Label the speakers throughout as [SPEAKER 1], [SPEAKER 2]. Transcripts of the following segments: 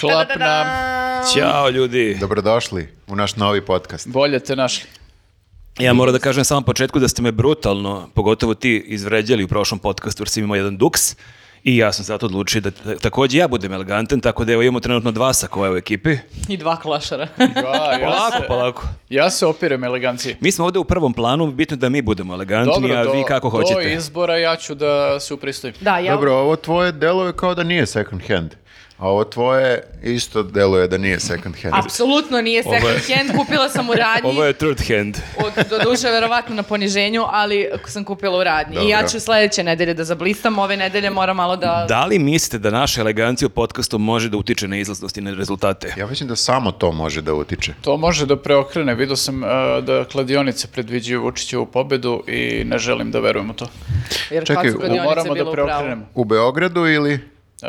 [SPEAKER 1] Klap nam. Ćao ljudi.
[SPEAKER 2] Dobrodošli u naš novi podcast.
[SPEAKER 3] Bolje te našli.
[SPEAKER 1] Ja moram da kažem na samom početku da ste me brutalno, pogotovo ti, izvređali u prošlom podcastu jer sam imao jedan duks i ja sam zato odlučio da t- također ja budem elegantan, tako da evo imamo trenutno dva sakoja u ekipi.
[SPEAKER 4] I dva klašara.
[SPEAKER 3] Ja, ja,
[SPEAKER 1] Polako,
[SPEAKER 3] se,
[SPEAKER 1] polako.
[SPEAKER 3] ja se opirem eleganciji.
[SPEAKER 1] Mi smo ovdje u prvom planu, bitno je da mi budemo elegantni,
[SPEAKER 3] Dobro,
[SPEAKER 1] a
[SPEAKER 3] do,
[SPEAKER 1] vi kako
[SPEAKER 3] do
[SPEAKER 1] hoćete.
[SPEAKER 3] izbora ja ću da se upristojim.
[SPEAKER 4] da, ja...
[SPEAKER 2] Dobro, ovo tvoje deluje kao da nije second hand. A ovo tvoje isto deluje da nije second hand.
[SPEAKER 4] Apsolutno nije
[SPEAKER 1] Ovo je-
[SPEAKER 4] second hand, kupila sam u radnji,
[SPEAKER 1] Ovo je third hand.
[SPEAKER 4] od, do duše verovatno na poniženju, ali sam kupila u radnji. I ja
[SPEAKER 2] Dobro.
[SPEAKER 4] ću sledeće nedelje da zablistam, ove nedelje moram malo da...
[SPEAKER 1] Da li mislite da naša elegancija u podcastu može da utiče na izlaznost i na rezultate?
[SPEAKER 2] Ja mislim da samo to može da utiče.
[SPEAKER 3] To može da preokrene. Vidio sam e, da kladionice predviđaju Vučićevu pobedu i ne želim da verujem u to.
[SPEAKER 4] Jer
[SPEAKER 2] Čekaj,
[SPEAKER 4] kad su
[SPEAKER 2] u-
[SPEAKER 4] kladionice
[SPEAKER 3] Moramo
[SPEAKER 4] bile
[SPEAKER 3] da
[SPEAKER 4] u pravu.
[SPEAKER 3] preokrenemo.
[SPEAKER 2] U Beogradu ili
[SPEAKER 3] E,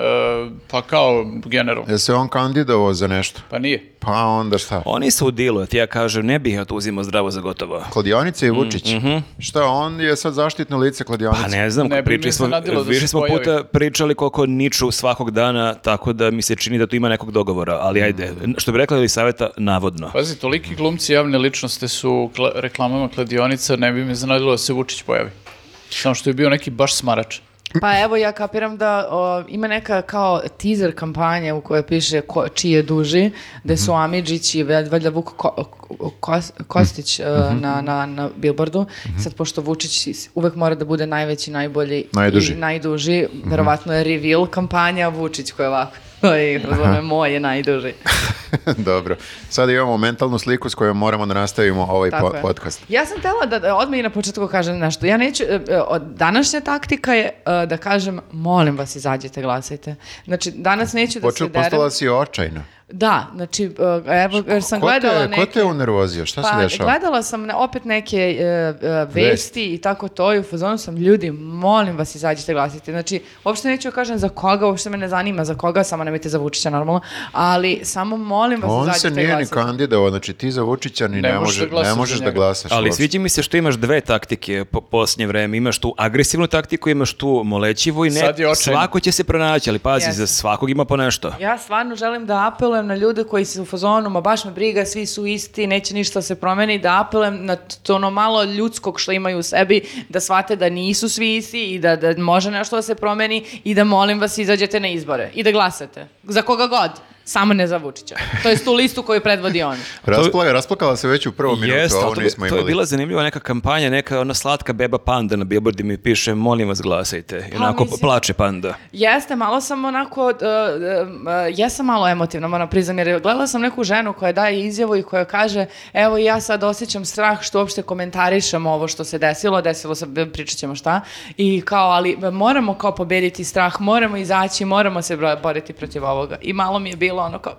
[SPEAKER 3] pa kao generalno.
[SPEAKER 2] je se on kandidovao za nešto?
[SPEAKER 3] Pa nije.
[SPEAKER 2] Pa onda šta?
[SPEAKER 1] Oni su u dilu, a ti ja kažem, ne bih ja to uzimao zdravo za gotovo.
[SPEAKER 2] Kladionice i
[SPEAKER 4] Mm,
[SPEAKER 2] Vučić.
[SPEAKER 4] mhm.
[SPEAKER 2] Šta, on je sad zaštitno lice kladionice.
[SPEAKER 1] Pa ne znam,
[SPEAKER 3] Ne bi
[SPEAKER 1] pričali
[SPEAKER 3] me
[SPEAKER 1] smo,
[SPEAKER 3] iznenadilo da
[SPEAKER 1] više
[SPEAKER 3] se
[SPEAKER 1] smo
[SPEAKER 3] pojavi.
[SPEAKER 1] puta pričali koliko niču svakog dana, tako da mi se čini da tu ima nekog dogovora, ali ajde, što bi rekla ili saveta, navodno.
[SPEAKER 3] Pazi, toliki glumci javne ličnosti su u kla- reklamama kladionica, ne bi me zanadilo da se Vučić pojavi. Samo što je bio neki baš smarač.
[SPEAKER 4] Pa evo ja kapiram da o, ima neka kao teaser kampanja u kojoj piše ko, čiji je duži, da su Amidžić i val- valjda Vuk Ko- Kos- Kostić e, na, na, na billboardu. Sad pošto Vučić is- uvek mora da bude najveći, najbolji
[SPEAKER 2] Najduži.
[SPEAKER 4] i najduži, verovatno je reveal kampanja Vučić koja je ovako. Oj, razume, moj je najduži.
[SPEAKER 2] Dobro. Sad imamo mentalnu sliku s kojom moramo da nastavimo ovaj
[SPEAKER 4] Tako
[SPEAKER 2] po-
[SPEAKER 4] je.
[SPEAKER 2] podcast.
[SPEAKER 4] Ja sam tela da- da odmah i na početku kažem nešto. Ja neću, e, e, od- današnja taktika je e, da kažem, molim vas, izađite, glasajte. Znači, danas neću da
[SPEAKER 2] Počeo,
[SPEAKER 4] se derem.
[SPEAKER 2] postala si očajna.
[SPEAKER 4] Da, znači, e, evo, jer sam
[SPEAKER 2] Ko te,
[SPEAKER 4] gledala
[SPEAKER 2] ko
[SPEAKER 4] neke...
[SPEAKER 2] te unervozio? Šta se
[SPEAKER 4] Pa,
[SPEAKER 2] dešava?
[SPEAKER 4] gledala sam na- opet neke e, e, vesti i tako to i u fazonu sam, ljudi, molim vas izađite glasajte. Znači, uopšte neću da kažem za koga, uopšte me ne zanima za koga, samo nemojte za Vučića normalno, ali samo molim vas
[SPEAKER 2] On
[SPEAKER 4] izađite
[SPEAKER 2] se nije ni
[SPEAKER 4] glasajte.
[SPEAKER 2] kandidao, znači ti za Vučića ni ne,
[SPEAKER 3] Ne možeš
[SPEAKER 2] može-
[SPEAKER 3] da glasaš
[SPEAKER 2] ne
[SPEAKER 3] za
[SPEAKER 2] možeš da
[SPEAKER 3] njega.
[SPEAKER 2] glasaš.
[SPEAKER 1] Ali
[SPEAKER 2] uopšte.
[SPEAKER 1] sviđa mi se što imaš dve taktike po posljednje vreme. Imaš tu agresivnu taktiku, imaš tu molećivu i ne,
[SPEAKER 3] Sad je očajno.
[SPEAKER 1] svako će se pronaći, ali pazi,
[SPEAKER 4] Jeste.
[SPEAKER 1] za svakog ima po nešto.
[SPEAKER 4] Ja stvarno želim da apelujem na ljude koji su u fazonu, ma baš me briga, svi su isti, neće ništa se promeni, da apelujem na t- to ono malo ljudskog što imaju u sebi, da shvate da nisu svi isti i da, da može nešto da se promeni i da molim vas izađete na izbore i da glasate. Za koga god, samo ne za Vučića. To je tu listu koju predvodi on.
[SPEAKER 2] Raspla- Rasplakala se već u prvom minutu,
[SPEAKER 1] Jeste,
[SPEAKER 2] ovo
[SPEAKER 1] ali to, bi-
[SPEAKER 2] nismo
[SPEAKER 1] to je
[SPEAKER 2] imali.
[SPEAKER 1] bila zanimljiva neka kampanja, neka ona slatka beba panda na billboardu mi piše, molim vas glasajte. I
[SPEAKER 4] Pa,
[SPEAKER 1] onako
[SPEAKER 4] mislim-
[SPEAKER 1] plače panda.
[SPEAKER 4] Jeste, malo sam onako, uh, um, uh, jesam malo emotivna, moram priznam, jer gledala sam neku ženu koja daje izjavu i koja kaže, evo ja sad osjećam strah što uopšte komentarišem ovo što se desilo, desilo se, pričat ćemo šta, i kao, ali moramo kao pobediti strah, moramo izaći, moramo se bro- boriti protiv ovoga. I malo mi je bilo ono kao...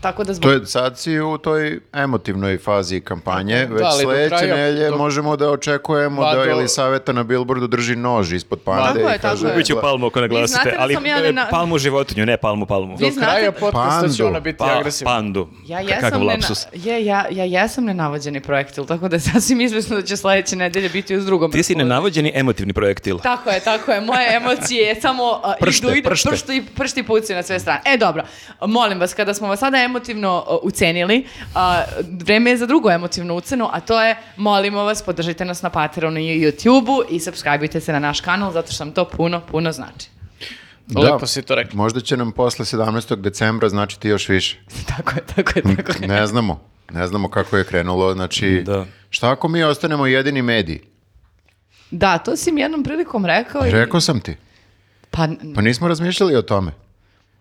[SPEAKER 4] Tako da zbog...
[SPEAKER 2] To je, sad si u toj emotivnoj fazi kampanje, već
[SPEAKER 3] ali do
[SPEAKER 2] sledeće
[SPEAKER 3] kraja-
[SPEAKER 2] nelje
[SPEAKER 3] do-
[SPEAKER 2] možemo da očekujemo
[SPEAKER 3] Pa,
[SPEAKER 2] da
[SPEAKER 3] do-
[SPEAKER 2] ili saveta na billboardu drži nož ispod pande
[SPEAKER 4] Tako
[SPEAKER 2] i
[SPEAKER 4] je, tako
[SPEAKER 2] kaže...
[SPEAKER 4] je.
[SPEAKER 1] Ubit ću
[SPEAKER 2] "Gla-
[SPEAKER 1] palmu ako ne
[SPEAKER 4] Vi znate
[SPEAKER 1] glasate,
[SPEAKER 4] da
[SPEAKER 1] ali
[SPEAKER 4] sam ja ne
[SPEAKER 1] e,
[SPEAKER 4] na-
[SPEAKER 1] palmu životinju, ne palmu, palmu.
[SPEAKER 4] Vi
[SPEAKER 3] Do
[SPEAKER 4] znate-
[SPEAKER 3] kraja podcasta će
[SPEAKER 2] Pandu.
[SPEAKER 3] ona biti
[SPEAKER 1] Pa,
[SPEAKER 3] agresivna.
[SPEAKER 1] pandu.
[SPEAKER 4] Ja
[SPEAKER 1] K-
[SPEAKER 4] jesam,
[SPEAKER 1] Kakav
[SPEAKER 4] nena-
[SPEAKER 1] lapsus.
[SPEAKER 4] je, ja, ja jesam nenavođeni projektil, tako da je sasvim izvesno da će sledeće nedelje biti uz drugom.
[SPEAKER 1] Ti si
[SPEAKER 4] raspoloženju.
[SPEAKER 1] nenavođeni emotivni projektil.
[SPEAKER 4] Tako je, tako je. Moje emocije samo a,
[SPEAKER 1] Pršte,
[SPEAKER 4] idu, idu,
[SPEAKER 1] pršte.
[SPEAKER 4] pršti, pršti pucaju na sve strane. E, dobro. Molim vas, kada smo vas sada emotivno a, ucenili, a, vreme je za drugu emotivnu ucenu, a to je, molimo vas, podržite nas na Patreonu i YouTube-u i subscribeujte se na naš kanal, zato što nam to puno, puno znači.
[SPEAKER 2] Da,
[SPEAKER 3] Lepo si to rekla.
[SPEAKER 2] Možda će nam posle 17. decembra značiti još više.
[SPEAKER 4] tako je, tako je, tako je.
[SPEAKER 2] Ne znamo. Ne znamo kako je krenulo, znači...
[SPEAKER 1] Da.
[SPEAKER 2] Šta ako mi ostanemo jedini mediji?
[SPEAKER 4] Da, to si mi jednom prilikom rekao. i-
[SPEAKER 2] Rekao sam ti.
[SPEAKER 4] Pa,
[SPEAKER 2] Pa nismo razmišljali o tome.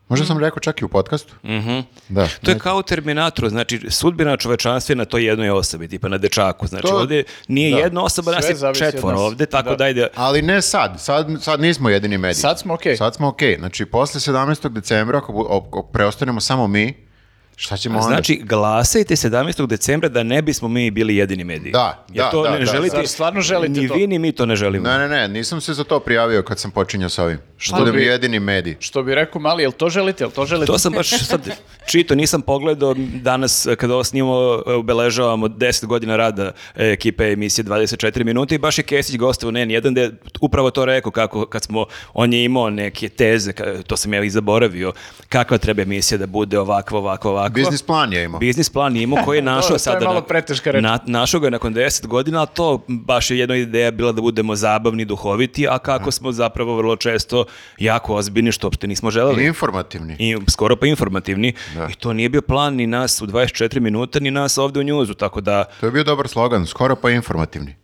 [SPEAKER 2] Možda sam rekao čak i u podcastu.
[SPEAKER 3] Mhm.
[SPEAKER 2] Da.
[SPEAKER 1] To je kao u Terminatoru, znači sudbina čovečanstva je na toj jednoj osobi, tipa na dečaku. Znači
[SPEAKER 2] To-
[SPEAKER 1] ovdje nije jedna osoba, nas
[SPEAKER 3] Sve
[SPEAKER 1] je
[SPEAKER 3] zavisi od
[SPEAKER 1] četvor
[SPEAKER 3] nas.
[SPEAKER 1] ovdje, tako da,
[SPEAKER 3] Da.
[SPEAKER 1] ajde.
[SPEAKER 2] Ali ne sad, sad, sad nismo jedini mediji.
[SPEAKER 3] Sad smo okej.
[SPEAKER 2] Sad smo okej. Znači, posle 17. decembra, ako, bu- ako preostanemo samo mi, Šta ćemo onda?
[SPEAKER 1] Znači, glasajte 17. decembra da ne bismo mi bili jedini mediji.
[SPEAKER 2] Da,
[SPEAKER 1] Jer
[SPEAKER 2] da,
[SPEAKER 1] to
[SPEAKER 2] da,
[SPEAKER 1] ne
[SPEAKER 2] da.
[SPEAKER 1] želite,
[SPEAKER 3] Zar stvarno želite
[SPEAKER 1] ni
[SPEAKER 3] to?
[SPEAKER 1] vi, ni mi to ne želimo.
[SPEAKER 2] Ne, ne, ne, nisam se za to prijavio kad sam počinjao sa ovim. Što da bi
[SPEAKER 3] bi-
[SPEAKER 2] jedini medij.
[SPEAKER 3] Što bi rekao mali, jel to želite, jel to želite?
[SPEAKER 1] To sam baš sad čito, nisam pogledao danas e, kada ovo snimamo, e, obeležavamo 10 godina rada e, ekipe emisije 24 minute i baš je Kesić gostavo na N1 gde je upravo to rekao kako kad smo, on je imao neke teze, ka- to sam ja i zaboravio, kakva treba emisija da bude ovakva, ovakva, ovakva.
[SPEAKER 2] Biznis plan je imao.
[SPEAKER 1] Biznis plan je imao koji je
[SPEAKER 3] to
[SPEAKER 1] našao
[SPEAKER 3] je
[SPEAKER 1] sada.
[SPEAKER 3] malo
[SPEAKER 1] na-
[SPEAKER 3] preteška reč.
[SPEAKER 1] na- našao ga je nakon 10 godina, ali to baš je jedna ideja bila da budemo zabavni, duhoviti, a kako smo zapravo vrlo često jako ozbiljni, što uopšte nismo želeli.
[SPEAKER 2] I informativni.
[SPEAKER 1] I skoro pa informativni. I to nije bio plan ni nas u 24 minuta, ni nas ovde u njuzu, tako da
[SPEAKER 2] To je bio dobar slogan, skoro pa informativni.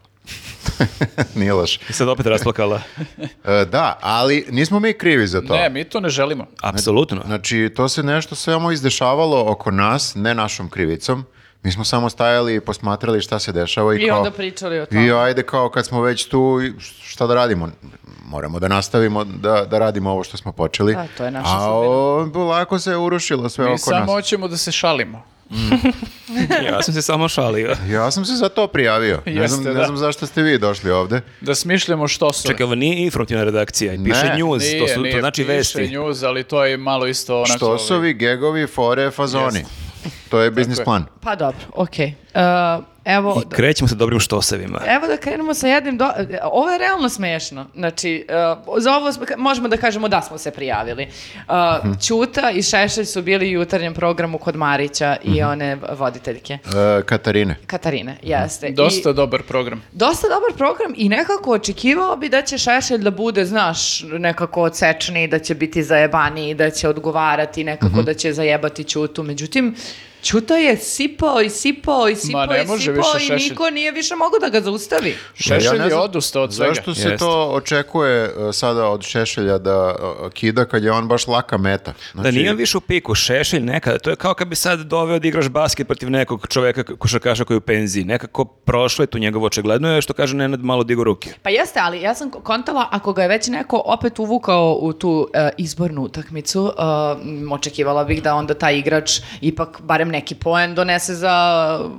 [SPEAKER 2] Nije loš.
[SPEAKER 1] I sad opet rasplakala.
[SPEAKER 2] E, da, ali nismo mi krivi za to.
[SPEAKER 3] Ne, mi to ne želimo.
[SPEAKER 1] Apsolutno.
[SPEAKER 2] Znači, to se nešto samo izdešavalo oko nas, ne našom krivicom. Mi smo samo stajali i posmatrali šta se dešava i,
[SPEAKER 4] I
[SPEAKER 2] kao...
[SPEAKER 4] onda pričali o
[SPEAKER 2] I
[SPEAKER 4] tome.
[SPEAKER 2] ajde kao kad smo već tu, i šta da radimo? Moramo da nastavimo da, da radimo ovo što smo počeli.
[SPEAKER 4] Da, E, to je naša
[SPEAKER 2] A
[SPEAKER 4] sudbina.
[SPEAKER 2] o, lako se urušilo sve
[SPEAKER 3] Mi
[SPEAKER 2] oko
[SPEAKER 3] samo
[SPEAKER 2] nas.
[SPEAKER 3] hoćemo da se šalimo.
[SPEAKER 1] Znači, Ja sam se samo šalio.
[SPEAKER 2] Ja sam se za to prijavio. ne, znam,
[SPEAKER 3] Jeste,
[SPEAKER 2] ne
[SPEAKER 3] da.
[SPEAKER 2] znam zašto ste vi došli ovde.
[SPEAKER 3] Da smišljamo što su.
[SPEAKER 1] Čekaj, ovo nije informativna redakcija, piše
[SPEAKER 2] Ne.
[SPEAKER 1] news, to, su, to znači
[SPEAKER 3] piše
[SPEAKER 1] vesti.
[SPEAKER 3] news, ali to je malo isto onako... ovaj,
[SPEAKER 2] Što su vi gegovi, fore, fazoni? To je biznis plan.
[SPEAKER 4] Pa dobro, okej. E, evo,
[SPEAKER 1] I krećemo sa dobrim štosevima.
[SPEAKER 4] Evo da krenemo sa jednim... Do... Ovo je realno smešno. Znači, uh, za ovo smo- možemo da kažemo da smo se prijavili. Uh,
[SPEAKER 3] Mhm.
[SPEAKER 4] Ćuta i Šešelj su bili u jutarnjem programu kod Marića i
[SPEAKER 3] Mhm.
[SPEAKER 4] one voditeljke.
[SPEAKER 2] E, Katarine.
[SPEAKER 4] Katarine, jeste. I
[SPEAKER 3] Dosta dobar program.
[SPEAKER 4] dosta dobar program i nekako očekivao bi da će Šešelj da bude, znaš, nekako odsečniji, da će biti zajebaniji, da će odgovarati, nekako
[SPEAKER 3] Mhm.
[SPEAKER 4] da će zajebati Ćutu. Međutim, Ćuta je sipao i sipao i sipao
[SPEAKER 3] ne
[SPEAKER 4] i
[SPEAKER 3] može
[SPEAKER 4] sipao
[SPEAKER 3] više
[SPEAKER 4] i
[SPEAKER 3] Šešelj.
[SPEAKER 4] niko nije više mogao da ga zaustavi.
[SPEAKER 2] Ja
[SPEAKER 3] Šešelj
[SPEAKER 2] ne
[SPEAKER 3] je
[SPEAKER 2] znam
[SPEAKER 3] odustao od svega.
[SPEAKER 2] Zašto se
[SPEAKER 1] Jeste.
[SPEAKER 2] to očekuje e, sada od Šešelja da e, kida kad je on baš laka meta?
[SPEAKER 1] Da
[SPEAKER 2] Znači,
[SPEAKER 1] nije on više u piku, šešelj nekada, to je kao kad bi sad doveo da igraš basket protiv nekog čoveka k- košarkaša koji je u penziji. Nekako prošlo je tu njegovo očigledno je što kaže Nenad malo digo ruke.
[SPEAKER 4] Pa jeste, ali ja sam kontala ako ga je već neko opet uvukao u tu e, izbornu utakmicu, e, m, očekivala bih da onda taj igrač ipak barem neki poen donese za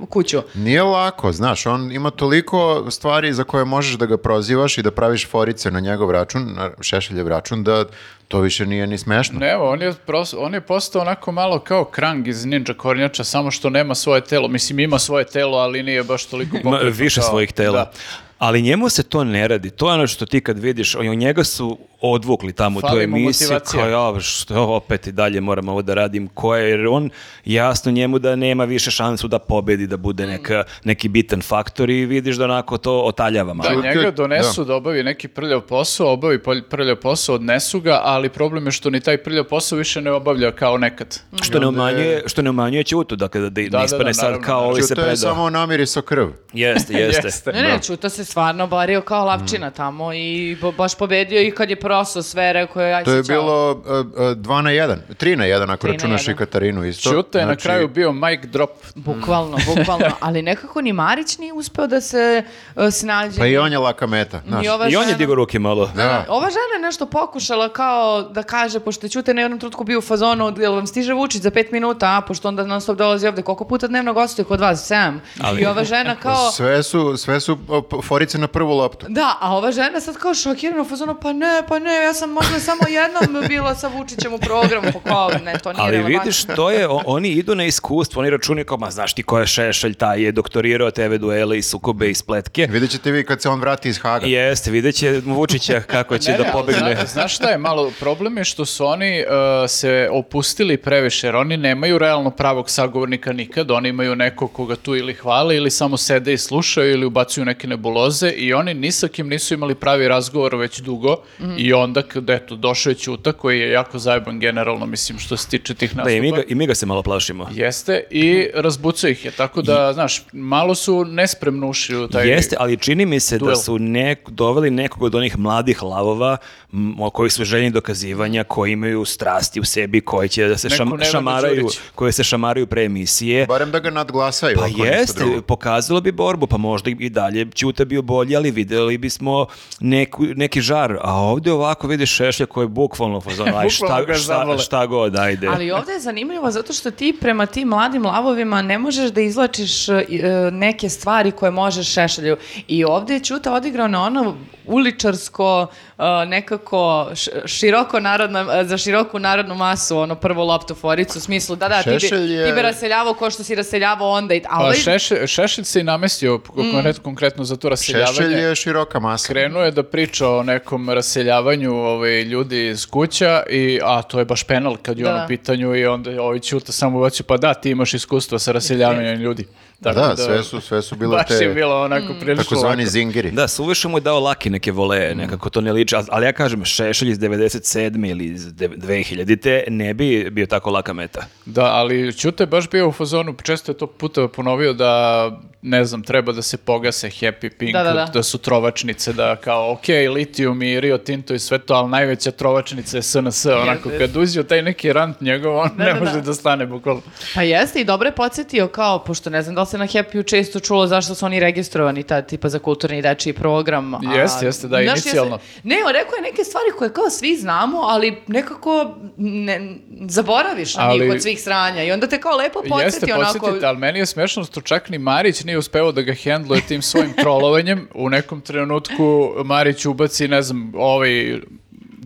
[SPEAKER 4] kuću.
[SPEAKER 2] Nije lako, znaš, on ima toliko stvari za koje možeš da ga prozivaš i da praviš forice na njegov račun, na Šešeljev račun, da to više nije ni smešno.
[SPEAKER 3] Ne, evo, on je, pros- on je postao onako malo kao Krang iz Ninja Kornjača, samo što nema svoje telo. Mislim, ima svoje telo, ali nije baš toliko
[SPEAKER 1] Ma,
[SPEAKER 3] pokretno
[SPEAKER 1] više
[SPEAKER 3] kao-
[SPEAKER 1] svojih tela.
[SPEAKER 3] Da.
[SPEAKER 1] Ali njemu se to ne radi. To je ono što ti kad vidiš, on- njega su odvukli tamo u
[SPEAKER 3] Fali
[SPEAKER 1] toj
[SPEAKER 3] mu
[SPEAKER 1] emisiji.
[SPEAKER 3] motivacija.
[SPEAKER 1] Kao, ja, pa što opet i dalje moram ovo da radim. Ko je, jer on jasno njemu da nema više šansu da pobedi, da
[SPEAKER 3] Mm.
[SPEAKER 1] bude neka, neki bitan faktor i vidiš da onako to otaljava malo.
[SPEAKER 3] Da,
[SPEAKER 2] Čuti-
[SPEAKER 3] njega donesu da. obavi neki prljav posao, obavi polj- prljav posao, odnesu ga, ali problem je što ni taj prljav posao više ne obavlja kao nekad.
[SPEAKER 1] Što ne umanjuje, što ne umanjuje Ćutu, dakle, da, da, ne
[SPEAKER 3] da,
[SPEAKER 1] ispane sad
[SPEAKER 3] naravno,
[SPEAKER 1] kao
[SPEAKER 3] naravno.
[SPEAKER 1] ovi se
[SPEAKER 2] Znači, to
[SPEAKER 1] predao.
[SPEAKER 2] je samo namiriso krv.
[SPEAKER 1] Jeste, jeste.
[SPEAKER 3] Jeste.
[SPEAKER 4] Ne, ne, Čuta se stvarno bario kao
[SPEAKER 2] Mm.
[SPEAKER 4] lavčina tamo i bo- baš pobedio i kad je proso sve, rekao je, aj
[SPEAKER 2] To je
[SPEAKER 4] sad, Znači, čao.
[SPEAKER 2] bilo 2 na 1, 3 na 1 ako
[SPEAKER 4] Tri na
[SPEAKER 2] računaš i
[SPEAKER 4] jedan.
[SPEAKER 2] Katarinu isto.
[SPEAKER 3] Ćuta je na
[SPEAKER 2] Znači,
[SPEAKER 3] kraju bio mic drop.
[SPEAKER 4] Bukvalno, bukvalno, ali nekako ni Marić nije uspeo da se e, snađe.
[SPEAKER 2] Pa i on je laka meta, znaš.
[SPEAKER 4] Ni ova
[SPEAKER 1] I on je
[SPEAKER 4] žena.
[SPEAKER 1] digo ruke malo.
[SPEAKER 2] Da.
[SPEAKER 4] Ova žena je nešto pokušala kao da kaže, pošto je Ćute na jednom trutku bio u fazonu, jel vam stiže Vučić za pet minuta, a pošto onda non stop dolazi ovde, koliko puta dnevno gostuje kod vas? Sedam.
[SPEAKER 1] Ali-
[SPEAKER 4] I ova žena kao...
[SPEAKER 2] Sve su, sve su o, p- forice na prvu loptu.
[SPEAKER 4] Da, a ova žena sad kao šokirana u fazonu, pa ne, pa ne, ja sam možda samo jednom bila sa Vučićem u programu, pa kao, ne, to nije
[SPEAKER 1] Ali
[SPEAKER 4] relevantno.
[SPEAKER 1] vidiš, to je, o- oni idu na iskustvo, oni računaju kao, ma znaš ti ko je Šešelj, taj je doktorirao TV duele i sukobe i spletke.
[SPEAKER 2] E, Vidjet ćete vi kad se on vrati iz Haga.
[SPEAKER 1] Jeste, vidjet će Vučića kako će
[SPEAKER 3] Ne,
[SPEAKER 1] da
[SPEAKER 3] ne, ali
[SPEAKER 1] pobegne.
[SPEAKER 3] zna- znaš šta je malo problem je što su oni uh, se opustili previše, jer oni nemaju realno pravog sagovornika nikad, oni imaju nekog koga tu ili hvale ili samo sede i slušaju ili ubacuju neke nebuloze i oni ni sa kim nisu imali pravi razgovor već dugo
[SPEAKER 1] Mhm.
[SPEAKER 3] i onda kad eto došao je Ćuta koji je jako zajeban generalno mislim što se tiče tih nastupa.
[SPEAKER 1] Da, i mi, ga, i mi ga se malo plašimo.
[SPEAKER 3] Jeste i
[SPEAKER 1] Mhm.
[SPEAKER 3] razbucao ih je, tako da, znaš, malo su nespremno ušli u taj...
[SPEAKER 1] Jeste, ali čini mi se da
[SPEAKER 3] duel.
[SPEAKER 1] su nek, doveli nekog od onih mladih lavova m, o koji su željni dokazivanja, koji imaju strasti u sebi, koji će da se
[SPEAKER 3] Neku
[SPEAKER 1] šam-
[SPEAKER 3] Nevenu
[SPEAKER 1] šamaraju,
[SPEAKER 3] Đurić.
[SPEAKER 1] koje se šamaraju pre emisije.
[SPEAKER 2] Barem da ga nadglasaju.
[SPEAKER 1] Pa
[SPEAKER 2] ako ništa
[SPEAKER 1] jeste,
[SPEAKER 2] drugo.
[SPEAKER 1] pokazalo bi borbu, pa možda i dalje Ćuta bi bio bolji, ali videli bismo neku, neki žar. A ovdje ovako vidiš Šešlja koji je bukvalno fazon, aj šta,
[SPEAKER 3] Bukvalno ga
[SPEAKER 1] šta,
[SPEAKER 3] zabole.
[SPEAKER 1] šta god, ajde.
[SPEAKER 4] Ali ovdje je zanimljivo zato što ti prema tim mladim lavovima ne možeš da izlačiš e, neke stvari koje možeš šešelju. I ovdje je Ćuta odigrao na ono uličarsko, e, nekako š- široko narodna, e, za široku narodnu masu, ono prvo loptu foricu, u smislu da, da, ti bi,
[SPEAKER 2] Šešelj je-
[SPEAKER 4] ti bi raseljavao ko što si raseljavao onda. I, a
[SPEAKER 3] Pa
[SPEAKER 4] ovaj-
[SPEAKER 3] Šešelj, Šešelj se i namestio
[SPEAKER 1] Mhm.
[SPEAKER 3] konkret- konkretno za to raseljavanje.
[SPEAKER 2] Šešelj je široka masa.
[SPEAKER 3] Krenuo je da priča o nekom raseljavanju ovaj, ljudi iz kuća, i, a to je baš penal kad je
[SPEAKER 4] Da.
[SPEAKER 3] on u pitanju i onda je ovaj Ćuta samo ubacio, pa da, ti imaš iskustva sa raseljavanjem ljudi. Tako
[SPEAKER 2] da, sve su, sve su bile
[SPEAKER 3] baš je
[SPEAKER 2] te
[SPEAKER 3] bilo onako
[SPEAKER 4] Mm.
[SPEAKER 3] prilično
[SPEAKER 2] takozvani
[SPEAKER 3] ovako.
[SPEAKER 2] zingiri.
[SPEAKER 1] Da, suviše mu je dao laki neke vole, nekako to ne liči, a- ali ja kažem, Šešelj iz 97. ili iz dev- 2000. ne bi bio tako laka meta.
[SPEAKER 3] Da, ali Ćuta je baš bio u fazonu, često je to puta ponovio da, ne znam, treba da se pogase Happy Pink,
[SPEAKER 4] Da,
[SPEAKER 3] da,
[SPEAKER 4] da, da.
[SPEAKER 3] su trovačnice, da kao, ok, litijum i Rio Tinto i sve to, ali najveća trovačnica je SNS, onako,
[SPEAKER 4] Jeste.
[SPEAKER 3] kad uđe u taj neki rant njegov, on
[SPEAKER 4] Da,
[SPEAKER 3] ne
[SPEAKER 4] da,
[SPEAKER 3] može
[SPEAKER 4] da.
[SPEAKER 3] da, stane bukvalno.
[SPEAKER 4] Pa jeste i dobro je podsjetio kao, pošto ne znam da li se na Happy-u često čulo zašto su oni registrovani, ta tipa za kulturni i dečiji program. a-
[SPEAKER 3] Jeste, jeste, da,
[SPEAKER 4] Znaš, jesi-
[SPEAKER 3] inicijalno.
[SPEAKER 4] ne, on rekao je neke stvari koje kao svi znamo, ali nekako ne, zaboraviš na
[SPEAKER 3] Ali-
[SPEAKER 4] njih od svih sranja i onda te kao lepo podsjeti
[SPEAKER 3] Jeste,
[SPEAKER 4] onako.
[SPEAKER 3] podsjetite, ali meni je smešno što čak ni Marić nije uspeo da ga hendluje tim svojim trolovanjem. U nekom trenutku Marić ubaci, ne znam, ovaj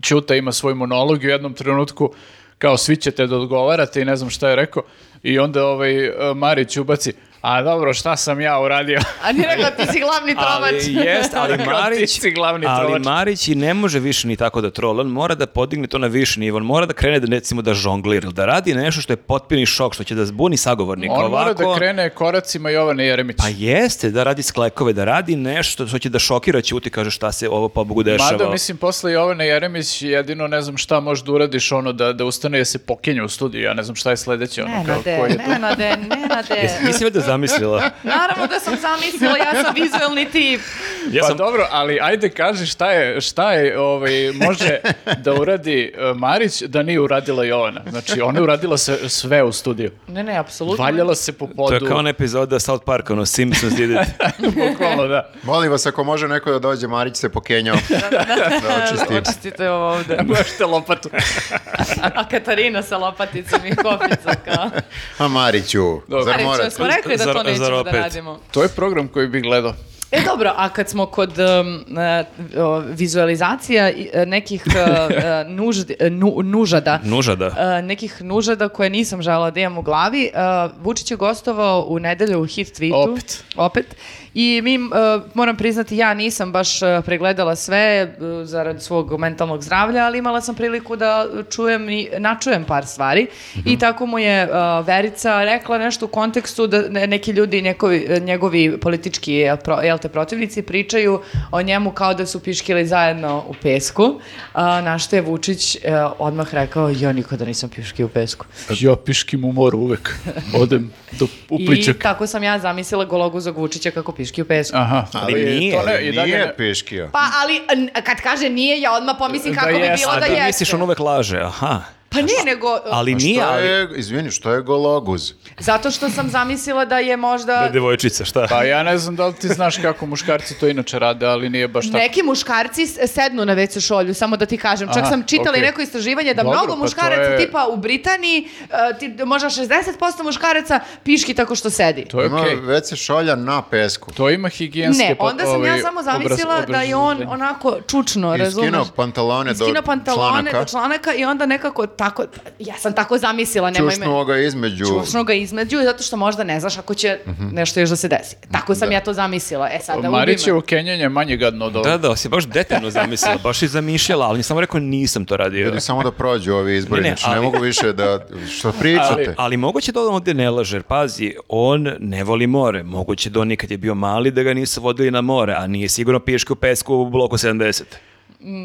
[SPEAKER 3] Ćuta ima svoj monolog i u jednom trenutku kao svi ćete da odgovarate i ne znam šta je rekao. I onda ovaj eh, Marić ubaci, a dobro, šta sam ja uradio?
[SPEAKER 4] A nije rekla ti si glavni trovač.
[SPEAKER 1] Ali jest, ali
[SPEAKER 3] Kao
[SPEAKER 1] Marić,
[SPEAKER 3] ti si glavni
[SPEAKER 1] ali
[SPEAKER 3] trovač.
[SPEAKER 1] Marić i ne može više ni tako da troll, on mora da podigne to na viši nivo, on mora da krene da recimo da žonglira, ili da radi nešto što je potpuni šok, što će da zbuni sagovornika.
[SPEAKER 3] On mora da
[SPEAKER 1] Ovako-
[SPEAKER 3] krene koracima Jovane Jeremića.
[SPEAKER 1] Pa jeste, da radi sklekove, da radi nešto što će da šokira Ćuti, kaže šta se ovo pobogu dešava.
[SPEAKER 3] Mada, mislim, posle Jovana Jeremić jedino ne znam šta možeš da uradiš ono da, da ustane da se pokenja u studiju, ja ne znam šta je sledeće. Ono, kao,
[SPEAKER 4] Nenade,
[SPEAKER 3] koji je
[SPEAKER 4] Nenade, Nenade.
[SPEAKER 1] Jesi- Nisi valjda zamislila?
[SPEAKER 4] Naravno da sam zamislila, ja sam vizuelni tip.
[SPEAKER 1] Ja
[SPEAKER 3] pa
[SPEAKER 1] sam
[SPEAKER 3] dobro, ali ajde kaži šta je, šta je ovaj, može da uradi e, Marić da nije uradila Jovana. Znači, ona je uradila sve, sve u studiju.
[SPEAKER 4] Ne, ne, apsolutno.
[SPEAKER 3] Valjala se po
[SPEAKER 1] To
[SPEAKER 3] podu.
[SPEAKER 1] je kao ona epizoda South Parka, ono Simpsons ide.
[SPEAKER 3] Bukvalno, da.
[SPEAKER 2] Molim vas, ako može neko da dođe, Marić se pokenjao da očisti.
[SPEAKER 4] Očistite ovo ovde.
[SPEAKER 3] Možete lopatu.
[SPEAKER 4] A Katarina sa lopaticom i kopicom kao.
[SPEAKER 2] A Mariću,
[SPEAKER 3] Dobro.
[SPEAKER 2] zar
[SPEAKER 4] Reći,
[SPEAKER 2] morate?
[SPEAKER 4] smo rekli da
[SPEAKER 1] Zar-
[SPEAKER 4] to
[SPEAKER 1] zar
[SPEAKER 4] nećemo da
[SPEAKER 1] opet?
[SPEAKER 4] radimo.
[SPEAKER 3] To je program koji bi gledao.
[SPEAKER 4] E dobro, a kad smo kod um, e, o, vizualizacija i, e, nekih e, e, nuždi- e, nu- nužada,
[SPEAKER 1] Nuža da.
[SPEAKER 4] e, nekih nužada koje nisam žela da imam u glavi, e, Vučić je gostovao u nedelju u hit tweetu.
[SPEAKER 3] Opet.
[SPEAKER 4] Opet. I mi, e, moram priznati, ja nisam baš e, pregledala sve e, zarad svog mentalnog zdravlja, ali imala sam priliku da čujem i načujem par stvari. I tako mu je e, Verica rekla nešto u kontekstu da ne- neki ljudi, njegovi, e, njegovi politički e, pro, jel te, protivnici pričaju o njemu kao da su piškili zajedno u pesku. A, na što je Vučić e, odmah rekao, jo, nikada nisam piški u pesku.
[SPEAKER 3] Ja piškim u moru uvek. Odem do
[SPEAKER 4] I tako sam ja zamislila gologuzog Vučića kako piški u pesku.
[SPEAKER 3] Aha.
[SPEAKER 1] Ali nije.
[SPEAKER 3] to ne- i dalje
[SPEAKER 2] Nije
[SPEAKER 3] ne-
[SPEAKER 2] piškio.
[SPEAKER 4] Pa, ali n- kad kaže nije, ja odmah pomislim
[SPEAKER 3] Da ono-
[SPEAKER 4] kako bi
[SPEAKER 3] jeste.
[SPEAKER 4] bilo
[SPEAKER 1] A
[SPEAKER 4] da
[SPEAKER 1] ti
[SPEAKER 4] jeste.
[SPEAKER 1] misliš on uvek laže, aha.
[SPEAKER 4] Pa ne, nego...
[SPEAKER 1] Ali
[SPEAKER 2] A
[SPEAKER 1] nije,
[SPEAKER 2] što
[SPEAKER 1] ali...
[SPEAKER 2] je, izvini, što je gologuz?
[SPEAKER 4] Zato što sam zamislila da je možda...
[SPEAKER 1] Da je devojčica, šta?
[SPEAKER 3] Pa ja ne znam da li ti znaš kako muškarci to inače rade, ali nije baš tako.
[SPEAKER 4] Neki muškarci s- sednu na WC šolju, samo da ti kažem. Čak
[SPEAKER 3] Aha,
[SPEAKER 4] sam čitala i
[SPEAKER 3] okej.
[SPEAKER 4] neko istraživanje da
[SPEAKER 3] Dobro, pa
[SPEAKER 4] mnogo
[SPEAKER 3] to
[SPEAKER 4] muškaraca,
[SPEAKER 3] je-
[SPEAKER 4] tipa u Britaniji, e, ti, možda 60% muškaraca piški tako što sedi.
[SPEAKER 3] To je
[SPEAKER 2] Ima
[SPEAKER 3] okej.
[SPEAKER 2] već se šolja na pesku.
[SPEAKER 3] To ima higijenske...
[SPEAKER 4] Ne,
[SPEAKER 3] pa-
[SPEAKER 4] onda sam ja
[SPEAKER 3] ovaj,
[SPEAKER 4] samo
[SPEAKER 3] obraz-
[SPEAKER 4] zamislila da je on
[SPEAKER 3] obrazloženje.
[SPEAKER 4] onako čučno,
[SPEAKER 2] I
[SPEAKER 4] razumeš?
[SPEAKER 2] skinuo pantalone do
[SPEAKER 4] Skino pantalone
[SPEAKER 2] članaka.
[SPEAKER 4] do članaka i onda nekako tako, ja sam tako zamislila, nemoj me...
[SPEAKER 2] Čušnuo ga između...
[SPEAKER 4] Čušno ga između, zato što možda ne znaš ako će nešto još da se desi. Tako sam ja to zamislila. E sad da
[SPEAKER 3] Marić je
[SPEAKER 4] ubime.
[SPEAKER 3] u Kenjenje manje gadno od ovog.
[SPEAKER 1] Da, da, si baš detaljno zamislila, baš i zamišljala, ali samo rekao nisam to radio.
[SPEAKER 2] Ljudi, samo da prođu ovi izbori,
[SPEAKER 1] Ne,
[SPEAKER 2] ne,
[SPEAKER 1] ne,
[SPEAKER 2] znači ne
[SPEAKER 1] ali-
[SPEAKER 2] mogu više da... Što pričate?
[SPEAKER 1] Ali moguće da on ovdje ne laže, jer pazi, on ne voli more. Moguće da on nikad je bio mali da ga nisu vodili na more, a nije sigurno piške u pesku u bloku 70.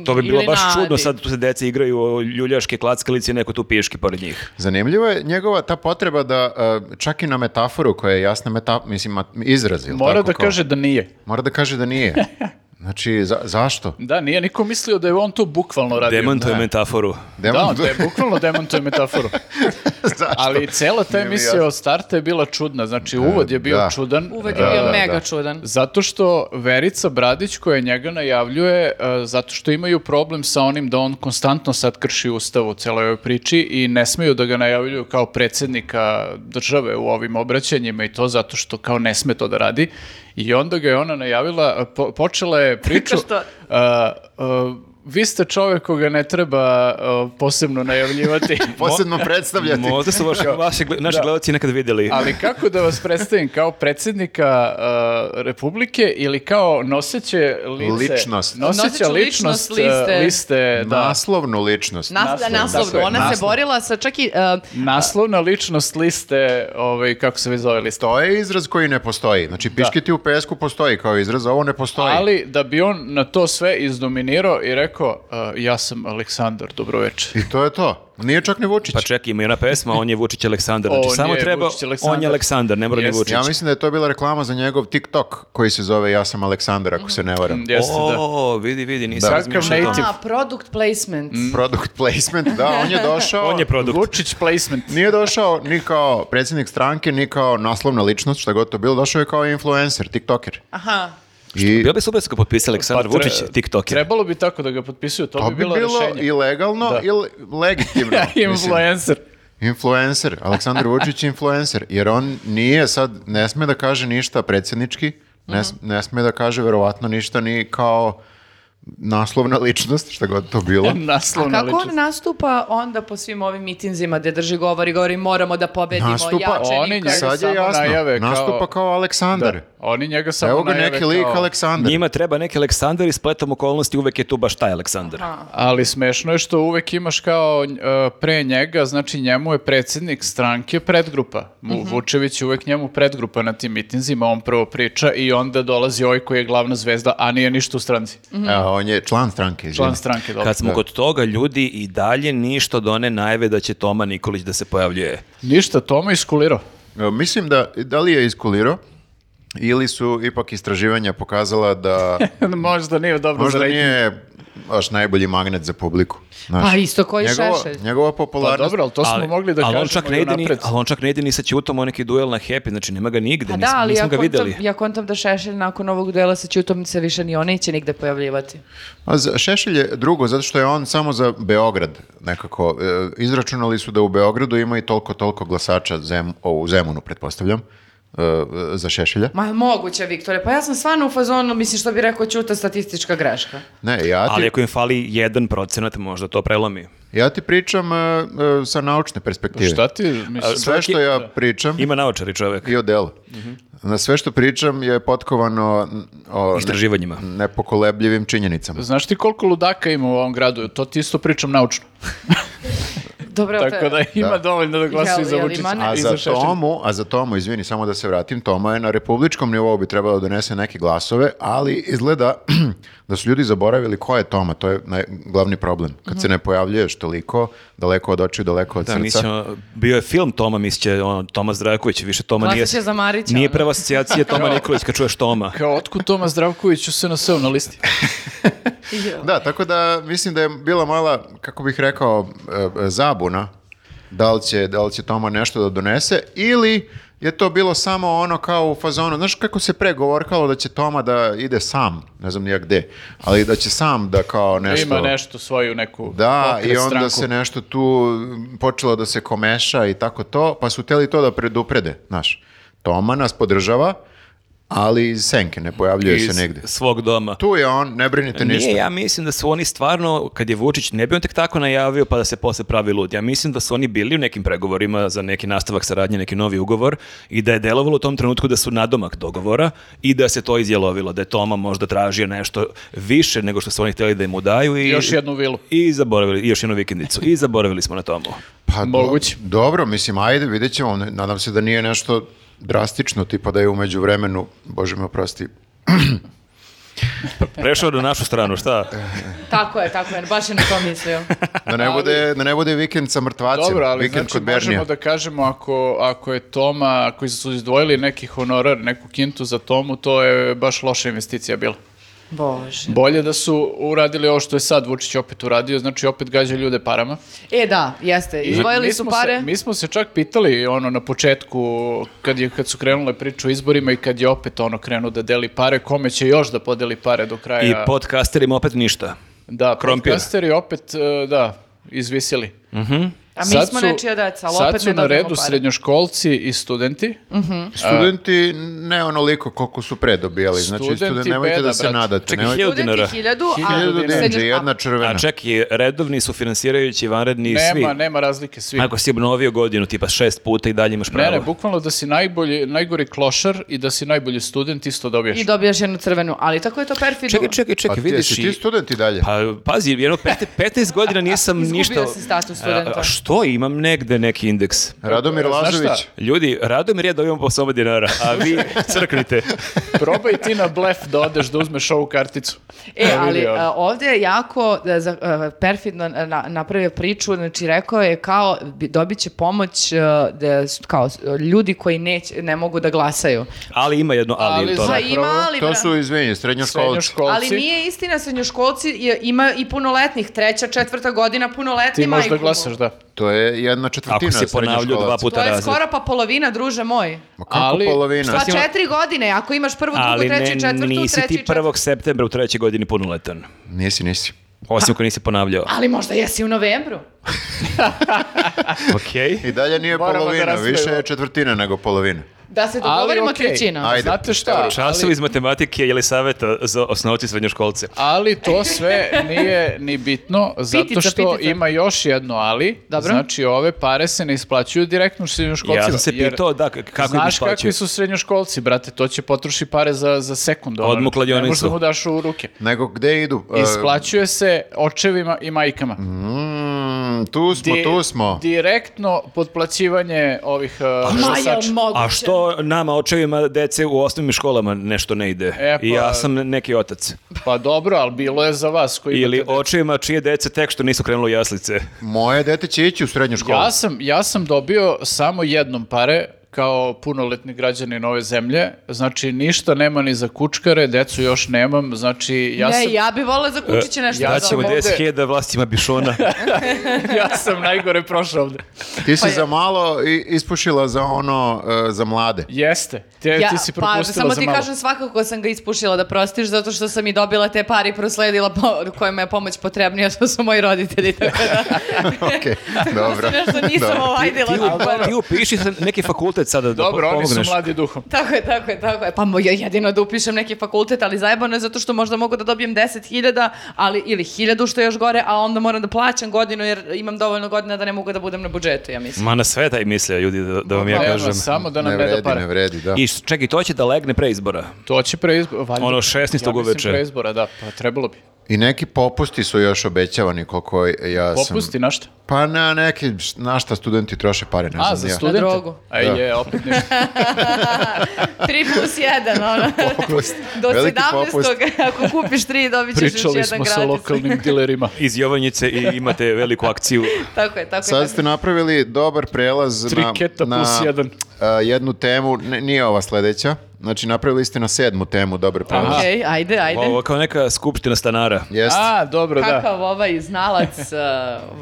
[SPEAKER 1] To bi bilo
[SPEAKER 4] ili
[SPEAKER 1] baš
[SPEAKER 4] na
[SPEAKER 1] čudno,
[SPEAKER 4] Adi.
[SPEAKER 1] sad tu se deca igraju o ljuljaške klackalice i neko tu piški pored njih.
[SPEAKER 2] Zanimljivo je njegova ta potreba da uh, čak i na metaforu koja je jasna meta, mislim mat- izraz ili
[SPEAKER 3] Mora
[SPEAKER 2] tako
[SPEAKER 3] da
[SPEAKER 2] kao-
[SPEAKER 3] kaže da nije.
[SPEAKER 2] mora da kaže da nije. Znači za- zašto?
[SPEAKER 3] Da, nije niko mislio da je on to bukvalno radio.
[SPEAKER 1] Demantuje metaforu.
[SPEAKER 2] Demon-
[SPEAKER 3] Da, da je bukvalno demantuje metaforu.
[SPEAKER 2] Zašto?
[SPEAKER 3] Ali cela ta
[SPEAKER 2] Nije mi
[SPEAKER 3] emisija
[SPEAKER 2] jasno. E,
[SPEAKER 3] od starta je bila čudna, znači uvod je bio
[SPEAKER 2] da.
[SPEAKER 3] čudan.
[SPEAKER 4] Uvod je bio
[SPEAKER 2] da,
[SPEAKER 4] mega
[SPEAKER 2] da.
[SPEAKER 4] čudan.
[SPEAKER 3] Zato što Verica Bradić koja njega najavljuje, e, zato što imaju problem sa onim da on konstantno sad krši ustav u celoj ovoj priči i ne smeju da ga najavljuju kao predsednika države u ovim obraćanjima i to zato što kao ne sme to da radi. I onda ga je ona najavila, e, po- počela je priču...
[SPEAKER 4] Što?
[SPEAKER 3] e, e, vi ste čovek koga ne treba e, posebno najavljivati.
[SPEAKER 2] Posebno predstavljati.
[SPEAKER 1] Možda su vaši, vaši, gle- naši gledalci nekad videli.
[SPEAKER 3] Ali kako da vas predstavim, kao predsednika uh, Republike ili kao noseće lice?
[SPEAKER 2] Ličnost.
[SPEAKER 3] Noseća
[SPEAKER 4] Noseću
[SPEAKER 3] ličnost,
[SPEAKER 4] ličnost
[SPEAKER 3] uh, liste.
[SPEAKER 4] liste.
[SPEAKER 3] da.
[SPEAKER 2] Naslovnu ličnost.
[SPEAKER 4] Nas,
[SPEAKER 3] Naslovno,
[SPEAKER 4] naslovno,
[SPEAKER 3] tako je,
[SPEAKER 4] ona se
[SPEAKER 3] naslovno.
[SPEAKER 4] borila sa čak i... e,
[SPEAKER 3] Naslovna ličnost liste, ovaj, kako se vi zove liste?
[SPEAKER 2] To je izraz koji ne postoji. Znači, piškiti u pesku postoji kao izraz, a ovo ne postoji.
[SPEAKER 3] Ali da bi on na to sve izdominirao i rekao, uh, ja sam Aleksandar, dobroveče.
[SPEAKER 2] I to je to. Nije čak ni Vučić.
[SPEAKER 1] Pa čekaj, ima i ona pesma, on je Vučić Aleksandar.
[SPEAKER 3] On
[SPEAKER 1] Znači, samo
[SPEAKER 3] je
[SPEAKER 1] treba,
[SPEAKER 3] Vučić Aleksandar.
[SPEAKER 1] on je Aleksandar, ne mora ni
[SPEAKER 3] Jeste.
[SPEAKER 1] Vučić.
[SPEAKER 2] ja mislim da je to bila reklama za njegov TikTok koji se zove Ja sam Aleksandar, ako se ne varam.
[SPEAKER 3] Jeste, da.
[SPEAKER 1] O, vidi, vidi, nisam
[SPEAKER 2] Da.
[SPEAKER 1] razmišljao o
[SPEAKER 3] Kakav
[SPEAKER 1] tome.
[SPEAKER 4] a, product placement.
[SPEAKER 2] Product placement, da, on je došao.
[SPEAKER 1] On je produkt.
[SPEAKER 3] Vučić placement.
[SPEAKER 2] Nije došao ni kao predsjednik stranke, ni kao naslovna ličnost, šta god to bilo, došao je kao influencer, tiktoker.
[SPEAKER 4] Aha.
[SPEAKER 2] I
[SPEAKER 1] Bio bi super su ga potpisali Aleksandar
[SPEAKER 3] Pa tre-
[SPEAKER 1] Vučić, TikToker.
[SPEAKER 3] Trebalo bi tako da ga potpisuju, to,
[SPEAKER 2] to bi bilo,
[SPEAKER 3] rešenje.
[SPEAKER 2] i legalno
[SPEAKER 3] Da.
[SPEAKER 2] i le- legitimno. mislim.
[SPEAKER 3] Influencer.
[SPEAKER 2] Influencer, Aleksandar Vučić je influencer, jer on nije sad, ne sme da kaže ništa predsjednički, ne, s-
[SPEAKER 3] Mhm.
[SPEAKER 2] ne sme da kaže verovatno ništa ni kao naslovna ličnost, šta god to bilo.
[SPEAKER 3] Naslovna
[SPEAKER 4] Kako
[SPEAKER 3] ličnost.
[SPEAKER 4] on nastupa onda po svim ovim mitinzima gde drži govor i govori moramo da pobedimo
[SPEAKER 2] Nastupa
[SPEAKER 4] jače
[SPEAKER 3] oni
[SPEAKER 4] nikad.
[SPEAKER 3] njega-
[SPEAKER 2] Sad je
[SPEAKER 3] Samo
[SPEAKER 2] jasno,
[SPEAKER 3] najave kao-
[SPEAKER 2] nastupa kao, Aleksandar.
[SPEAKER 3] Oni njega samo
[SPEAKER 2] Evo ga
[SPEAKER 3] najave
[SPEAKER 2] neki lik
[SPEAKER 3] kao-
[SPEAKER 2] Aleksandar.
[SPEAKER 1] Njima treba neki Aleksandar i spletom okolnosti uvek je tu baš taj Aleksandar.
[SPEAKER 3] Ali smešno je što uvek imaš kao e, pre njega, znači njemu je predsjednik stranke predgrupa. Mu, Vučević je uvek njemu predgrupa na tim mitinzima, on prvo priča i onda dolazi ovaj koji je glavna zvezda, a nije ništa u stranci.
[SPEAKER 2] A, on je član stranke, izvini.
[SPEAKER 3] Član stranke dobro.
[SPEAKER 1] Kad smo kod toga, ljudi i dalje ništa do one najave da će Toma Nikolić da se pojavljuje.
[SPEAKER 3] Ništa, Toma iskulirao.
[SPEAKER 2] E, Mislim da, da li je iskulirao ili su ipak istraživanja pokazala da
[SPEAKER 3] Možda nije dobro
[SPEAKER 2] možda
[SPEAKER 3] za rejting.
[SPEAKER 2] nije baš najbolji magnet za publiku. Znaš,
[SPEAKER 4] Pa isto koji
[SPEAKER 2] njegova,
[SPEAKER 4] Šešelj.
[SPEAKER 2] njegova
[SPEAKER 3] Pa
[SPEAKER 2] popularnost...
[SPEAKER 3] dobro, ali to smo mogli da
[SPEAKER 1] ali on
[SPEAKER 3] kažemo
[SPEAKER 1] čak ne ide ni,
[SPEAKER 3] napred.
[SPEAKER 1] ali on čak ne ide ni sa Ćutom, on neki duel na Happy, znači nema ga nigde,
[SPEAKER 4] Pa
[SPEAKER 1] nismo,
[SPEAKER 4] da, ali
[SPEAKER 1] nismo
[SPEAKER 4] ja,
[SPEAKER 1] ga videli.
[SPEAKER 4] kontam, ja kontam da Šešelj nakon ovog duela sa Ćutom se više ni on neće nigde pojavljivati.
[SPEAKER 2] A za- Šešelj je drugo, zato što je on samo za Beograd nekako. e, Izračunali su da u Beogradu ima i toliko, toliko glasača zem, o, u Zemunu, pretpostavljam, e, e, za Šešelja.
[SPEAKER 4] Ma moguće, Viktore, pa ja sam stvarno u fazonu, mislim što bi rekao Ćuta, statistička greška.
[SPEAKER 2] Ne, ja ti,
[SPEAKER 1] Ali ako im fali jedan procenat, možda to prelomi.
[SPEAKER 2] ja ti pričam e, e, sa naučne perspektive.
[SPEAKER 3] Šta ti, mislim,
[SPEAKER 2] Sve što ja pričam
[SPEAKER 1] Ima naočari čovek.
[SPEAKER 2] i o delu. Na sve što pričam je potkovano n- o ne-
[SPEAKER 1] Istraživanjima.
[SPEAKER 2] nepokolebljivim činjenicama.
[SPEAKER 3] Znaš ti koliko ludaka ima u ovom gradu? To ti isto pričam naučno.
[SPEAKER 4] Dobro,
[SPEAKER 3] Tako da ima
[SPEAKER 2] Da.
[SPEAKER 3] dovoljno da glasi
[SPEAKER 4] Jel-
[SPEAKER 3] za
[SPEAKER 4] jel
[SPEAKER 3] Vučića.
[SPEAKER 4] ima ne-
[SPEAKER 2] A
[SPEAKER 3] i
[SPEAKER 2] za
[SPEAKER 3] Šešelja.
[SPEAKER 2] Tomu, a za Tomu, izvini, samo da se vratim, Toma je na republičkom nivou bi trebalo da donese neke glasove, ali izgleda da su ljudi zaboravili ko je Toma, to je naj, glavni problem. Kad se ne pojavljuješ toliko, daleko od očiju, daleko od
[SPEAKER 1] Da, mi
[SPEAKER 2] srca.
[SPEAKER 1] ćemo- bio je film Toma, misliće, ono, Toma Zdravković, više Toma nije...
[SPEAKER 4] Glasat će za Marića,
[SPEAKER 1] Nije
[SPEAKER 4] ono.
[SPEAKER 1] prva asocijacija Toma Nikolić kad čuješ Toma.
[SPEAKER 3] Kao, otkud Toma Zdravković u SNS-u na listi?
[SPEAKER 2] Da, tako da mislim da je bila mala, kako bih rekao, e, zabuna da li, će, da li će Toma nešto da donese ili je to bilo samo ono kao u fazonu, znaš kako se pregovorkalo da će Toma da ide sam, ne znam nijak gde, ali da će sam da kao nešto...
[SPEAKER 3] Ima nešto svoju neku
[SPEAKER 2] Da,
[SPEAKER 3] pokret,
[SPEAKER 2] i onda
[SPEAKER 3] stranku.
[SPEAKER 2] se nešto tu počelo da se komeša i tako to, pa su htjeli to da preduprede, znaš. Toma nas podržava, ali iz senke, ne pojavljuje
[SPEAKER 1] Iz
[SPEAKER 2] se negde.
[SPEAKER 1] svog doma.
[SPEAKER 2] Tu je on, ne brinite ništa.
[SPEAKER 1] Nije, ja mislim da su oni stvarno, kad je Vučić, ne bi on tek tako najavio pa da se posle pravi lud. Ja mislim da su oni bili u nekim pregovorima za neki nastavak saradnje, neki novi ugovor i da je delovalo u tom trenutku da su nadomak dogovora i da se to izjelovilo, da je Toma možda tražio nešto više nego što su oni htjeli da im daju. I,
[SPEAKER 3] Još jednu vilu.
[SPEAKER 1] I zaboravili, i još jednu vikendicu. I zaboravili smo na tomu.
[SPEAKER 2] Pa do-
[SPEAKER 3] Moguće.
[SPEAKER 2] dobro, mislim, ajde, vidjet ćemo. Ne- Nadam se da nije nešto drastično, tipa da je umeđu vremenu, bože me oprosti,
[SPEAKER 1] Prešao na našu stranu, šta?
[SPEAKER 4] Tako je, tako je, baš je na to mislio.
[SPEAKER 2] da ne, bude, da ne bude vikend sa mrtvacima,
[SPEAKER 3] Dobro, ali
[SPEAKER 2] vikend
[SPEAKER 3] znači
[SPEAKER 2] kod Bernija.
[SPEAKER 3] možemo da kažemo ako, ako je Toma, ako su izdvojili neki honorar, neku kintu za Tomu, to je baš loša investicija bila.
[SPEAKER 4] Bože.
[SPEAKER 3] Bolje da su uradili ovo što je sad Vučić opet uradio, znači opet gađa ljude parama.
[SPEAKER 4] E da, jeste.
[SPEAKER 3] I
[SPEAKER 4] Izvojili
[SPEAKER 3] mi
[SPEAKER 4] su
[SPEAKER 3] smo
[SPEAKER 4] pare.
[SPEAKER 3] Se, mi smo se čak pitali ono na početku kad, je, kad su krenule priče o izborima i kad je opet ono krenuo da deli pare, kome će još da podeli pare do kraja.
[SPEAKER 1] I podcasterima opet ništa.
[SPEAKER 3] da,
[SPEAKER 1] krompir.
[SPEAKER 3] podcasteri opet, e, da, izvisili.
[SPEAKER 4] A mi
[SPEAKER 3] Sad
[SPEAKER 4] smo
[SPEAKER 3] su-
[SPEAKER 4] nečija deca, ali
[SPEAKER 3] Sad
[SPEAKER 4] opet
[SPEAKER 3] su
[SPEAKER 4] ne
[SPEAKER 3] na
[SPEAKER 4] dobijemo
[SPEAKER 3] redu
[SPEAKER 4] pare.
[SPEAKER 3] srednjoškolci i studenti.
[SPEAKER 1] Mhm.
[SPEAKER 2] Studenti ne onoliko koliko su pre dobijali. Znači,
[SPEAKER 3] Studenti
[SPEAKER 2] studenti, nemojte
[SPEAKER 3] beda,
[SPEAKER 2] da se
[SPEAKER 3] brate.
[SPEAKER 2] nadate.
[SPEAKER 1] Čekaj,
[SPEAKER 2] nemojte-
[SPEAKER 1] hiljadu
[SPEAKER 4] Studenti
[SPEAKER 1] dinara.
[SPEAKER 4] hiljadu, a
[SPEAKER 2] Hiljadu
[SPEAKER 4] srednjo-
[SPEAKER 2] dinđe, jedna
[SPEAKER 1] A
[SPEAKER 2] červena.
[SPEAKER 1] čak i redovni su finansirajući vanredni
[SPEAKER 3] nema,
[SPEAKER 1] svi.
[SPEAKER 3] nema razlike svi.
[SPEAKER 1] Ako si obnovio godinu, tipa šest puta i dalje imaš
[SPEAKER 3] Ne,
[SPEAKER 1] pravo.
[SPEAKER 3] ne, bukvalno da si najbolji, najgori klošar i da si najbolji student isto dobiješ.
[SPEAKER 4] I dobijaš jednu crvenu, ali tako je to perfidno.
[SPEAKER 1] Čekaj, čekaj,
[SPEAKER 2] Pa
[SPEAKER 1] čekaj,
[SPEAKER 2] ti,
[SPEAKER 1] vidiš
[SPEAKER 2] jesi
[SPEAKER 1] i-
[SPEAKER 2] ti student i dalje?
[SPEAKER 1] Pa, pazi, jedno pet- 15 godina nisam
[SPEAKER 4] Izgubio
[SPEAKER 1] ništa...
[SPEAKER 4] si status studenta.
[SPEAKER 1] A, a što, imam negde neki indeks.
[SPEAKER 2] Radomir
[SPEAKER 3] Znaš
[SPEAKER 2] Lazović.
[SPEAKER 3] šta?
[SPEAKER 1] Ljudi, rado mi je da imam po soba dinara, a vi crknite.
[SPEAKER 3] Probaj ti na blef da odeš da uzmeš ovu karticu.
[SPEAKER 4] E,
[SPEAKER 3] Da
[SPEAKER 4] ali
[SPEAKER 3] vidi ono, ovo.
[SPEAKER 4] a, ovdje je jako e, za- e, perfidno na, napravio priču, znači rekao je kao bi- dobit će pomoć e, da, su- kao e, ljudi koji neće, ne mogu da glasaju.
[SPEAKER 1] Ali ima jedno ali,
[SPEAKER 3] Ali
[SPEAKER 1] u tome.
[SPEAKER 3] za-
[SPEAKER 4] Pa
[SPEAKER 3] Zapravo,
[SPEAKER 4] ima, ali...
[SPEAKER 2] To
[SPEAKER 4] bra-
[SPEAKER 2] su, izvinje, srednjoškolci.
[SPEAKER 3] Srednjoškolci.
[SPEAKER 4] Ali nije istina, srednjoškolci je- ima i punoletnih, treća, četvrta godina punoletni
[SPEAKER 3] Ti možeš da
[SPEAKER 4] majku mu.
[SPEAKER 3] glasaš, da.
[SPEAKER 2] To je jedna četvrtina
[SPEAKER 1] Ako se ponavljaju dva
[SPEAKER 2] srednjoškolaca.
[SPEAKER 1] puta
[SPEAKER 4] To je
[SPEAKER 1] razred.
[SPEAKER 4] skoro pa polovina, druže moj.
[SPEAKER 2] Ma kako
[SPEAKER 3] Ali-
[SPEAKER 2] polovina?
[SPEAKER 4] Pa
[SPEAKER 1] Mislim-
[SPEAKER 4] četiri godine, ako imaš prvu, drugu,
[SPEAKER 1] Ali
[SPEAKER 4] treću,
[SPEAKER 1] ne,
[SPEAKER 4] i četvrtu,
[SPEAKER 1] nisi
[SPEAKER 4] treću, i
[SPEAKER 1] ti
[SPEAKER 4] četvrtu.
[SPEAKER 1] 1. septembra u trećoj godini punoletan.
[SPEAKER 2] Nisi, nisi.
[SPEAKER 1] Osim ako nisi ponavljao.
[SPEAKER 4] Ali možda jesi u novembru.
[SPEAKER 1] Okej.
[SPEAKER 2] I dalje nije
[SPEAKER 3] Moramo da
[SPEAKER 2] polovina,
[SPEAKER 3] raspravimo.
[SPEAKER 2] više je četvrtina nego polovina.
[SPEAKER 4] Da se
[SPEAKER 3] Ali
[SPEAKER 4] dogovorimo
[SPEAKER 3] okej.
[SPEAKER 4] trećina.
[SPEAKER 2] Ajde.
[SPEAKER 3] Znate šta?
[SPEAKER 1] Časovi iz matematike ili saveta eh, za osnovci srednjoškolce.
[SPEAKER 3] Ali to sve nije ni bitno, zato
[SPEAKER 4] Pitica,
[SPEAKER 3] što
[SPEAKER 4] pitica.
[SPEAKER 3] ima još jedno ali.
[SPEAKER 4] Dobro.
[SPEAKER 3] Znači, ove pare se ne isplaćuju direktno srednjoškolcima.
[SPEAKER 1] Ja sam se
[SPEAKER 3] jer
[SPEAKER 1] pitao, da, k- kako ih
[SPEAKER 3] Znaš kakvi
[SPEAKER 1] isplaćuju.
[SPEAKER 3] su srednjoškolci, brate, to će potroši pare za, za sekund. ono,
[SPEAKER 1] Odmah u
[SPEAKER 3] Ne možeš da
[SPEAKER 1] kladionicu.
[SPEAKER 3] mu daš u ruke.
[SPEAKER 2] Nego gde idu? E,
[SPEAKER 3] Isplaćuje se očevima i majkama.
[SPEAKER 2] mm, tu smo,
[SPEAKER 3] Di-
[SPEAKER 2] Mhm. tu smo.
[SPEAKER 3] Direktno potplaćivanje ovih uh,
[SPEAKER 4] Ma jel
[SPEAKER 3] glasača.
[SPEAKER 4] moguće?
[SPEAKER 1] A što nama, očevima, dece u osnovnim školama nešto ne ide?
[SPEAKER 3] E, pa-
[SPEAKER 1] I ja sam neki otac.
[SPEAKER 3] Pa dobro, ali bilo je za vas koji
[SPEAKER 1] Ili
[SPEAKER 3] imate...
[SPEAKER 1] očevima čije dece tek što nisu krenulo u jaslice.
[SPEAKER 2] Moje dete će ići u srednju školu.
[SPEAKER 3] Ja sam, ja sam dobio samo jednom pare kao punoletni građanin ove zemlje. Znači, ništa nema ni za kučkare, decu još nemam. Znači, ja
[SPEAKER 4] ne,
[SPEAKER 3] sam, E,
[SPEAKER 4] ja bi volila za kučiće nešto.
[SPEAKER 3] ja
[SPEAKER 1] Da
[SPEAKER 4] da
[SPEAKER 1] ćemo
[SPEAKER 4] dobijem.
[SPEAKER 3] ovde-
[SPEAKER 1] 10.000 vlastima bišona.
[SPEAKER 3] ja sam najgore prošao ovde.
[SPEAKER 2] Ti si za malo i- ispušila za ono, e, za mlade.
[SPEAKER 3] Jeste, te,
[SPEAKER 4] Ja,
[SPEAKER 3] ti si
[SPEAKER 4] pa,
[SPEAKER 3] propustila
[SPEAKER 4] samo
[SPEAKER 3] za
[SPEAKER 4] ti
[SPEAKER 3] malo.
[SPEAKER 4] kažem svakako sam ga ispušila da prostiš zato što sam i dobila te pare i prosledila po, kojima je pomoć potrebnija, to su moji roditelji, tako da
[SPEAKER 2] Okej, dobro.
[SPEAKER 4] nešto nisam ovaj ovajdila.
[SPEAKER 2] Dobro.
[SPEAKER 1] ti,
[SPEAKER 4] tako da-
[SPEAKER 1] ti upiši se neki fakultet sada da
[SPEAKER 3] Dobro,
[SPEAKER 1] po-
[SPEAKER 3] oni su
[SPEAKER 1] pomogneš.
[SPEAKER 3] mladi duhom.
[SPEAKER 4] Tako je, tako je, tako je. Pa mo- ja jedino da upišem neki fakultet, ali zajebano je zato što možda mogu da dobijem 10.000 ali, ili 1000 što je još gore, a onda moram da plaćam godinu jer imam dovoljno godina da ne mogu da budem na budžetu, ja mislim.
[SPEAKER 1] Ma na sve taj mislio, ljudi, da, da vam ja
[SPEAKER 3] Pa, Evo,
[SPEAKER 1] kažem.
[SPEAKER 3] Samo da nam
[SPEAKER 2] Ne
[SPEAKER 3] ne, da
[SPEAKER 2] vredi,
[SPEAKER 3] pare.
[SPEAKER 2] ne vredi, da.
[SPEAKER 1] I s- čekaj, to će da legne pre izbora.
[SPEAKER 3] To će pre izbora. Valjda,
[SPEAKER 1] Ono 16.
[SPEAKER 3] ja mislim
[SPEAKER 1] uveče.
[SPEAKER 3] pre izbora, da, pa trebalo bi.
[SPEAKER 2] I neki popusti su još obećavani koliko ja sam...
[SPEAKER 3] Popusti na šta?
[SPEAKER 2] Pa na neki, na šta studenti troše pare, ne znam
[SPEAKER 3] A,
[SPEAKER 2] ni
[SPEAKER 3] za
[SPEAKER 2] ja.
[SPEAKER 3] studente?
[SPEAKER 4] drogu.
[SPEAKER 3] A
[SPEAKER 2] Da.
[SPEAKER 3] je, opet ništa.
[SPEAKER 4] 3 plus 1, ono.
[SPEAKER 2] Popust.
[SPEAKER 4] Do
[SPEAKER 2] Veliki popust.
[SPEAKER 4] 17. ako kupiš 3 dobit ćeš još
[SPEAKER 3] Pričali
[SPEAKER 4] jedan
[SPEAKER 3] smo sa
[SPEAKER 4] gratis.
[SPEAKER 3] lokalnim dilerima.
[SPEAKER 1] Iz Jovanjice i imate veliku akciju.
[SPEAKER 4] Tako je, tako je.
[SPEAKER 2] Sad ste napravili dobar prelaz
[SPEAKER 3] Tri
[SPEAKER 2] na,
[SPEAKER 3] keta
[SPEAKER 2] na,
[SPEAKER 3] plus jedan.
[SPEAKER 2] a, jednu temu, ne- nije ova sledeća, znači napravili ste na sedmu temu dobar prelaz.
[SPEAKER 4] Okej, ajde, ajde.
[SPEAKER 1] Ovo kao neka skupština stanara.
[SPEAKER 2] Jeste.
[SPEAKER 3] A, dobro, da.
[SPEAKER 4] Kakav ovaj znalac,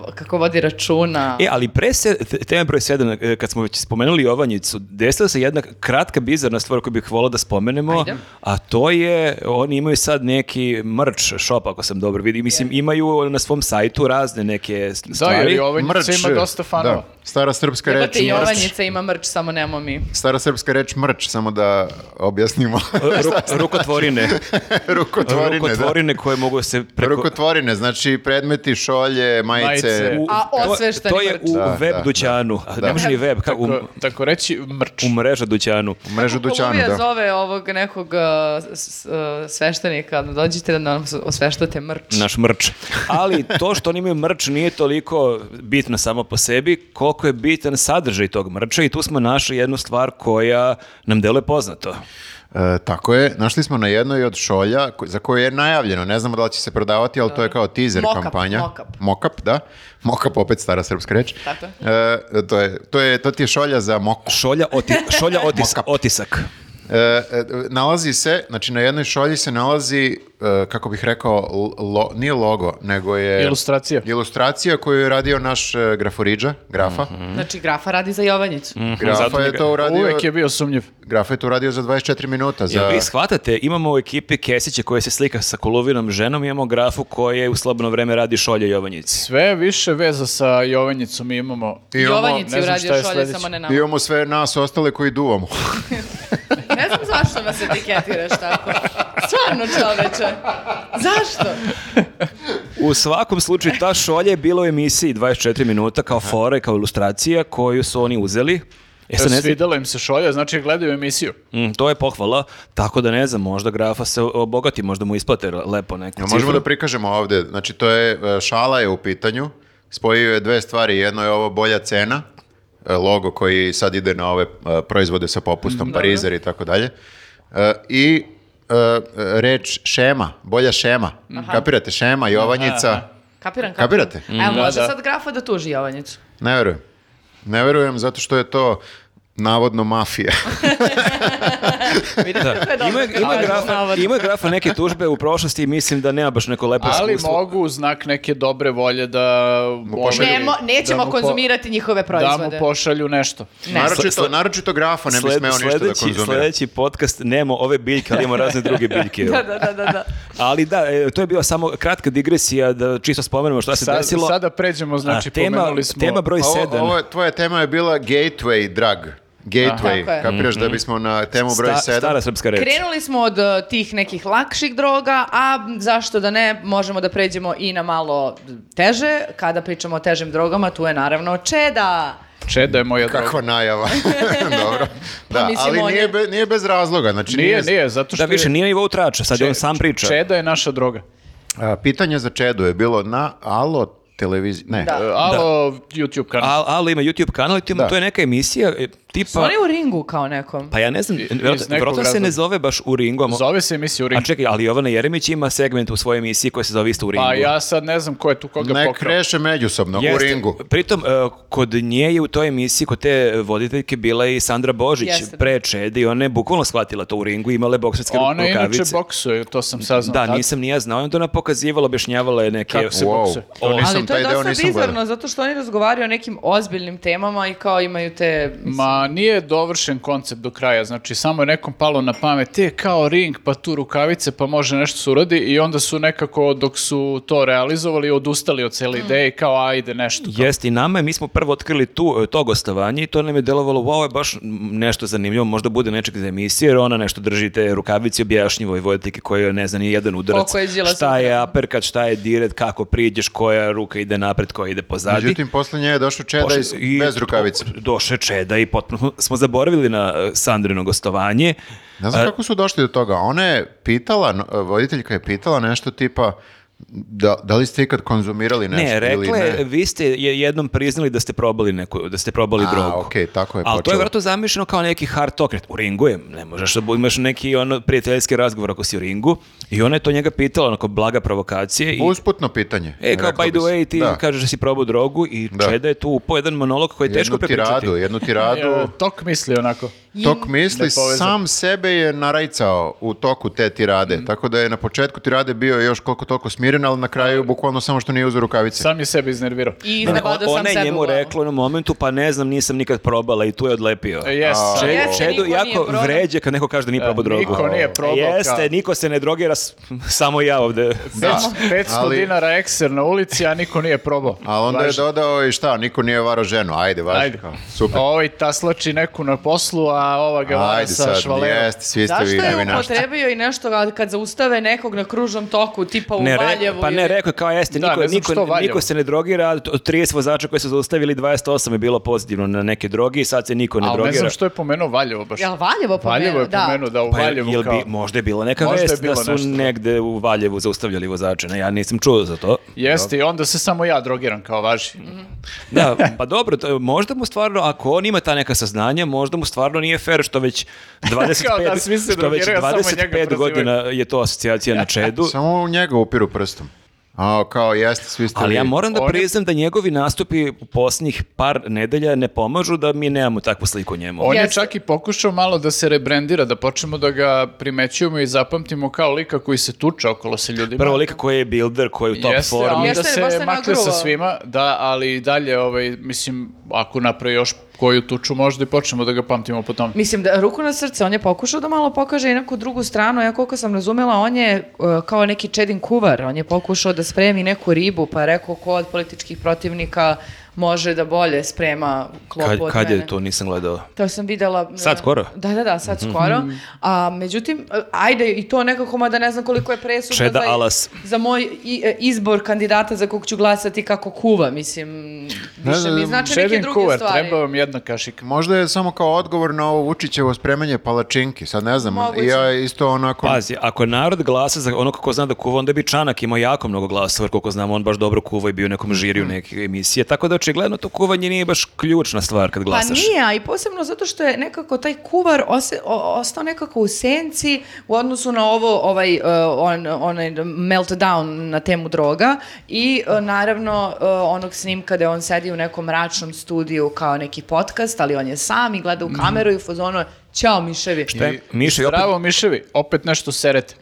[SPEAKER 4] uh, kako vodi računa.
[SPEAKER 1] E, ali pre se, te- tema broj 7, e, kad smo već spomenuli Jovanjicu, desila se jedna kratka bizarna stvar koju bih volao da spomenemo,
[SPEAKER 4] Ajde.
[SPEAKER 1] a to je, oni imaju sad neki merch shop, ako sam dobro vidio, mislim, imaju na svom sajtu razne neke s-
[SPEAKER 3] Da, jer
[SPEAKER 1] stvari.
[SPEAKER 3] i ovaj
[SPEAKER 2] Mrč.
[SPEAKER 3] ima dosta fanova.
[SPEAKER 2] Da. Stara srpska reč
[SPEAKER 4] Jebate,
[SPEAKER 2] mrč.
[SPEAKER 4] Jovanjica ima mrč, samo nemo mi.
[SPEAKER 2] Stara srpska reč mrč, samo da objasnimo.
[SPEAKER 1] Ru- rukotvorine.
[SPEAKER 2] Rukotvorine, da.
[SPEAKER 1] Rukotvorine koje mogu se preko...
[SPEAKER 2] Rukotvorine, znači predmeti, šolje, majice.
[SPEAKER 3] Majice.
[SPEAKER 1] u-
[SPEAKER 4] A
[SPEAKER 1] to-
[SPEAKER 4] osvešteni
[SPEAKER 1] To je
[SPEAKER 4] mrč.
[SPEAKER 1] u
[SPEAKER 2] Da,
[SPEAKER 1] web
[SPEAKER 2] da,
[SPEAKER 1] dućanu. A Ne može ni web, kao u,
[SPEAKER 3] Tako, tako reći mrč.
[SPEAKER 1] u mreža dućanu.
[SPEAKER 2] U mrežu dućanu,
[SPEAKER 4] Koluvija
[SPEAKER 2] da.
[SPEAKER 4] zove ovog nekog uh, s- uh, sveštenika, da dođite da nam osveštate mrč.
[SPEAKER 1] naš mrč. Ali to što oni imaju mrč nije toliko bitno samo po sebi, koliko je bitan sadržaj tog mrča i tu smo našli jednu stvar koja nam deluje poznato.
[SPEAKER 2] E, tako je, našli smo na jednoj od šolja ko- za koju je najavljeno, ne znamo da li će se prodavati, ali to je kao teaser
[SPEAKER 4] Mock-up,
[SPEAKER 2] kampanja.
[SPEAKER 4] mock-up.
[SPEAKER 2] Mock-up, da. Mock-up, opet stara srpska reč.
[SPEAKER 4] Tako
[SPEAKER 2] E, to, je, to, je, to ti je šolja za moku.
[SPEAKER 1] Šolja, oti- šolja otis-
[SPEAKER 2] Mokap.
[SPEAKER 1] otisak.
[SPEAKER 2] E, e, nalazi se, znači na jednoj šolji se nalazi, e, kako bih rekao, lo- nije logo, nego je...
[SPEAKER 3] Ilustracija.
[SPEAKER 2] Ilustracija koju je radio naš e, graforiđa, grafa.
[SPEAKER 4] Znači, grafa radi za Jovanjicu.
[SPEAKER 3] Mm.
[SPEAKER 1] Zato
[SPEAKER 2] Grafa
[SPEAKER 1] mi
[SPEAKER 2] je
[SPEAKER 1] ga-
[SPEAKER 2] to uradio...
[SPEAKER 3] Mhm. Uvek je bio sumnjiv.
[SPEAKER 2] Grafa je to uradio za 24 minuta. Za...
[SPEAKER 1] Jel vi shvatate, imamo u ekipi Kesića koja se slika sa kolovinom ženom, imamo grafu koja u slobodno vreme radi šolje Jovanjici.
[SPEAKER 3] Sve više veza sa Jovanjicom imamo.
[SPEAKER 2] I imamo-
[SPEAKER 4] Jovanjici
[SPEAKER 3] ne znam
[SPEAKER 4] uradio
[SPEAKER 3] šta je
[SPEAKER 4] šolje,
[SPEAKER 3] sledeće.
[SPEAKER 4] samo ne nama.
[SPEAKER 2] I imamo sve nas ostale koji duvamo.
[SPEAKER 4] Ne znam zašto nas etiketiraš tako. Stvarno čoveče. Zašto?
[SPEAKER 1] U svakom slučaju, ta šolja je bila u emisiji 24 minuta kao fora i kao ilustracija koju su oni uzeli. E sad ne znam,
[SPEAKER 3] Svidela im se šolja, znači gledaju emisiju.
[SPEAKER 1] mm, to je pohvala, tako da ne znam, možda grafa se obogati, možda mu isplate lepo neku
[SPEAKER 2] Ja,
[SPEAKER 1] cifru.
[SPEAKER 2] možemo da prikažemo ovdje, znači to je, e, šala je u pitanju, spojio je dve stvari, jedno je ovo bolja cena, e, logo koji sad ide na ove e, proizvode sa popustom, parizer i tako dalje, E, i e, reč šema, bolja šema, kapirate, šema, Jovanjica,
[SPEAKER 4] Kapiram, kapiram.
[SPEAKER 2] kapirate?
[SPEAKER 4] Evo,
[SPEAKER 3] da,
[SPEAKER 4] može
[SPEAKER 3] Mm, da.
[SPEAKER 4] sad grafa da tuži Jovanjicu.
[SPEAKER 2] Ne verujem, ne verujem zato što je to navodno mafija.
[SPEAKER 4] Vidite kako je dobro.
[SPEAKER 1] Ima, ima, grafa, ima grafa neke tužbe u prošlosti i mislim da nema baš neko lepo
[SPEAKER 3] Ali
[SPEAKER 1] Pa iskustvo.
[SPEAKER 3] mogu u znak neke dobre volje da...
[SPEAKER 2] pošalju-
[SPEAKER 3] ovaj,
[SPEAKER 4] Nemo, nećemo
[SPEAKER 3] da mu po-
[SPEAKER 4] konzumirati njihove
[SPEAKER 3] Da mu
[SPEAKER 4] proizvode.
[SPEAKER 3] pošalju nešto.
[SPEAKER 4] Ne.
[SPEAKER 2] naročito, naročito grafo, ne bi
[SPEAKER 1] Sled-
[SPEAKER 2] smeo ništa da
[SPEAKER 1] sledeći-
[SPEAKER 2] konzumira.
[SPEAKER 1] sledeći podcast nemo ove biljke, ali imamo razne druge biljke.
[SPEAKER 4] Da, da, da, da. da.
[SPEAKER 1] Ali da, e, to je bila samo kratka digresija da čisto spomenemo šta se
[SPEAKER 3] Sad-
[SPEAKER 1] desilo.
[SPEAKER 3] sada pređemo, znači
[SPEAKER 1] A tema,
[SPEAKER 3] pomenuli smo...
[SPEAKER 1] tema broj
[SPEAKER 2] Ovo-
[SPEAKER 1] 7.
[SPEAKER 2] ovo je- tvoja tema je bila gateway drug. Gateway,
[SPEAKER 4] Tako je.
[SPEAKER 2] kapiraš
[SPEAKER 3] Mhm.
[SPEAKER 2] da bismo na temu broj 7.
[SPEAKER 1] Stara srpska reč.
[SPEAKER 4] Krenuli smo od e, tih nekih lakših droga, a zašto da ne, možemo da pređemo i na malo teže. Kada pričamo o težim drogama, tu je naravno čeda.
[SPEAKER 3] Čeda je moja droga.
[SPEAKER 2] Kakva najava. Dobro. Da,
[SPEAKER 4] Pa mislim,
[SPEAKER 2] ali
[SPEAKER 4] on je-
[SPEAKER 2] nije, be- nije bez razloga. Znači,
[SPEAKER 3] Nije, nije, zato što...
[SPEAKER 1] Da, više
[SPEAKER 3] je-
[SPEAKER 1] nije na nivou trača, sad je on sam priča.
[SPEAKER 3] Čeda je naša droga.
[SPEAKER 2] A, pitanje za Čedu je bilo na Alo televiziji. Ne.
[SPEAKER 3] E,
[SPEAKER 4] Da.
[SPEAKER 3] Alo, YouTube kanal.
[SPEAKER 1] Al- ali ima YouTube kanal i tu ima-
[SPEAKER 2] Da.
[SPEAKER 1] to je neka emisija e,
[SPEAKER 4] Pa,
[SPEAKER 1] tipa...
[SPEAKER 4] Oni u ringu kao nekom.
[SPEAKER 1] Pa ja ne znam,
[SPEAKER 3] iz nekog
[SPEAKER 1] vjerojatno se ne
[SPEAKER 3] razloga.
[SPEAKER 1] zove baš u ringu. a mo-
[SPEAKER 3] Zove se emisija u
[SPEAKER 1] A
[SPEAKER 3] ringu.
[SPEAKER 1] čekaj, ali Jovana Jeremić ima segment u svojoj emisiji koja se zove isto u ringu.
[SPEAKER 3] Pa ja sad ne znam ko je tu koga
[SPEAKER 2] Ne
[SPEAKER 3] pokrao.
[SPEAKER 2] kreše međusobno u
[SPEAKER 1] Jeste.
[SPEAKER 2] ringu.
[SPEAKER 1] Pritom, e, kod nje je u toj emisiji, kod te e, voditeljke bila je i Sandra Božić
[SPEAKER 4] Jeste.
[SPEAKER 1] pre Čede i ona je bukvalno shvatila to u ringu, imala je bokserske
[SPEAKER 3] Ona ono je inače
[SPEAKER 1] rukavice.
[SPEAKER 3] boksuje, to sam saznao.
[SPEAKER 1] Da,
[SPEAKER 3] tad.
[SPEAKER 1] nisam ni ja znao. I Onda ona pokazivala, objašnjavala je neke...
[SPEAKER 3] Kako se
[SPEAKER 2] Wow.
[SPEAKER 3] bokse.
[SPEAKER 2] To
[SPEAKER 1] Ali
[SPEAKER 2] nisam,
[SPEAKER 4] Ali to je
[SPEAKER 2] taj deo
[SPEAKER 4] dosta
[SPEAKER 2] nisam gledao.
[SPEAKER 4] bizarno, zato što oni razgovaraju o nekim ozbiljnim temama i kao imaju te...
[SPEAKER 3] Ma nije dovršen koncept do kraja, znači samo je nekom palo na pamet, je kao ring, pa tu rukavice, pa može nešto se uradi i onda su nekako dok su to realizovali odustali od cele ideje i kao ajde nešto.
[SPEAKER 1] Jeste, i nama je, mi smo prvo otkrili tu, e, to gostovanje i to nam je delovalo, wow, je baš m, nešto zanimljivo, možda bude nečeg za emisije, jer ona nešto drži te rukavice objašnjivo i voditeljke koje ne zna ni jedan udarac.
[SPEAKER 4] Koliko je Đilas
[SPEAKER 1] šta je
[SPEAKER 4] udarao.
[SPEAKER 1] aperkat, šta je diret, kako priđeš, koja ruka ide napred, koja ide pozadi.
[SPEAKER 2] Međutim, posle nje je došao Čeda
[SPEAKER 1] Pošli-
[SPEAKER 2] iz- bez rukavice.
[SPEAKER 1] do- Doše Čeda i potpuno smo zaboravili na e, Sandrino gostovanje.
[SPEAKER 2] Ne
[SPEAKER 1] E,
[SPEAKER 2] znam kako su došli do toga. Ona je pitala, no, voditeljka je pitala nešto tipa da, da li ste ikad konzumirali nešto
[SPEAKER 1] Ne,
[SPEAKER 2] ili
[SPEAKER 1] rekla je,
[SPEAKER 2] ne.
[SPEAKER 1] vi ste je- jednom priznali da ste probali neku, da ste probali
[SPEAKER 2] A,
[SPEAKER 1] drogu.
[SPEAKER 2] okej, tako je
[SPEAKER 1] Ali to je
[SPEAKER 2] počelo.
[SPEAKER 1] vjerojatno zamišljeno kao neki hard talk, ne, u ringu je, ne možeš da bu- imaš neki ono prijateljski razgovor ako si u ringu i ona je to njega pitala, onako blaga provokacije i...
[SPEAKER 2] Usputno pitanje.
[SPEAKER 1] E, kao,
[SPEAKER 2] reklo
[SPEAKER 1] by
[SPEAKER 2] bi
[SPEAKER 1] the
[SPEAKER 2] se.
[SPEAKER 1] way, ti
[SPEAKER 2] Da.
[SPEAKER 1] kažeš da si probao drogu i
[SPEAKER 2] Da.
[SPEAKER 1] Čeda je tu upao jedan monolog koji je teško
[SPEAKER 2] jednu
[SPEAKER 1] prepričati.
[SPEAKER 2] tiradu, jednu tiradu.
[SPEAKER 3] E, Tok misli onako.
[SPEAKER 2] Tok misli
[SPEAKER 3] Nepovezan.
[SPEAKER 2] sam sebe je narajcao u toku te tirade,
[SPEAKER 1] Mm.
[SPEAKER 2] tako da je na početku tirade bio još koliko toliko smiren, ali na kraju bukvalno samo što nije uzeo rukavice.
[SPEAKER 3] Sam je sebe iznervirao.
[SPEAKER 4] I
[SPEAKER 1] Ne, ne, on-
[SPEAKER 4] iznenadao sam
[SPEAKER 1] ona je
[SPEAKER 4] sebe u
[SPEAKER 1] njemu
[SPEAKER 4] glavu.
[SPEAKER 1] rekla u jednom momentu, pa ne znam, nisam nikad probala i tu je odlepio.
[SPEAKER 3] E, Jes,
[SPEAKER 1] Če-
[SPEAKER 3] ali-
[SPEAKER 4] Jeste,
[SPEAKER 1] čedu
[SPEAKER 4] niko nije
[SPEAKER 1] jako
[SPEAKER 4] probao.
[SPEAKER 1] vređe kad neko kaže da nije probao drogu.
[SPEAKER 3] E, niko nije probao,
[SPEAKER 1] Jeste,
[SPEAKER 3] kao-
[SPEAKER 1] niko se ne drogira, s- samo ja ovde.
[SPEAKER 2] Da,
[SPEAKER 3] 500
[SPEAKER 2] ali-
[SPEAKER 3] dinara ekser na ulici, a niko nije probao.
[SPEAKER 2] Ali onda je dodao i šta, niko nije varao ženu, ajde, važi.
[SPEAKER 3] Ajde.
[SPEAKER 2] kao, Super,
[SPEAKER 3] Ovaj taslači neku na poslu, a ova ga vara
[SPEAKER 2] ajde
[SPEAKER 3] sa
[SPEAKER 2] sad,
[SPEAKER 3] švalerom.
[SPEAKER 2] jeste, svi ste
[SPEAKER 4] Zašto
[SPEAKER 2] vi
[SPEAKER 4] je
[SPEAKER 2] nevinašti.
[SPEAKER 4] upotrebio i nešto kad- kad zaustave nekog na kružnom toku, tipa u
[SPEAKER 1] Ne, re-
[SPEAKER 4] Valjevu?
[SPEAKER 1] pa ne,
[SPEAKER 4] ili-
[SPEAKER 1] rekao je kao jeste,
[SPEAKER 3] Da,
[SPEAKER 1] niko,
[SPEAKER 3] ne znam što
[SPEAKER 1] niko,
[SPEAKER 3] Valjevo.
[SPEAKER 1] niko se ne drogira, a od 30 vozača koji su zaustavili, 28 je bilo pozitivno na neke droge i sad se niko ne
[SPEAKER 3] Ali ne
[SPEAKER 1] drogira.
[SPEAKER 3] znam što je pomenuo Valjevo baš.
[SPEAKER 4] Jel Valjevo pomenuo?
[SPEAKER 3] Valjevo je pomenuo, da, u
[SPEAKER 1] Pa je-
[SPEAKER 3] Valjevu
[SPEAKER 1] jel
[SPEAKER 3] kao...
[SPEAKER 1] bi, možda je bila neka
[SPEAKER 3] Možda je
[SPEAKER 1] vest da
[SPEAKER 3] bilo
[SPEAKER 1] su
[SPEAKER 3] nešto.
[SPEAKER 1] negde u Valjevu zaustavljali vozače, ne, ja nisam čuo za to.
[SPEAKER 3] Jeste, i onda se samo ja drogiram kao važi.
[SPEAKER 4] Mhm.
[SPEAKER 1] Da, pa dobro, to- možda mu stvarno, ako on ima ta neka saznanja, možda mu stvarno nije fair što već 25,
[SPEAKER 3] Kao da, svi se
[SPEAKER 1] što već
[SPEAKER 3] drogiraju, a samo njega pa
[SPEAKER 1] 25
[SPEAKER 3] prozivaju.
[SPEAKER 1] godina je to asocijacija na čedu.
[SPEAKER 2] Samo u njega upiru prstom. A, kao jeste, svi ste
[SPEAKER 1] Ali ja
[SPEAKER 2] vi.
[SPEAKER 1] moram da
[SPEAKER 3] On je-
[SPEAKER 1] priznam da njegovi nastupi u posljednjih par nedelja ne pomažu da mi nemamo takvu sliku o njemu.
[SPEAKER 3] On je
[SPEAKER 4] Jeste.
[SPEAKER 3] čak i pokušao malo da se rebrendira, da počnemo da ga primećujemo i zapamtimo kao lika koji se tuča okolo sa ljudima.
[SPEAKER 1] Prvo lika koji je builder, koji je u top
[SPEAKER 3] Jeste,
[SPEAKER 1] formi.
[SPEAKER 3] ali
[SPEAKER 4] Jeste,
[SPEAKER 3] da
[SPEAKER 4] baš
[SPEAKER 3] se
[SPEAKER 4] se
[SPEAKER 3] makne sa
[SPEAKER 4] nagruvao.
[SPEAKER 3] svima, da, ali i dalje, ovaj, mislim, ako napravi još koju tuču, možda i počnemo da ga pamtimo po tome.
[SPEAKER 4] Mislim, da, ruku na srce, on je pokušao da malo pokaže i neku drugu stranu, ja koliko sam razumela, on je e, kao neki čedin kuvar, on je pokušao da spremi neku ribu, pa je rekao ko od političkih protivnika može da bolje sprema klopu
[SPEAKER 1] Kad,
[SPEAKER 4] od
[SPEAKER 1] kad
[SPEAKER 4] mene.
[SPEAKER 1] je to, Mhm. nisam gledao.
[SPEAKER 4] To sam videla... e,
[SPEAKER 1] Sad skoro?
[SPEAKER 4] Da, da, da, sad skoro. A, međutim, e, ajde, i to nekako, mada ne znam koliko je presudno
[SPEAKER 1] Čeda
[SPEAKER 4] za,
[SPEAKER 1] Alas.
[SPEAKER 4] za moj i- e, izbor kandidata za kog ću glasati kako kuva, mislim, više
[SPEAKER 2] znam,
[SPEAKER 4] mi znači neke
[SPEAKER 3] Šedin
[SPEAKER 4] druge
[SPEAKER 3] kuvar,
[SPEAKER 4] stvari.
[SPEAKER 3] treba vam jedna kašika.
[SPEAKER 2] Možda je samo kao odgovor na ovo Vučićevo spremanje palačinki, sad ne znam.
[SPEAKER 4] Moguće.
[SPEAKER 2] Ja isto onako...
[SPEAKER 3] Pa,
[SPEAKER 1] Pazi, ako narod glasa za ono kako zna da kuva, onda bi Čanak imao jako mnogo glasova, jer koliko znam, on baš dobro kuva i bio u nekom
[SPEAKER 4] Mhm.
[SPEAKER 1] žiriju neke emisije, tako da očigledno to kuvanje nije baš ključna stvar kad glasaš.
[SPEAKER 4] Pa nije, a i posebno zato što je nekako taj kuvar ose- o- ostao nekako u senci u odnosu na ovo, ovaj, e, on, onaj meltdown na temu droga i e, naravno e, onog snimka gde on sedi u nekom mračnom studiju kao neki podcast, ali on je sam i gleda u
[SPEAKER 3] Mhm.
[SPEAKER 4] kameru i u fazonu je, Ćao miševi.
[SPEAKER 1] Šta je? Miša je opet-
[SPEAKER 3] Bravo, Miševi, opet nešto serete.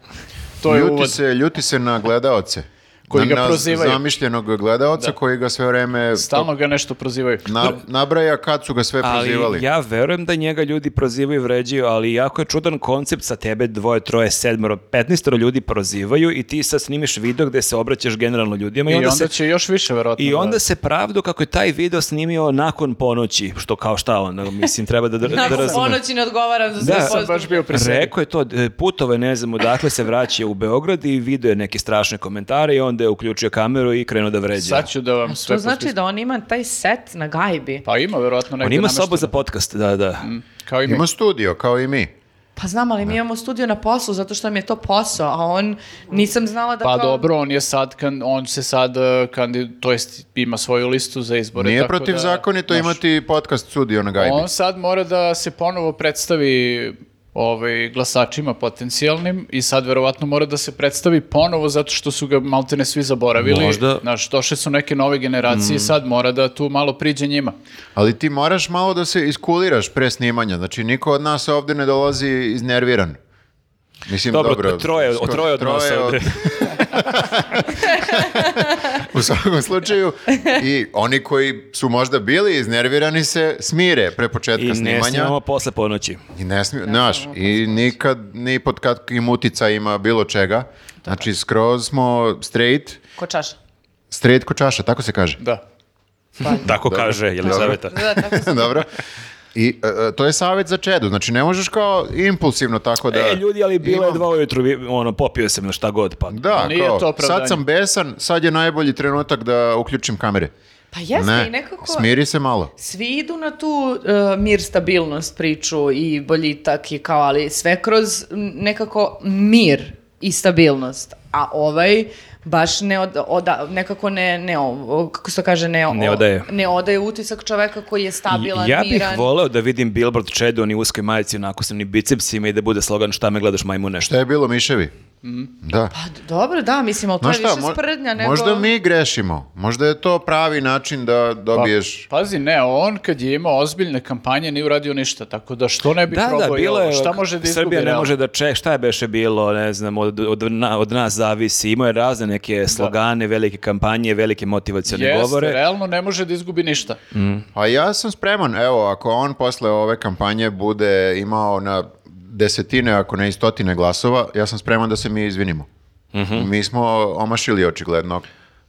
[SPEAKER 3] To je
[SPEAKER 2] ljuti
[SPEAKER 3] uvod.
[SPEAKER 2] se, ljuti se na gledaoce.
[SPEAKER 3] Koji
[SPEAKER 2] na,
[SPEAKER 3] ga
[SPEAKER 2] na
[SPEAKER 3] prozivaju.
[SPEAKER 2] zamišljenog gledaoca koji ga sve vreme
[SPEAKER 3] Stalno ga nešto prozivaju.
[SPEAKER 2] na, nabraja kad su ga sve prozivali.
[SPEAKER 1] Ali ja verujem da njega ljudi prozivaju i vređaju, ali jako je čudan koncept sa tebe dvoje, troje, sedmero, petnistero ljudi prozivaju i ti sad snimiš video gde se obraćaš generalno ljudima
[SPEAKER 3] I
[SPEAKER 1] i,
[SPEAKER 3] onda,
[SPEAKER 1] se...
[SPEAKER 3] će još više, verovatno.
[SPEAKER 1] I onda
[SPEAKER 3] da-
[SPEAKER 1] se pravdu kako je taj video snimio nakon ponoći, što kao šta ono, mislim, treba da, da, da
[SPEAKER 4] Nakon
[SPEAKER 1] razumem.
[SPEAKER 4] ponoći ne odgovaram za sve
[SPEAKER 1] Da.
[SPEAKER 4] postupke.
[SPEAKER 1] Sam
[SPEAKER 3] pa baš bio pri sebi.
[SPEAKER 1] Rekao je to, e, putovao je, ne znam odakle se vraća u Beograd i video je neke strašne komentare i onda je uključio kameru i krenuo da vređa.
[SPEAKER 3] Sad ću da vam sve
[SPEAKER 4] To znači
[SPEAKER 3] pustim.
[SPEAKER 4] da on ima taj set na gajbi.
[SPEAKER 3] Pa ima, verovatno, negde
[SPEAKER 1] On ima sobu
[SPEAKER 3] namešteno.
[SPEAKER 1] za podcast, da, da.
[SPEAKER 3] Kao i mi.
[SPEAKER 2] Ima studio, kao i mi.
[SPEAKER 4] Pa znam, ali mi imamo studio na poslu zato što mi je to posao, a on nisam znala da
[SPEAKER 3] Pa
[SPEAKER 4] kao-
[SPEAKER 3] dobro, on je sad, kan, on se sad, uh, kandi, to jest ima svoju listu za izbore.
[SPEAKER 2] Nije
[SPEAKER 3] tako
[SPEAKER 2] protiv
[SPEAKER 3] da,
[SPEAKER 2] zakonito
[SPEAKER 3] znaš,
[SPEAKER 2] imati podcast studio na gajbi.
[SPEAKER 3] On sad mora da se ponovo predstavi ovaj, glasačima potencijalnim i sad verovatno mora da se predstavi ponovo zato što su ga maltene svi zaboravili.
[SPEAKER 1] Možda. Mm.
[SPEAKER 3] Znaš, došle su neke nove generacije i sad mora da tu malo priđe njima.
[SPEAKER 2] Ali ti moraš malo da se iskuliraš pre snimanja. Znači, niko od nas ovdje ne dolazi iznerviran. Mislim,
[SPEAKER 1] Dobro,
[SPEAKER 2] dobro.
[SPEAKER 1] troje, od-
[SPEAKER 2] skoro-
[SPEAKER 1] troje od nas
[SPEAKER 2] troje
[SPEAKER 1] ovde.
[SPEAKER 2] u svakom slučaju. I oni koji su možda bili iznervirani se smire pre početka
[SPEAKER 1] I ne
[SPEAKER 2] snimanja.
[SPEAKER 1] snimamo posle ponoći.
[SPEAKER 2] I ne smiju, znaš, i nikad, ni pod kakvim uticajima bilo čega. Znači, skroz smo straight,
[SPEAKER 4] Ko čaša.
[SPEAKER 2] straight ko čaša, tako se kaže.
[SPEAKER 3] Da.
[SPEAKER 1] Tako kaže Jelizaveta.
[SPEAKER 4] Da, tako se-
[SPEAKER 2] Dobro. I e, e, to je savjet za čedu, znači ne možeš kao impulsivno tako da...
[SPEAKER 1] E, ljudi, ali bilo je
[SPEAKER 2] Imam-
[SPEAKER 1] dva ujutru, vi- ono, popio sam na šta god, pa...
[SPEAKER 2] Da,
[SPEAKER 3] Nije
[SPEAKER 2] kao,
[SPEAKER 3] to opravdanje.
[SPEAKER 2] sad sam besan, sad je najbolji trenutak da uključim kamere.
[SPEAKER 4] Pa jeste
[SPEAKER 2] ne,
[SPEAKER 4] i nekako...
[SPEAKER 2] smiri se malo.
[SPEAKER 4] Svi idu na tu e, mir, stabilnost priču i boljitak i kao, ali sve kroz m, nekako mir i stabilnost. A ovaj baš ne od, oda- nekako ne, ne o- kako se to kaže, ne, o-
[SPEAKER 1] Ne odaje.
[SPEAKER 4] ne odaje utisak čoveka koji je stabilan,
[SPEAKER 1] Ja bih
[SPEAKER 4] miran.
[SPEAKER 1] voleo da vidim billboard Čedu, ni uskoj majici, onako sam ni bicepsima i da bude slogan šta me gledaš majmu nešto.
[SPEAKER 2] Šta je bilo miševi?
[SPEAKER 3] Mhm.
[SPEAKER 2] Da.
[SPEAKER 4] Pa d- dobro, da, mislim, ali to je
[SPEAKER 2] Znaš šta,
[SPEAKER 4] više
[SPEAKER 2] mo-
[SPEAKER 4] sprdnja nego...
[SPEAKER 2] možda mi grešimo, možda je to pravi način da dobiješ...
[SPEAKER 3] Pa, Pazi, ne, on kad je imao ozbiljne kampanje nije uradio ništa, tako da što ne bi
[SPEAKER 1] Da,
[SPEAKER 3] probao
[SPEAKER 1] da,
[SPEAKER 3] i
[SPEAKER 1] bilo
[SPEAKER 3] ovo?
[SPEAKER 1] je,
[SPEAKER 3] šta može da izgubi?
[SPEAKER 1] Srbija ne
[SPEAKER 3] realno?
[SPEAKER 1] može da ček, šta je beše bilo, ne znam, od, od, na- od nas zavisi, imao je razne neke slogane, velike kampanje, velike motivacione
[SPEAKER 3] Jeste,
[SPEAKER 1] govore. Mm,
[SPEAKER 3] realno ne može da izgubi ništa. Pa.
[SPEAKER 2] A ja sam spreman, evo, ako on posle ove kampanje bude imao na desetine, ako ne i stotine glasova, ja sam spreman da se mi izvinimo.
[SPEAKER 3] Mhm.
[SPEAKER 2] Mi smo omašili očigledno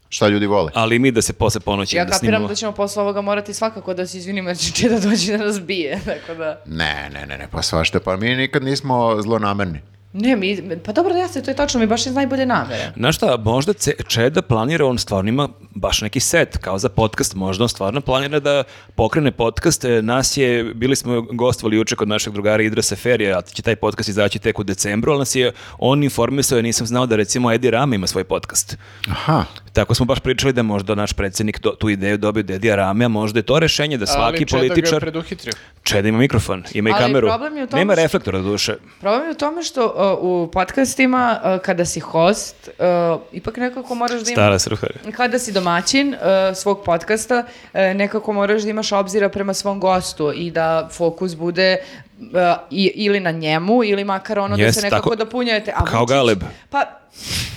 [SPEAKER 2] šta ljudi vole.
[SPEAKER 1] Ali mi da se posle ponoći
[SPEAKER 4] Ja
[SPEAKER 1] da
[SPEAKER 4] kapiram
[SPEAKER 1] snimamo.
[SPEAKER 4] da ćemo posle ovoga morati svakako da se izvinimo jer će Čeda doći da nas bije, tako da...
[SPEAKER 2] Ne, ne, ne, ne, pa svašta, pa mi nikad nismo zlonamerni.
[SPEAKER 4] Ne, mi, pa dobro da jeste, to je tačno, mi baš iz najbolje namere.
[SPEAKER 1] Znaš šta, možda Ce- Čeda planira, on stvarno ima baš neki set, kao za podcast, možda on stvarno planira da pokrene podcast. E, Nas je, bili smo gostovali juče kod našeg drugara Idrasa Ferija, a će taj podcast izaći tek u decembru, ali nas je on informisao, ja nisam znao da recimo Edi Rama ima svoj podcast.
[SPEAKER 2] Aha.
[SPEAKER 1] Tako smo baš pričali da je možda naš predsjednik do- tu ideju dobio Dedija Rame, a možda je to rešenje da svaki
[SPEAKER 3] Ali Čeda ga je
[SPEAKER 1] političar...
[SPEAKER 3] preduhitrio.
[SPEAKER 1] Čeda ima mikrofon, ima i
[SPEAKER 4] Ali
[SPEAKER 1] kameru.
[SPEAKER 4] problem je u tome
[SPEAKER 1] Nema
[SPEAKER 4] što-
[SPEAKER 1] reflektora duše.
[SPEAKER 4] Problem je u tome što uh, u podcastima, uh, kada si host, uh, ipak nekako moraš da imaš...
[SPEAKER 1] Stara srfara.
[SPEAKER 4] Kada si domaćin uh, svog podcasta, uh, nekako moraš da imaš obzira prema svom gostu i da fokus bude uh, i, ili na njemu, ili makar ono da
[SPEAKER 1] Jeste,
[SPEAKER 4] se nekako
[SPEAKER 1] tako.
[SPEAKER 4] dopunjujete. A
[SPEAKER 1] Kao Galeb.
[SPEAKER 4] Pa,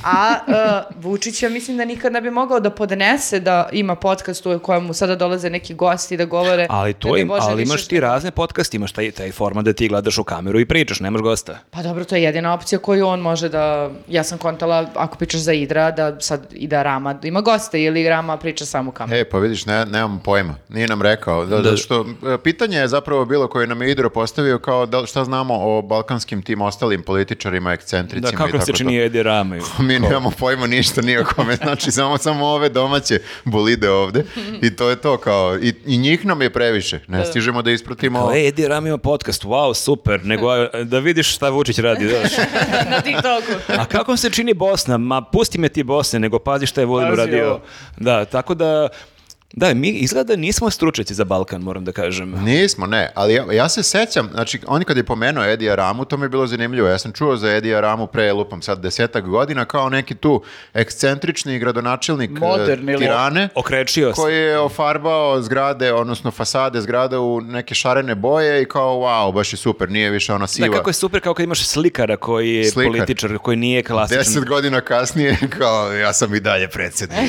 [SPEAKER 4] a uh, Vučić ja mislim da nikad ne bi mogao da podnese da ima podcast u kojemu sada dolaze neki gosti da govore.
[SPEAKER 1] Ali, to
[SPEAKER 4] ne daj
[SPEAKER 1] im,
[SPEAKER 4] Bože,
[SPEAKER 1] ali
[SPEAKER 4] više
[SPEAKER 1] imaš ti razne podcaste, imaš taj, taj format da ti gledaš u kameru i pričaš, nemaš gosta.
[SPEAKER 4] Pa dobro, to je jedina opcija koju on može da... Ja sam kontala, ako pričaš za Idra, da sad i da Rama ima goste ili Rama priča samo kameru.
[SPEAKER 2] E, pa vidiš, ne, nemam pojma. Nije nam rekao. Da, zato što, e, pitanje je zapravo bilo koje nam je Idro postavio kao da, li- šta znamo o balkanskim tim ostalim političarima,
[SPEAKER 1] Da,
[SPEAKER 2] ekcentricima i
[SPEAKER 1] kako
[SPEAKER 2] tako
[SPEAKER 1] se
[SPEAKER 2] to. Pa
[SPEAKER 1] čini Edi Rame?
[SPEAKER 2] Mi nemamo pojma ništa ni o kome, znači samo, samo ove domaće bolide ovde i to je to kao, i, i njih nam je previše, ne stižemo da ispratimo
[SPEAKER 1] Kao, e, Edi Rame ima podcast, wow, super, nego a, da vidiš šta Vučić radi, znaš.
[SPEAKER 4] Na TikToku.
[SPEAKER 1] A kako vam se čini Bosna? Ma pusti me ti Bosne, nego pazi šta je Vodim
[SPEAKER 3] Pazi
[SPEAKER 1] radio.
[SPEAKER 3] ovo.
[SPEAKER 1] Da, tako da, da, mi izgleda nismo stručnjaci za Balkan, moram da kažem.
[SPEAKER 2] Nismo, ne, ali ja, ja se sećam, znači on kad je pomenuo Edija Ramu, to mi je bilo zanimljivo, ja sam čuo za Edija Ramu pre, lupam sad, desetak godina, kao neki tu ekscentrični gradonačelnik e,
[SPEAKER 3] Moderni lop.
[SPEAKER 2] Tirane,
[SPEAKER 1] Okrečio se.
[SPEAKER 2] koji je ofarbao zgrade, odnosno fasade zgrada u neke šarene boje i kao, wow, baš je super, nije više ona siva.
[SPEAKER 1] Da, kako je super kao kad imaš slikara koji je
[SPEAKER 2] Slikar.
[SPEAKER 1] političar, koji nije klasičan.
[SPEAKER 2] Deset godina kasnije, kao, ja sam i dalje predsjednik.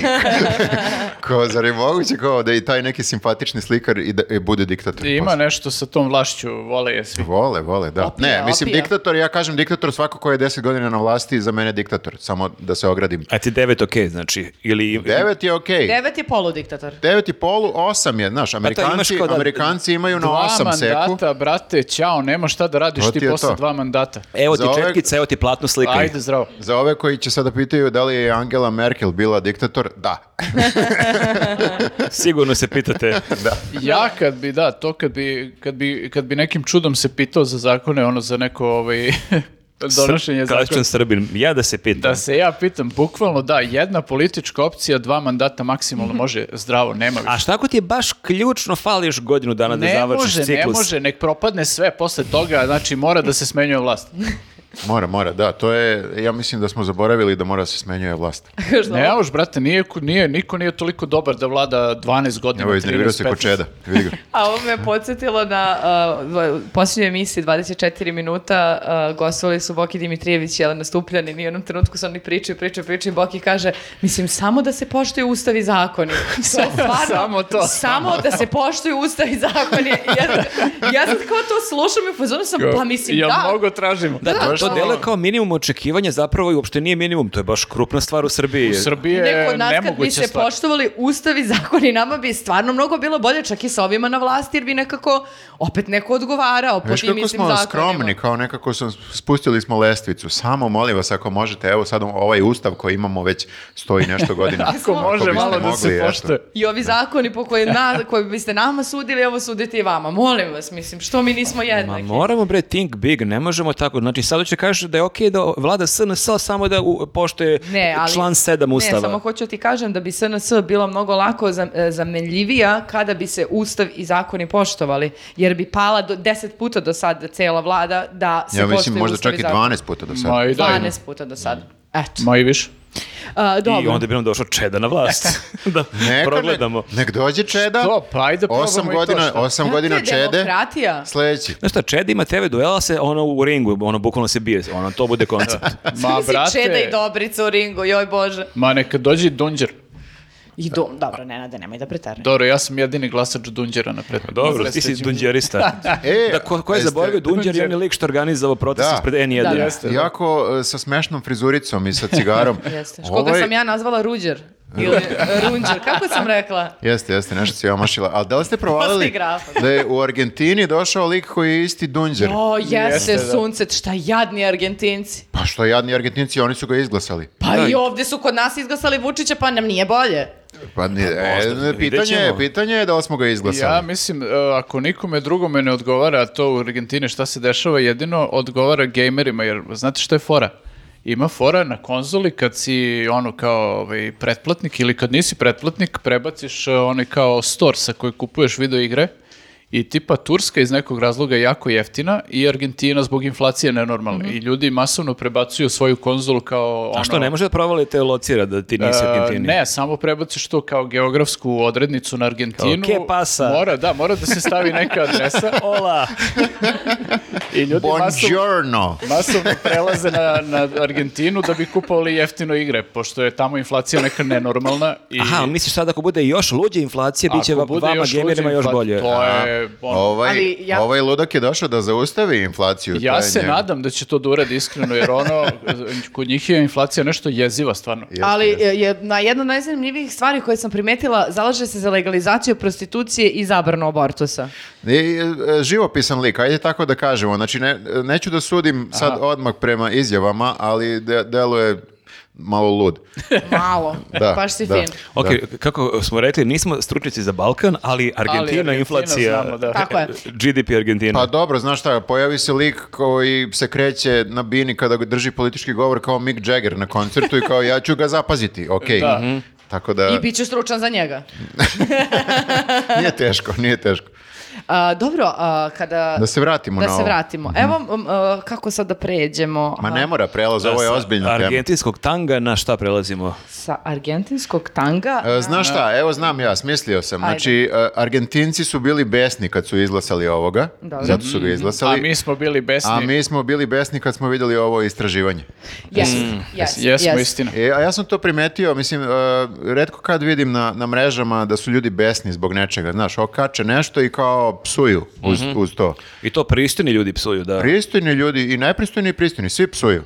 [SPEAKER 2] kao, zar je moguće kao da i taj neki simpatični slikar i da i bude diktator?
[SPEAKER 3] I ima
[SPEAKER 2] posle?
[SPEAKER 3] nešto sa tom vlašću, vole je svi.
[SPEAKER 2] Vole, vole, da.
[SPEAKER 4] Opija,
[SPEAKER 2] ne, mislim,
[SPEAKER 4] opija.
[SPEAKER 2] diktator, ja kažem diktator, svako ko je 10 godina na vlasti, za mene je diktator, samo da se ogradim.
[SPEAKER 1] A ti devet okej, znači, ili...
[SPEAKER 2] 9 je okej.
[SPEAKER 4] Devet je poludiktator.
[SPEAKER 2] 9 i polu, 8 je, znaš,
[SPEAKER 1] imaš
[SPEAKER 2] Amerikanci,
[SPEAKER 1] kao da-
[SPEAKER 2] Amerikanci imaju na
[SPEAKER 3] Dva
[SPEAKER 2] 8 seku.
[SPEAKER 3] mandata, brate, ćao, nema šta da radiš
[SPEAKER 2] To ti
[SPEAKER 3] ti
[SPEAKER 2] je
[SPEAKER 3] posle
[SPEAKER 2] to.
[SPEAKER 3] dva mandata.
[SPEAKER 1] Evo ti
[SPEAKER 2] Za ove-
[SPEAKER 1] četkica, evo ti platno slikaj.
[SPEAKER 3] Ajde, zdravo.
[SPEAKER 2] Za ove koji će sada pitaju da li je Angela Merkel bila diktator, da.
[SPEAKER 1] Sigurno se pitate.
[SPEAKER 3] Ja kad bi, da, to kad bi, kad bi, kad bi nekim čudom se pitao za zakone, ono za neko ovaj, donošenje zakona.
[SPEAKER 1] Klasičan Srbin. Ja da se pitam.
[SPEAKER 3] Da se ja pitam, bukvalno da, jedna politička opcija, dva mandata maksimalno može zdravo, nema više.
[SPEAKER 1] Mhm. A šta ako ti je baš ključno fališ godinu dana da
[SPEAKER 3] Ne
[SPEAKER 1] završiš
[SPEAKER 3] može,
[SPEAKER 1] ciklus?
[SPEAKER 3] ne može, nek propadne sve posle toga, znači mora da se smenjuje vlast.
[SPEAKER 2] Mora, mora, da. To je, ja mislim da smo zaboravili da mora da se smenjuje vlast.
[SPEAKER 4] Što?
[SPEAKER 3] Ne, už, brate, nije, nije, niko nije toliko dobar da vlada 12 godina.
[SPEAKER 2] Evo, iznervirao
[SPEAKER 3] 13,
[SPEAKER 2] se ko
[SPEAKER 3] 15.
[SPEAKER 2] čeda. Vidi ga.
[SPEAKER 4] A ovo me podsjetilo na uh, v- posljednjoj emisiji 24 minuta uh, gostovali su Boki Dimitrijević i Jelena Stupljanin i u jednom trenutku su oni pričaju, pričaju, pričaju i Boki kaže, mislim, samo da se poštuju ustav i zakoni. Samo,
[SPEAKER 3] samo to.
[SPEAKER 4] Samo da se poštuju ustav i zakoni. Ja, ja sad kao to slušam i u fazonu sam, pa mislim,
[SPEAKER 3] Jel
[SPEAKER 4] da.
[SPEAKER 3] mnogo tražimo?
[SPEAKER 1] Da, to,
[SPEAKER 2] baš
[SPEAKER 1] to
[SPEAKER 2] ono.
[SPEAKER 1] deluje kao minimum očekivanja, zapravo i uopšte nije minimum, to je baš krupna stvar u Srbiji.
[SPEAKER 3] Srbije
[SPEAKER 4] Neko
[SPEAKER 3] je
[SPEAKER 4] od nas kad bi
[SPEAKER 3] nemoguća
[SPEAKER 4] se
[SPEAKER 3] stvar.
[SPEAKER 4] poštovali ustavi zakoni, nama bi stvarno mnogo bilo bolje čak i sa ovima na vlasti, jer bi nekako opet neko odgovarao po
[SPEAKER 2] Viš
[SPEAKER 4] tim
[SPEAKER 2] kako
[SPEAKER 4] istim
[SPEAKER 2] smo
[SPEAKER 4] zakonima.
[SPEAKER 2] skromni, kao nekako sam, spustili smo lestvicu. Samo molim vas ako možete, evo sad ovaj ustav koji imamo već stoji nešto godina.
[SPEAKER 3] Ako može
[SPEAKER 2] biste
[SPEAKER 3] malo da se
[SPEAKER 2] mogli,
[SPEAKER 3] poštuje.
[SPEAKER 2] eto.
[SPEAKER 4] I ovi zakoni po koje, na, koje biste nama sudili, ovo sudite i vama. Molim vas, mislim, što mi nismo
[SPEAKER 1] Ma
[SPEAKER 4] jednaki?
[SPEAKER 1] moramo bre think big, ne možemo tako. Znači sad će kažeš da je okej da vlada SNS samo da u, poštuje
[SPEAKER 4] Ne, ali,
[SPEAKER 1] član 7 ustava.
[SPEAKER 4] Ne, samo hoću ti kažem da bi SNS bila mnogo lako zam- e, zamenljivija kada bi se ustav i zakoni poštovali, jer bi pala do, 10 puta do sad cela vlada da se
[SPEAKER 2] Ja mislim
[SPEAKER 4] poštuje
[SPEAKER 2] možda
[SPEAKER 4] ustav
[SPEAKER 2] čak i
[SPEAKER 4] zakon.
[SPEAKER 2] 12 puta do sada.
[SPEAKER 3] Ma i da,
[SPEAKER 4] 12 puta do sad.
[SPEAKER 1] Mm.
[SPEAKER 4] Eto.
[SPEAKER 3] ma i više.
[SPEAKER 4] A, dobro.
[SPEAKER 1] I onda bi nam došao čeda na vlast. da
[SPEAKER 2] Neka
[SPEAKER 1] progledamo.
[SPEAKER 2] Ne, nek dođe Čeda.
[SPEAKER 3] Što? Pa ajde probamo
[SPEAKER 2] osam
[SPEAKER 3] i to
[SPEAKER 2] godina,
[SPEAKER 3] šta.
[SPEAKER 2] osam
[SPEAKER 4] Kako je
[SPEAKER 2] godina Čede.
[SPEAKER 4] demokratija?
[SPEAKER 2] Sledeći.
[SPEAKER 1] Znaš šta, Čeda ima TV duela se ono u ringu, ono bukvalno se bije, ono to bude koncept.
[SPEAKER 3] Ma,
[SPEAKER 4] Zamisli Čeda i
[SPEAKER 3] brate,
[SPEAKER 4] Dobrica u ringu, joj bože.
[SPEAKER 3] ma neka dođe i Dunđer.
[SPEAKER 4] I do, dobro, Nenade, nemoj da pretarne.
[SPEAKER 3] Dobro, ja sam jedini glasač Dunđera na pretpostavku.
[SPEAKER 1] Dobro, ti si dunđerista.
[SPEAKER 2] E,
[SPEAKER 1] da, ko, ko je
[SPEAKER 2] jeste-
[SPEAKER 1] zaboravio Dunđer, je onaj lik što organizovao proces
[SPEAKER 2] Da.
[SPEAKER 1] ispred N1.
[SPEAKER 4] Da, da.
[SPEAKER 3] Jeste, da.
[SPEAKER 2] Jako e, sa smešnom frizuricom i sa cigarom.
[SPEAKER 4] Jeste. Koga
[SPEAKER 2] Ovaj-
[SPEAKER 4] sam ja nazvala Ruđer. Ili Runđer, kako sam rekla?
[SPEAKER 2] Jeste, jeste, nešto si omašila. Ali da li ste provalili
[SPEAKER 4] grafa.
[SPEAKER 2] da je u Argentini došao lik koji je isti Dunđer?
[SPEAKER 4] O, jeste,
[SPEAKER 3] Jeste, da.
[SPEAKER 4] sunce, šta jadni Argentinci.
[SPEAKER 2] Pa što jadni Argentinci, oni su ga izglasali.
[SPEAKER 4] Pa
[SPEAKER 1] Da.
[SPEAKER 4] i ovdje su kod nas izglasali Vučića, pa nam nije bolje.
[SPEAKER 2] Pa ni- e,
[SPEAKER 1] možda, vidjet
[SPEAKER 2] pitanje,
[SPEAKER 1] ćemo.
[SPEAKER 2] je, pitanje je da li smo ga izglasali.
[SPEAKER 3] Ja mislim, e, ako nikome drugome ne odgovara to u Argentini šta se dešava, jedino odgovara gamerima, jer znate što je fora? ima fora na konzoli kad si ono kao ovaj, pretplatnik ili kad nisi pretplatnik prebaciš eh, onaj kao store sa koje kupuješ video igre i tipa Turska iz nekog razloga je jako jeftina i Argentina zbog inflacije nenormalna i ljudi masovno prebacuju svoju konzolu kao ono...
[SPEAKER 1] Mhm. A što, ne može da provalite locira da ti nisi
[SPEAKER 3] E,
[SPEAKER 1] Argentini?
[SPEAKER 3] Ne, samo prebaciš to kao geografsku odrednicu na Argentinu.
[SPEAKER 1] Kao, "Ke pasa?"
[SPEAKER 3] Mora, da, mora da se stavi neka adresa
[SPEAKER 1] Ola!
[SPEAKER 3] i ljudi masovno,
[SPEAKER 2] Buongiorno.
[SPEAKER 3] masovno prelaze na, na Argentinu da bi kupovali jeftino igre, pošto je tamo inflacija neka nenormalna. I
[SPEAKER 1] Aha, misliš sad ako bude još luđe inflacije, bit će
[SPEAKER 3] ako
[SPEAKER 1] va-
[SPEAKER 3] bude
[SPEAKER 1] vama
[SPEAKER 3] još
[SPEAKER 1] gamerima
[SPEAKER 3] luđe
[SPEAKER 1] još
[SPEAKER 3] infla-
[SPEAKER 1] bolje.
[SPEAKER 3] To je, ono,
[SPEAKER 2] Ovaj,
[SPEAKER 4] Ali ja-
[SPEAKER 2] ovaj ludak je došao da zaustavi inflaciju. to
[SPEAKER 3] Ja
[SPEAKER 2] je
[SPEAKER 3] se
[SPEAKER 2] njemu.
[SPEAKER 3] nadam da će to da uradi iskreno, jer ono, kod njih je inflacija nešto jeziva stvarno.
[SPEAKER 4] Ali e, je, je na jedna od najzanimljivijih stvari koje sam primetila, zalaže se za legalizaciju prostitucije i zabranu abortusa.
[SPEAKER 2] I, e, živopisan lik, ajde tako da kažemo. Znači, ne, neću da sudim sad odmah prema izjavama, ali de, deluje malo lud.
[SPEAKER 4] Malo.
[SPEAKER 2] Da,
[SPEAKER 4] Baš si
[SPEAKER 2] da.
[SPEAKER 4] fin.
[SPEAKER 1] Ok, kako smo rekli, nismo stručnjaci za Balkan, ali Argentina,
[SPEAKER 3] Argentina
[SPEAKER 1] inflacija,
[SPEAKER 3] znamo, da.
[SPEAKER 4] Tako je.
[SPEAKER 1] GDP Argentina.
[SPEAKER 2] Pa dobro, znaš šta, pojavi se lik koji se kreće na bini kada ga drži politički govor kao Mick Jagger na koncertu i kao ja ću ga zapaziti, ok.
[SPEAKER 3] Da.
[SPEAKER 2] Tako da
[SPEAKER 4] Mhm. I bit ću stručan za njega.
[SPEAKER 2] nije teško, nije teško.
[SPEAKER 4] A, dobro, a, kada...
[SPEAKER 2] Da se vratimo
[SPEAKER 4] da
[SPEAKER 2] na
[SPEAKER 4] se
[SPEAKER 2] ovo. Mhm.
[SPEAKER 4] vratimo. Evo, m, a, kako sad da pređemo?
[SPEAKER 2] Ma
[SPEAKER 4] a,
[SPEAKER 2] ne mora prelaz, ovo je
[SPEAKER 1] Sa
[SPEAKER 2] ozbiljna tema.
[SPEAKER 1] Argentinskog tanga na šta prelazimo?
[SPEAKER 4] Sa argentinskog tanga...
[SPEAKER 2] E, Znaš šta, evo znam ja, smislio sam.
[SPEAKER 4] Ajde.
[SPEAKER 2] Znači, e, Argentinci su bili besni kad su izglasali ovoga,
[SPEAKER 4] Dobro.
[SPEAKER 2] zato su ga
[SPEAKER 3] Mm, A
[SPEAKER 2] izglasali.
[SPEAKER 3] mi smo bili besni.
[SPEAKER 2] A mi smo bili besni kad smo vidjeli ovo istraživanje.
[SPEAKER 4] Yes,
[SPEAKER 2] mm,
[SPEAKER 4] yes,
[SPEAKER 3] Jesmo,
[SPEAKER 4] yes.
[SPEAKER 3] istina.
[SPEAKER 2] E, a ja sam to primetio, mislim, e, redko kad vidim na, na mrežama da su ljudi besni zbog nečega, znaš, okače nešto i kao psuju uz,
[SPEAKER 3] Mhm.
[SPEAKER 2] uz to.
[SPEAKER 1] I to pristojni ljudi psuju, da.
[SPEAKER 2] Pristojni ljudi i najpristojni i pristojni, svi psuju.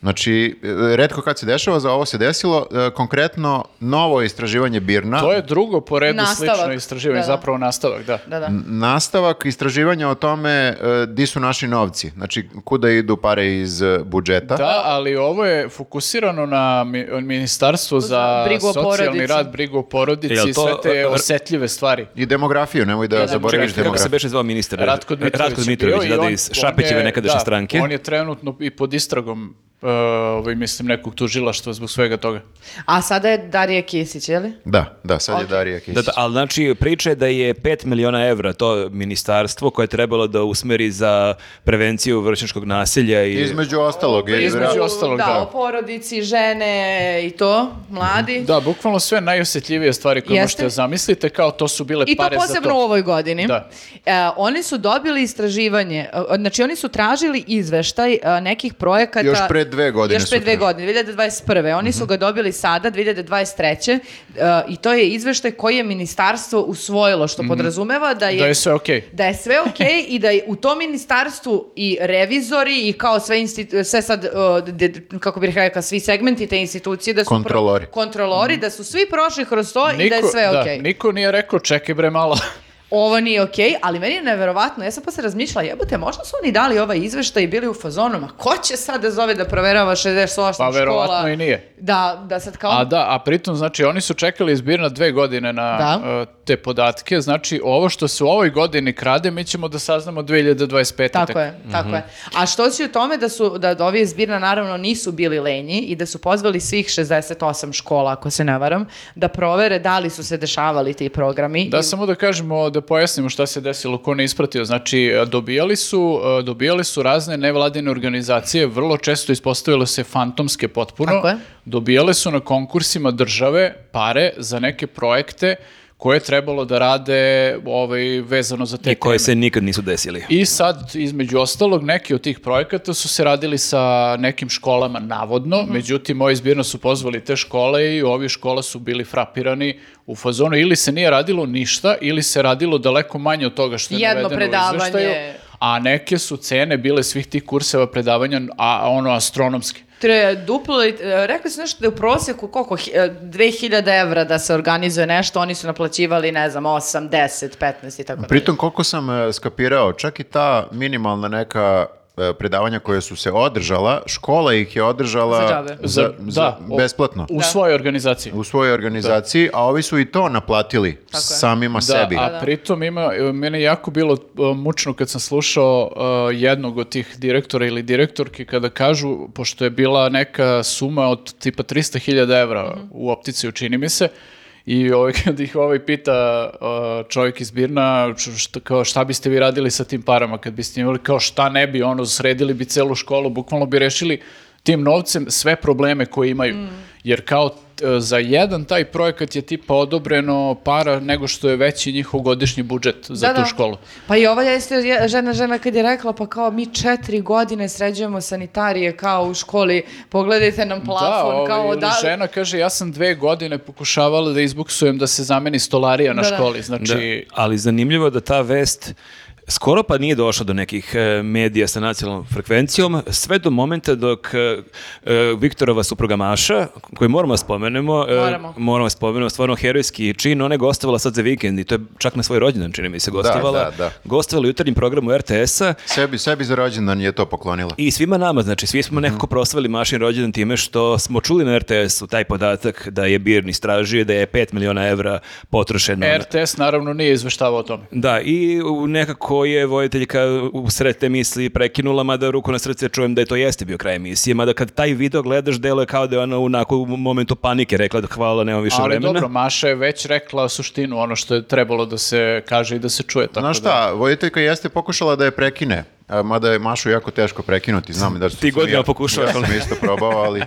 [SPEAKER 2] Znači, e, redko kad se dešava, za ovo se desilo, e, konkretno novo istraživanje Birna.
[SPEAKER 3] To je drugo po redu
[SPEAKER 4] Nastavak.
[SPEAKER 3] slično istraživanje,
[SPEAKER 4] Da, da.
[SPEAKER 3] zapravo nastavak, da.
[SPEAKER 4] Da, da.
[SPEAKER 2] Mm. Nastavak istraživanja o tome e, di su naši novci, znači kuda idu pare iz e, budžeta.
[SPEAKER 3] Da, ali ovo je fokusirano na mi- ministarstvo za
[SPEAKER 4] brigu o
[SPEAKER 3] socijalni
[SPEAKER 4] porodici.
[SPEAKER 3] rad, brigu o porodici
[SPEAKER 1] Jel
[SPEAKER 3] i
[SPEAKER 1] to-
[SPEAKER 3] sve te osetljive stvari.
[SPEAKER 2] I demografiju, nemoj da zaboraviš
[SPEAKER 1] Čekaj, kako se
[SPEAKER 2] demografiju.
[SPEAKER 1] beše zvao ministar?
[SPEAKER 3] Ratko Dmitrović,
[SPEAKER 1] Ratko
[SPEAKER 3] je
[SPEAKER 1] Dmitrović,
[SPEAKER 3] bio i
[SPEAKER 1] da, da,
[SPEAKER 3] on-
[SPEAKER 1] iz
[SPEAKER 3] on
[SPEAKER 1] Šapećeve
[SPEAKER 3] je-
[SPEAKER 1] nekadašnje
[SPEAKER 3] da,
[SPEAKER 1] stranke.
[SPEAKER 3] On je trenutno i pod istragom e, ovaj, mislim nekog tužilaštva zbog svega toga.
[SPEAKER 4] A sada je Darija Kisić, je li?
[SPEAKER 2] Da, da, sad je Darija Kisić.
[SPEAKER 1] Da, da, ali znači priča je da je 5 miliona evra to ministarstvo koje je trebalo da usmeri za prevenciju vršnjačkog nasilja i...
[SPEAKER 2] Između ostalog. je-
[SPEAKER 3] E, Između
[SPEAKER 4] U-
[SPEAKER 3] ostalog,
[SPEAKER 4] da.
[SPEAKER 3] da.
[SPEAKER 4] o porodici, žene i to, mladi.
[SPEAKER 3] Da, bukvalno sve najosetljivije stvari koje
[SPEAKER 4] Jeste.
[SPEAKER 3] možete da zamislite, kao to su bile
[SPEAKER 4] I to
[SPEAKER 3] pare za
[SPEAKER 4] posebno u ovaj
[SPEAKER 3] to.
[SPEAKER 4] ovoj godini.
[SPEAKER 3] Da.
[SPEAKER 4] E, oni su dobili istraživanje, e, znači oni su tražili izveštaj e, nekih projekata...
[SPEAKER 2] Još pre dve godine
[SPEAKER 4] Još pre
[SPEAKER 2] su
[SPEAKER 4] dve
[SPEAKER 2] tražili. Mhm.
[SPEAKER 4] godine, 2021. Oni su ga dobili sada, 2023. E, I to je izveštaj koji je ministarstvo usvojilo,
[SPEAKER 2] Mhm.
[SPEAKER 4] što podrazumeva da je...
[SPEAKER 3] Da je sve okej.
[SPEAKER 4] da je sve okej i da je u tom ministarstvu i revizori i kao sve, institu- sve sad, uh, de- de- kako bih rekla, svi segmenti te institucije da su... pro-
[SPEAKER 2] Kontrolori. Mhm.
[SPEAKER 4] kontrolori, da su svi prošli kroz to i da je sve
[SPEAKER 3] da,
[SPEAKER 4] okej.
[SPEAKER 3] niko nije rekao čekaj bre malo.
[SPEAKER 4] Ovo nije okej, ali meni je neverovatno. Ja sam posle razmišljala, jebote, možda su oni dali ovaj izveštaj i bili u fazonu, ma ko će sad da zove da proverava 68 škola?
[SPEAKER 3] Pa verovatno i nije.
[SPEAKER 4] Da, da sad kao...
[SPEAKER 3] A da, a pritom znači oni su čekali izbirna dve godine na
[SPEAKER 4] Da.
[SPEAKER 3] e, te podatke, znači ovo što se u ovoj godini krade mi ćemo da saznamo 2025.
[SPEAKER 4] Tako je,
[SPEAKER 3] Mhm.
[SPEAKER 4] tako je. A što si u tome da su, da ovi iz Birna naravno nisu bili lenji i da su pozvali svih 68 škola, ako se ne varam, da provere da li su se dešavali ti programi.
[SPEAKER 3] Da,
[SPEAKER 4] I-
[SPEAKER 3] samo da kažemo, da pojasnimo šta se desilo, ko ne ispratio. Znači, e, dobijali su, e, dobijali su razne nevladine organizacije, vrlo često ispostavilo se fantomske potpuno.
[SPEAKER 4] Tako je.
[SPEAKER 3] Dobijale su na konkursima države pare za neke projekte koje je trebalo da rade ovaj, vezano za te
[SPEAKER 1] I koje
[SPEAKER 3] teme.
[SPEAKER 1] se nikad nisu desili.
[SPEAKER 3] I sad, između ostalog, neki od tih projekata su se radili sa nekim školama navodno,
[SPEAKER 4] Mhm.
[SPEAKER 3] međutim, ovi zbirno su pozvali te škole i ovi škola su bili frapirani u fazonu. Ili se nije radilo ništa, ili se radilo daleko manje od toga što je
[SPEAKER 4] Jedno
[SPEAKER 3] navedeno u
[SPEAKER 4] predavanje.
[SPEAKER 3] izveštaju. A neke su cene bile svih tih kurseva predavanja, a ono, astronomske.
[SPEAKER 4] Tre, duplo, i- e, rekli su nešto da je u prosjeku koliko, hi- e, 2000 evra da se organizuje nešto, oni su naplaćivali, ne znam, 8, 10, 15 i tako dalje.
[SPEAKER 2] Pritom koliko sam e, skapirao, čak i ta minimalna neka e, predavanja koje su se održala, škola ih je održala
[SPEAKER 4] Za džabe.
[SPEAKER 2] za-
[SPEAKER 3] Za-
[SPEAKER 2] za-
[SPEAKER 3] da, o-
[SPEAKER 2] besplatno
[SPEAKER 3] U svojoj organizaciji.
[SPEAKER 2] u svojoj organizaciji, a ovi su i to naplatili
[SPEAKER 4] je.
[SPEAKER 2] samima sebi.
[SPEAKER 4] da.
[SPEAKER 3] a pritom ima, mene je jako bilo e, mučno kad sam slušao e, jednog od tih direktora ili direktorki kada kažu, pošto je bila neka suma od tipa 300.000 evra u optici, učini mi se, i ovaj, kad ih ovaj pita e, čovjek iz Birna, š- šta, kao, šta biste vi radili sa tim parama kad biste imali, kao šta ne bi, ono, sredili bi celu školu, bukvalno bi rešili tim novcem sve probleme koje imaju.
[SPEAKER 4] Mm.
[SPEAKER 3] Jer kao t- e, za jedan taj projekat je tipa odobreno para nego što je veći njihov godišnji budžet za
[SPEAKER 4] Da,
[SPEAKER 3] tu
[SPEAKER 4] da.
[SPEAKER 3] školu.
[SPEAKER 4] Pa i ova jeste je- žena žena kad je rekla pa kao mi četiri godine sređujemo sanitarije kao u školi, pogledajte nam plafon,
[SPEAKER 3] da,
[SPEAKER 4] kao
[SPEAKER 3] kao
[SPEAKER 4] da...
[SPEAKER 3] žena kaže ja sam dve godine pokušavala da izbuksujem da se zameni stolarija na
[SPEAKER 4] Da, da.
[SPEAKER 3] školi. Znači,
[SPEAKER 1] Ali zanimljivo je da ta vest skoro pa nije došla do nekih e, medija sa nacionalnom frekvencijom, sve do momenta dok e, e, Viktorova supruga Maša, koju moramo da spomenemo, e,
[SPEAKER 4] Moramo.
[SPEAKER 1] moramo da spomenemo, stvarno herojski čin, ona je gostovala sad za vikend i to je čak na svoj rođendan, čini mi se, gostovala.
[SPEAKER 2] da, da.
[SPEAKER 1] Gostovala u jutarnjim programu RTS-a
[SPEAKER 2] Sebi, sebi za rođendan je to poklonila.
[SPEAKER 1] I svima nama, znači svi
[SPEAKER 2] Mhm.
[SPEAKER 1] smo nekako proslavili Mašin rođendan time što smo čuli na RTS-u taj podatak da je Birni stražio da je 5 miliona evra potrošeno. na-
[SPEAKER 3] RTS naravno nije izveštavao o tome.
[SPEAKER 1] Da, i u- nekako je vojiteljka u sred te misli prekinula, mada ruku na srce čujem da je to jeste bio kraj emisije, mada kad taj video gledaš, delo je kao da je ona u onako u momentu panike rekla da hvala, nemam više
[SPEAKER 3] Ali
[SPEAKER 1] Znači, vremena.
[SPEAKER 3] dobro, Maša je već rekla suštinu, ono što je trebalo da se kaže i da se čuje. Tako
[SPEAKER 2] Znaš
[SPEAKER 3] da-
[SPEAKER 2] šta, voditeljka jeste pokušala da je prekine, a, mada je Mašu jako teško prekinuti, znam da
[SPEAKER 1] Ti godinama pokušavaš,
[SPEAKER 2] Ja sam
[SPEAKER 1] ali-
[SPEAKER 2] isto probao, ali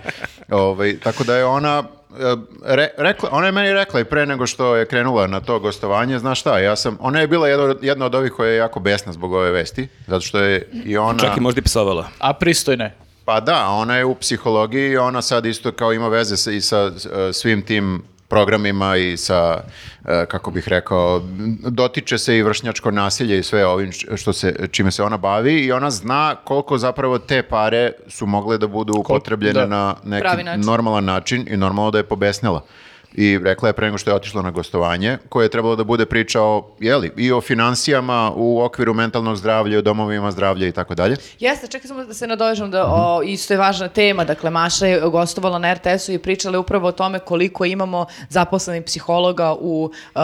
[SPEAKER 2] ovaj, tako da je ona e, re- rekla, ona je meni rekla i pre nego što je krenula na to gostovanje, znaš šta, ja sam, ona je bila jedna, od- jedna od ovih koja je jako besna zbog ove vesti, zato što je i ona...
[SPEAKER 1] Čak i možda i psovala.
[SPEAKER 3] A pristojne.
[SPEAKER 2] Pa da, ona je u psihologiji i ona sad isto kao ima veze sa, i sa e, svim tim programima i sa, e, kako bih rekao, dotiče se i vršnjačko nasilje i sve ovim š- što se, čime se ona bavi i ona zna koliko zapravo te pare su mogle da budu upotrebljene
[SPEAKER 3] da.
[SPEAKER 2] na neki
[SPEAKER 4] Pravi način.
[SPEAKER 2] normalan način i normalno da je pobesnila. I rekla je pre nego što je otišla na gostovanje, koje je trebalo da bude priča o, jeli, i o financijama u okviru mentalnog zdravlja, o domovima zdravlja i tako dalje.
[SPEAKER 4] Jeste, čekaj samo da se nadovežem da o, isto je važna tema, dakle Maša je gostovala na RTS-u i pričala je upravo o tome koliko imamo zaposlenih psihologa u e,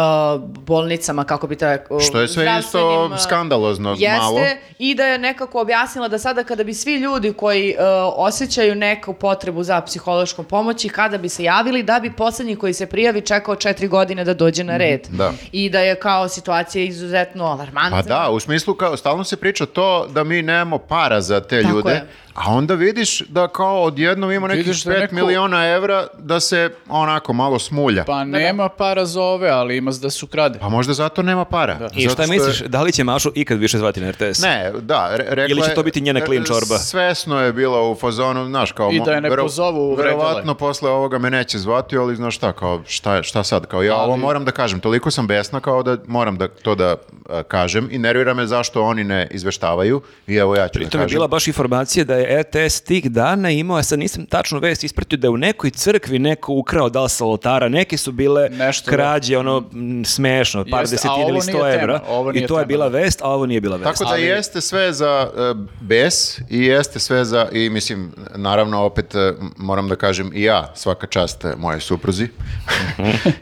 [SPEAKER 4] bolnicama, kako bi to rekao,
[SPEAKER 2] Što je sve isto
[SPEAKER 4] zdravstvenim, e,
[SPEAKER 2] skandalozno
[SPEAKER 4] Jeste
[SPEAKER 2] malo.
[SPEAKER 4] i da je nekako objasnila da sada kada bi svi ljudi koji e, osjećaju neku potrebu za psihološkom pomoći, kada bi se javili, da bi posljednji koji se prijavi čekao četiri godine da dođe na red.
[SPEAKER 2] Mhm, da.
[SPEAKER 4] I da je kao situacija izuzetno alarmantna.
[SPEAKER 2] Pa da, u smislu kao stalno se priča to da mi nemamo para za te
[SPEAKER 4] Tako
[SPEAKER 2] ljude,
[SPEAKER 4] je.
[SPEAKER 2] a onda vidiš da kao odjednom ima nekih
[SPEAKER 3] Vidiš
[SPEAKER 2] 5
[SPEAKER 3] da je neko-
[SPEAKER 2] miliona evra da se onako malo smulja. Pa,
[SPEAKER 3] Pa nema para za ove, ali ima da su krade.
[SPEAKER 2] možda zato nema para.
[SPEAKER 1] I
[SPEAKER 2] Zato
[SPEAKER 1] šta
[SPEAKER 2] što je-
[SPEAKER 1] misliš, da li će Mašu ikad više zvati na RTS?
[SPEAKER 2] Ne, da, re- rekla
[SPEAKER 1] Ili će
[SPEAKER 2] je- e,
[SPEAKER 1] to biti njena klin čorba?
[SPEAKER 2] Svesno je bila u fazonu, znaš, kao...
[SPEAKER 3] I da je
[SPEAKER 2] mo-
[SPEAKER 3] ne pozovu, vredela je.
[SPEAKER 2] Verovatno posle ovoga me neće zvati, ali znaš šta, kao, šta, je- šta sad, kao, ja ovo moram da kažem, toliko sam besna kao da moram da, to da e, kažem i nervira me zašto oni ne izveštavaju i evo ja ću da
[SPEAKER 1] To
[SPEAKER 2] kažem.
[SPEAKER 1] je bila baš informacija da je RTS tih dana imao, ja sad nisam tačno vest ispratio, da je u nekoj crkvi neko ukrao dal sa oltara, neke su bile
[SPEAKER 3] Nešto, da.
[SPEAKER 1] krađe, ono m, smešno, par
[SPEAKER 3] Jeste, a
[SPEAKER 1] desetina
[SPEAKER 3] ovo
[SPEAKER 1] ili
[SPEAKER 3] nije
[SPEAKER 1] sto
[SPEAKER 3] tema,
[SPEAKER 1] evra.
[SPEAKER 3] ovo
[SPEAKER 1] I
[SPEAKER 3] nije
[SPEAKER 1] to je
[SPEAKER 3] tema,
[SPEAKER 1] bila
[SPEAKER 3] da.
[SPEAKER 1] vest, a ovo nije bila vest.
[SPEAKER 2] Tako da jeste sve za e, bes i jeste sve za, i mislim, naravno opet e, m- moram da kažem i ja, svaka čast e, mojoj supruzi.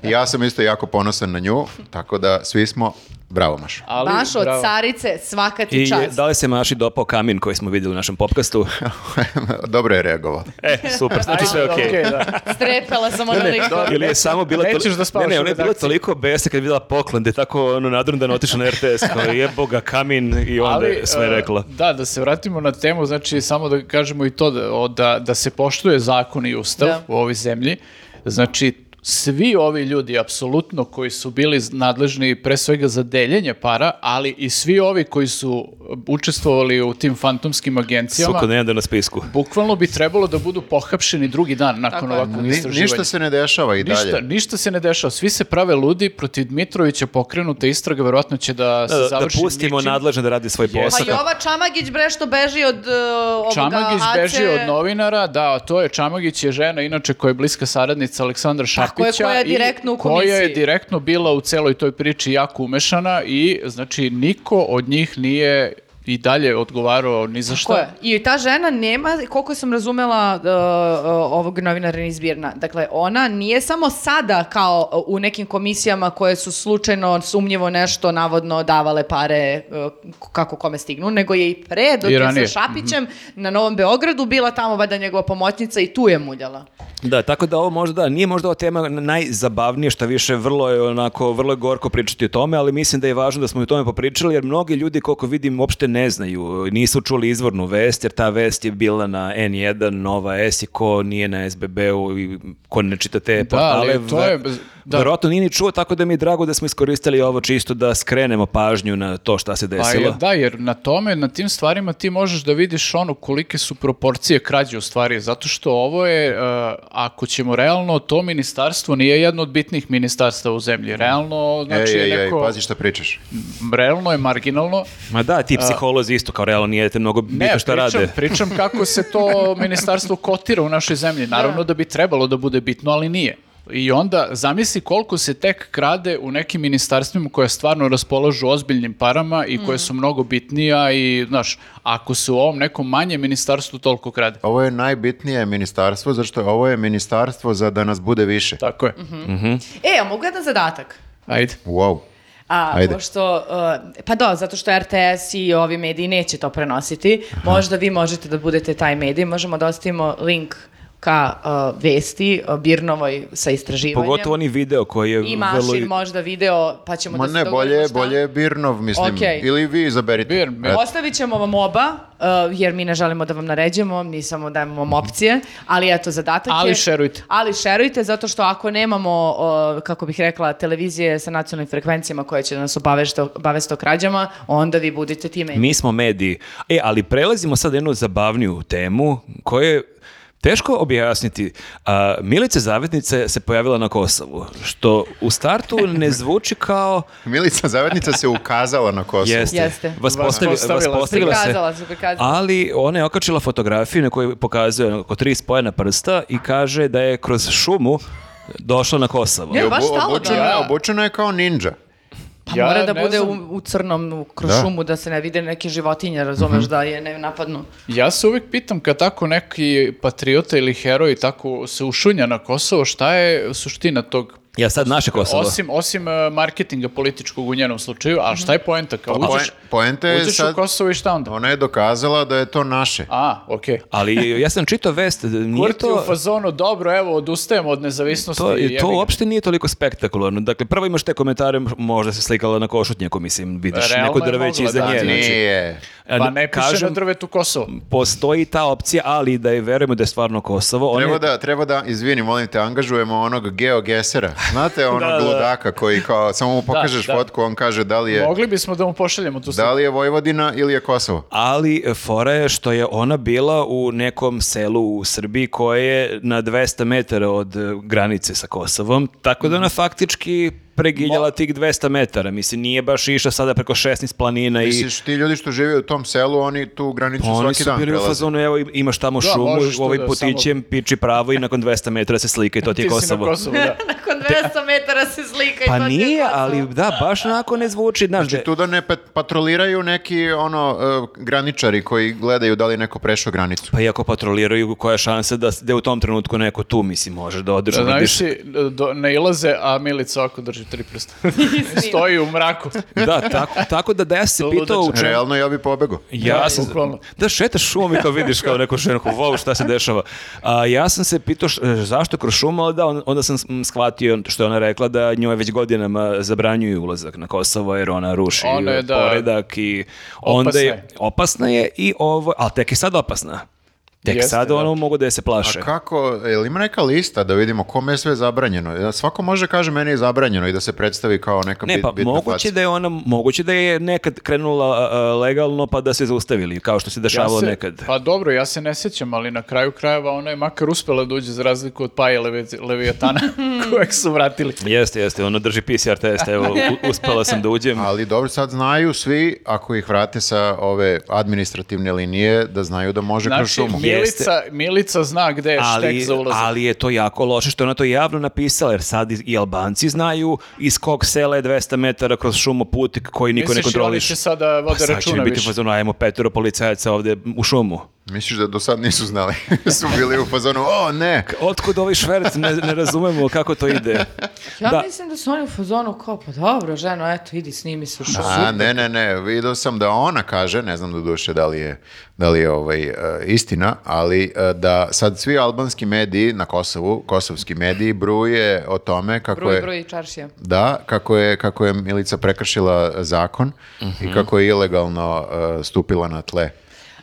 [SPEAKER 2] I ja sam isto jako ponosan na nju, tako da svi smo, bravo Maša.
[SPEAKER 3] Ali,
[SPEAKER 4] Mašo, od
[SPEAKER 3] bravo.
[SPEAKER 4] carice, svaka ti
[SPEAKER 1] I je-
[SPEAKER 4] čast.
[SPEAKER 1] da li se Maši dopao kamin koji smo vidjeli u našem popkastu?
[SPEAKER 2] Dobro je reagovao.
[SPEAKER 1] E, super, znači sve je okej.
[SPEAKER 3] Okej, da.
[SPEAKER 4] Strepela sam onoliko.
[SPEAKER 1] Ili je samo bila
[SPEAKER 3] Nećeš da spavaš
[SPEAKER 1] ne, ne,
[SPEAKER 3] u
[SPEAKER 1] ona je bila
[SPEAKER 3] redakciji.
[SPEAKER 1] toliko besa kad je videla poklon, da je tako ono nadrndano otišla na RTS, kao jebo ga kamin i onda je sve
[SPEAKER 3] e,
[SPEAKER 1] rekla.
[SPEAKER 3] Da, da se vratimo na temu, znači samo da kažemo i to da, o, da, da se poštuje zakon i ustav
[SPEAKER 4] Da.
[SPEAKER 3] u ovoj zemlji. Znači, svi ovi ljudi, apsolutno, koji su bili nadležni pre svega za deljenje para, ali i svi ovi koji su učestvovali u tim fantomskim agencijama,
[SPEAKER 1] Suko ne na spisku.
[SPEAKER 3] bukvalno bi trebalo da budu pohapšeni drugi dan nakon
[SPEAKER 4] Tako je.
[SPEAKER 3] ovakvog
[SPEAKER 2] Ni-
[SPEAKER 3] istraživanja.
[SPEAKER 2] ništa se ne dešava i dalje.
[SPEAKER 3] Ništa, ništa se ne dešava, svi se prave ludi, protiv Dmitrovića pokrenuta istraga, verovatno će da se
[SPEAKER 1] Da, da
[SPEAKER 3] završi
[SPEAKER 1] pustimo
[SPEAKER 3] ničim.
[SPEAKER 1] nadležne da radi svoj
[SPEAKER 3] Jeste.
[SPEAKER 1] posao.
[SPEAKER 4] Pa i ova Čamagić bre što beži od uh, ovoga
[SPEAKER 3] Čamagić
[SPEAKER 4] Ace-
[SPEAKER 3] beži od novinara, da, to je Čamagić je žena, inače koja je bliska saradnica Aleksandra
[SPEAKER 4] Tako je,
[SPEAKER 3] Šapića.
[SPEAKER 4] koja je
[SPEAKER 3] i
[SPEAKER 4] direktno u
[SPEAKER 3] Koja je
[SPEAKER 4] komisiji.
[SPEAKER 3] direktno bila u celoj toj priči jako umešana i znači niko od njih nije i dalje odgovarao ni za
[SPEAKER 4] Ko je?
[SPEAKER 3] šta.
[SPEAKER 4] I ta žena nema, koliko sam razumela uh, uh, ovog novinara iz Birna, dakle ona nije samo sada kao uh, u nekim komisijama koje su slučajno sumnjivo nešto navodno davale pare uh, k- kako kome stignu, nego je i pre dok
[SPEAKER 3] I
[SPEAKER 4] je
[SPEAKER 3] ranije. Mhm.
[SPEAKER 4] sa Šapićem na Novom Beogradu bila tamo vada njegova pomoćnica i tu je muljala.
[SPEAKER 1] Da, tako da ovo možda, nije možda ova tema najzabavnije, što više vrlo je onako, vrlo je gorko pričati o tome, ali mislim da je važno da smo i o tome popričali, jer mnogi ljudi, koliko vidim, uopšte ne znaju, nisu čuli izvornu vest, jer ta vest je bila na N1, Nova S i ko nije na SBB-u i ko ne čita te portale,
[SPEAKER 3] ali to je-
[SPEAKER 1] ve-
[SPEAKER 3] da.
[SPEAKER 1] verovatno nije ni čuo, tako da mi je drago da smo iskoristili ovo čisto da skrenemo pažnju na to šta se
[SPEAKER 3] Pa
[SPEAKER 1] desilo.
[SPEAKER 3] je, da, jer na tome, na tim stvarima ti možeš da vidiš ono kolike su proporcije krađe u stvari, zato što ovo je, e, ako ćemo realno, to ministarstvo nije jedno od bitnih ministarstava u zemlji. Realno, znači,
[SPEAKER 2] ej,
[SPEAKER 3] je
[SPEAKER 2] ej, ej,
[SPEAKER 3] neko,
[SPEAKER 2] pazi šta pričaš.
[SPEAKER 3] realno je marginalno.
[SPEAKER 1] Ma da, ti psiholozi isto kao realno nije te mnogo bitno šta
[SPEAKER 3] pričam,
[SPEAKER 1] rade.
[SPEAKER 3] pričam kako se to ministarstvo kotira u našoj zemlji. Naravno da bi trebalo da bude bitno, ali nije. I onda zamisli koliko se tek krade u nekim ministarstvima koja stvarno raspolažu ozbiljnim parama i
[SPEAKER 4] Mm.
[SPEAKER 3] koje su mnogo bitnija i, znaš, ako se u ovom nekom manjem ministarstvu toliko krade.
[SPEAKER 2] Ovo je najbitnije ministarstvo, zato što je ovo je ministarstvo za da nas bude više.
[SPEAKER 3] Tako je.
[SPEAKER 4] E, a mogu jedan zadatak?
[SPEAKER 3] Ajde.
[SPEAKER 2] Wow.
[SPEAKER 4] A
[SPEAKER 2] Ajde.
[SPEAKER 4] pošto, uh, pa da, zato što RTS i ovi mediji neće to prenositi, možda vi možete da budete taj medij, možemo da ostavimo link ka uh, vesti uh, Birnovoj sa istraživanjem.
[SPEAKER 1] Pogotovo oni video koji je
[SPEAKER 4] I
[SPEAKER 1] vrlo-
[SPEAKER 4] Mašin možda video, pa ćemo
[SPEAKER 2] Ma
[SPEAKER 4] da se
[SPEAKER 2] ne,
[SPEAKER 4] dogovorimo
[SPEAKER 2] bolje, je-
[SPEAKER 4] šta.
[SPEAKER 2] bolje je Birnov, mislim.
[SPEAKER 4] Okej.
[SPEAKER 2] Ili vi izaberite.
[SPEAKER 3] Bir- bir-
[SPEAKER 2] Eto.
[SPEAKER 4] Ostavit ćemo vam oba, uh, jer mi ne želimo da vam naređujemo, mi samo dajemo vam opcije, ali eto, zadatak je...
[SPEAKER 3] Ali šerujte.
[SPEAKER 4] Ali šerujte, zato što ako nemamo, uh, kako bih rekla, televizije sa nacionalnim frekvencijama koje će da nas obavešte, obaveste o krađama, onda vi budite time.
[SPEAKER 1] Mi smo mediji. E, ali prelazimo sad na jednu zabavniju temu koju je teško objasniti. A, Milica Zavetnica se pojavila na Kosovu, što u startu ne zvuči kao...
[SPEAKER 3] Pa
[SPEAKER 2] Milica Zavetnica se ukazala na Kosovo.
[SPEAKER 1] Jeste.
[SPEAKER 4] Jeste.
[SPEAKER 1] Vaspostavi-
[SPEAKER 3] Vaspostavila se.
[SPEAKER 1] vaspostavila se.
[SPEAKER 4] Prikazala se, prikazala.
[SPEAKER 1] Ali ona je okačila fotografiju na kojoj pokazuje oko tri spojena prsta i kaže da je kroz šumu došla na Kosovo.
[SPEAKER 4] Ne,
[SPEAKER 2] I obu-
[SPEAKER 4] baš stalo
[SPEAKER 2] obučena,
[SPEAKER 4] da-
[SPEAKER 2] obučena je kao ninja.
[SPEAKER 4] Pa
[SPEAKER 3] Ja
[SPEAKER 4] mora da
[SPEAKER 3] ne
[SPEAKER 4] bude u,
[SPEAKER 3] znam.
[SPEAKER 4] u crnom, u kroz
[SPEAKER 2] Da.
[SPEAKER 4] šumu, da se ne vide neke životinje, razumeš, da je ne napadnu.
[SPEAKER 3] Ja se uvijek pitam kad tako neki patriota ili heroj tako se ušunja na Kosovo, šta je suština tog
[SPEAKER 1] Ja sad naše Kosovo.
[SPEAKER 3] Osim, osim e, marketinga političkog u njenom slučaju, a šta je poenta? Kao
[SPEAKER 2] Pa
[SPEAKER 3] uđeš,
[SPEAKER 2] poen- poenta je
[SPEAKER 3] uđeš
[SPEAKER 2] sad- Ono-
[SPEAKER 3] u Kosovo i šta onda?
[SPEAKER 2] Ona je dokazala da je to naše.
[SPEAKER 3] A, okej.
[SPEAKER 1] Ali ja sam čitao vest, nije
[SPEAKER 3] Kurti
[SPEAKER 1] to...
[SPEAKER 3] u fazonu, dobro, evo, odustajemo od nezavisnosti.
[SPEAKER 1] To,
[SPEAKER 3] jebi
[SPEAKER 1] to
[SPEAKER 3] ga."
[SPEAKER 1] uopšte nije toliko spektakularno. Dakle, prvo imaš te komentare, možda se slikala na košutnjaku, mislim, vidiš
[SPEAKER 3] Realno
[SPEAKER 1] neko
[SPEAKER 3] je
[SPEAKER 1] drveće
[SPEAKER 3] mogla,
[SPEAKER 1] iza
[SPEAKER 3] da,
[SPEAKER 1] nje.
[SPEAKER 3] nije.
[SPEAKER 1] znači.
[SPEAKER 2] Nije.
[SPEAKER 3] Pa ne piše
[SPEAKER 1] Kažem,
[SPEAKER 3] na drvetu Kosovo.
[SPEAKER 1] postoji ta opcija, ali da je verujemo da je stvarno Kosovo. On
[SPEAKER 2] Treba
[SPEAKER 1] je,
[SPEAKER 2] da, treba da, izvini, molim te, angažujemo onog geogesera. Znate, onog
[SPEAKER 1] da.
[SPEAKER 2] ludaka koji kao, samo mu pokažeš
[SPEAKER 3] da.
[SPEAKER 2] fotku, on kaže da li je,
[SPEAKER 3] Mogli bismo da mu pošaljemo tu
[SPEAKER 2] da
[SPEAKER 3] sliku.
[SPEAKER 2] li je Vojvodina ili je Kosovo.
[SPEAKER 1] Ali e, fora je što je ona bila u nekom selu u Srbiji koje je na 200 metara od e, granice sa Kosovom, tako
[SPEAKER 3] Mhm.
[SPEAKER 1] da ona faktički preginjala tih 200 metara. Mislim, nije baš išla sada preko 16 planina i... Pa
[SPEAKER 2] Misliš, ti ljudi što žive u tom selu, oni tu granicu
[SPEAKER 3] Znači,
[SPEAKER 1] Oni
[SPEAKER 2] svaki
[SPEAKER 1] su
[SPEAKER 2] dan
[SPEAKER 1] bili u
[SPEAKER 2] prelaze.
[SPEAKER 1] fazonu, evo imaš tamo
[SPEAKER 3] Da,
[SPEAKER 1] šumu,
[SPEAKER 3] možeš to
[SPEAKER 1] ovim
[SPEAKER 3] da
[SPEAKER 1] putićem, piči pravo i nakon 200 metara se slika i to ti
[SPEAKER 3] Ti
[SPEAKER 1] je
[SPEAKER 3] si na
[SPEAKER 1] Kosovo.
[SPEAKER 3] Kosovu, da.
[SPEAKER 4] Nakon 200 metara se slika i
[SPEAKER 1] Pa
[SPEAKER 4] to ti je
[SPEAKER 1] nije,
[SPEAKER 4] Kosovo.
[SPEAKER 1] ali da, baš onako ne zvuči. Znaš, da-
[SPEAKER 2] Znači tu da ne pet- patroliraju neki ono e, graničari koji gledaju da li je neko prešao granicu.
[SPEAKER 1] Pa iako patroliraju, koja je šansa da, da je u tom trenutku neko tu, mislim, može da odeš,
[SPEAKER 3] Znaš
[SPEAKER 1] uradiš.
[SPEAKER 3] si, Znači, do, ne ilaze, a Milica ovako drži tri prsta. Stoji u mraku.
[SPEAKER 1] Da, tako, tako da da ja se
[SPEAKER 3] To
[SPEAKER 1] pitao u
[SPEAKER 3] ludačak.
[SPEAKER 1] čemu...
[SPEAKER 2] Realno ja bi pobegao.
[SPEAKER 1] Ja
[SPEAKER 3] Da,
[SPEAKER 1] sam,
[SPEAKER 3] bukvalno.
[SPEAKER 1] da šetaš šumom i kao vidiš kao neku šenku, wow, šta se dešava. A, ja sam se pitao š- zašto kroz šumu, ali da, on- onda sam s- m, shvatio što je ona rekla da njoj već godinama zabranjuju ulazak na Kosovo jer ona ruši
[SPEAKER 3] Ona je, da,
[SPEAKER 1] poredak i onda
[SPEAKER 3] opasna
[SPEAKER 1] je,
[SPEAKER 3] je.
[SPEAKER 1] opasna je i ovo, ali tek je sad opasna. Tek
[SPEAKER 3] Jeste,
[SPEAKER 1] sad
[SPEAKER 3] da.
[SPEAKER 1] ono mogu da je se plaše.
[SPEAKER 2] A kako, je li ima neka lista da vidimo kome je sve zabranjeno? Ja, Svako može kaže meni je zabranjeno i da se predstavi kao neka
[SPEAKER 1] Ne,
[SPEAKER 2] bit-
[SPEAKER 1] pa
[SPEAKER 2] bitna
[SPEAKER 1] moguće
[SPEAKER 2] faca.
[SPEAKER 1] da je ona, moguće da je nekad krenula a, a, legalno pa da se zaustavili, kao što se dešavalo
[SPEAKER 3] se-
[SPEAKER 1] nekad.
[SPEAKER 3] Pa dobro, ja se ne sjećam, ali na kraju krajeva ona je makar uspela da uđe za razliku od Paje Levi- Leviatana kojeg su vratili.
[SPEAKER 1] Jeste, jeste, ona drži PCR test, evo, u- uspela sam da uđem.
[SPEAKER 2] Ali dobro, sad znaju svi, ako ih vrate sa ove administrativne linije, da znaju da može kroz
[SPEAKER 3] Znači,
[SPEAKER 2] šumu.
[SPEAKER 3] mi
[SPEAKER 1] Jeste.
[SPEAKER 3] Milica, Milica zna gde je štek
[SPEAKER 1] Ali,
[SPEAKER 3] za ulazak.
[SPEAKER 1] ali je to jako loše što je ona to javno napisala, jer sad i- i Albanci znaju iz kog sela je 200 metara kroz šumu put koji niko
[SPEAKER 3] Misliš
[SPEAKER 1] ne
[SPEAKER 3] i oni
[SPEAKER 1] kontroliše.
[SPEAKER 3] će sada
[SPEAKER 1] Pa
[SPEAKER 3] vode
[SPEAKER 1] sad će mi
[SPEAKER 3] računa
[SPEAKER 1] biti u
[SPEAKER 3] više.
[SPEAKER 1] fazonu, ajmo petero policajaca ovde u šumu.
[SPEAKER 2] Misliš da do sad nisu znali? Su bili u fazonu, o ne,
[SPEAKER 1] Otkud ovaj švert, ne, ne razumemo kako to ide.
[SPEAKER 4] Ja
[SPEAKER 1] Da.
[SPEAKER 4] mislim da su oni u fazonu kao, pa dobro, ženo, eto, idi snimi se u šumu.
[SPEAKER 2] A, ne, ne, ne, vidio sam da ona kaže, ne znam do duše da li je, da li je ovaj, e, istina, ali e, da sad svi albanski mediji na Kosovu, kosovski mediji, bruje o tome kako
[SPEAKER 4] Bruj,
[SPEAKER 2] je...
[SPEAKER 4] bruj, čaršija.
[SPEAKER 2] Da, kako je, kako je Milica prekršila zakon
[SPEAKER 1] Mhm.
[SPEAKER 2] i kako je ilegalno e, stupila na tle.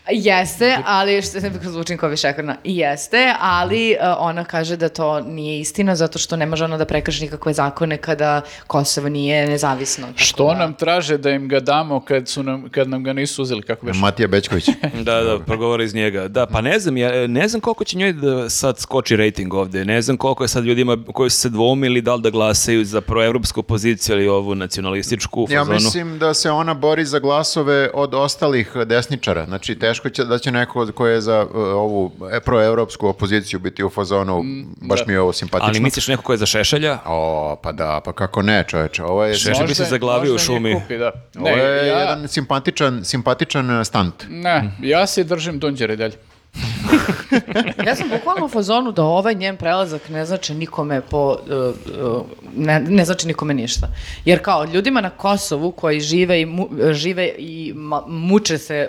[SPEAKER 4] Jeste, ali što se zvučim kao višekrna. Jeste, ali e, ona kaže da to nije istina zato što ne može ona da prekrši nikakve zakone kada Kosovo nije nezavisno. tako
[SPEAKER 3] Što
[SPEAKER 4] da-
[SPEAKER 3] nam traže da im ga damo kad, su nam, kad nam ga nisu uzeli, kako beš?
[SPEAKER 2] Matija Bećković.
[SPEAKER 1] Da, da, progovore iz njega. Da, pa ne znam, ja, ne znam koliko će njoj da sad skoči rating ovde. Ne znam koliko je sad ljudima koji su se dvoumili da li da glasaju za proevropsku poziciju ili ovu nacionalističku u
[SPEAKER 2] Ja
[SPEAKER 1] fazonu.
[SPEAKER 2] mislim da se ona bori za glasove od ostalih desničara. Znači, teško će da će neko ko je za e, ovu e, proevropsku opoziciju biti u fazonu, baš mi je ovo simpatično.
[SPEAKER 1] Mm, Ali misliš neko ko je za šešelja?
[SPEAKER 2] O, pa da, pa kako ne, čoveče, ovo je...
[SPEAKER 1] Šešelj bi se zaglavio u
[SPEAKER 3] možda njih
[SPEAKER 1] šumi.
[SPEAKER 3] Kupi, da.
[SPEAKER 2] Ovo
[SPEAKER 3] Ne,
[SPEAKER 2] je
[SPEAKER 3] ja,
[SPEAKER 2] jedan simpatičan, simpatičan stunt.
[SPEAKER 3] ne, ja se držim dunđere dalje.
[SPEAKER 4] Ja sam bukvalno u fazonu da ovaj njen prelazak ne znači nikome po, e, e, ne, ne znači nikome ništa. Jer kao ljudima na Kosovu koji žive i, mu- e, žive i ma- muče se e,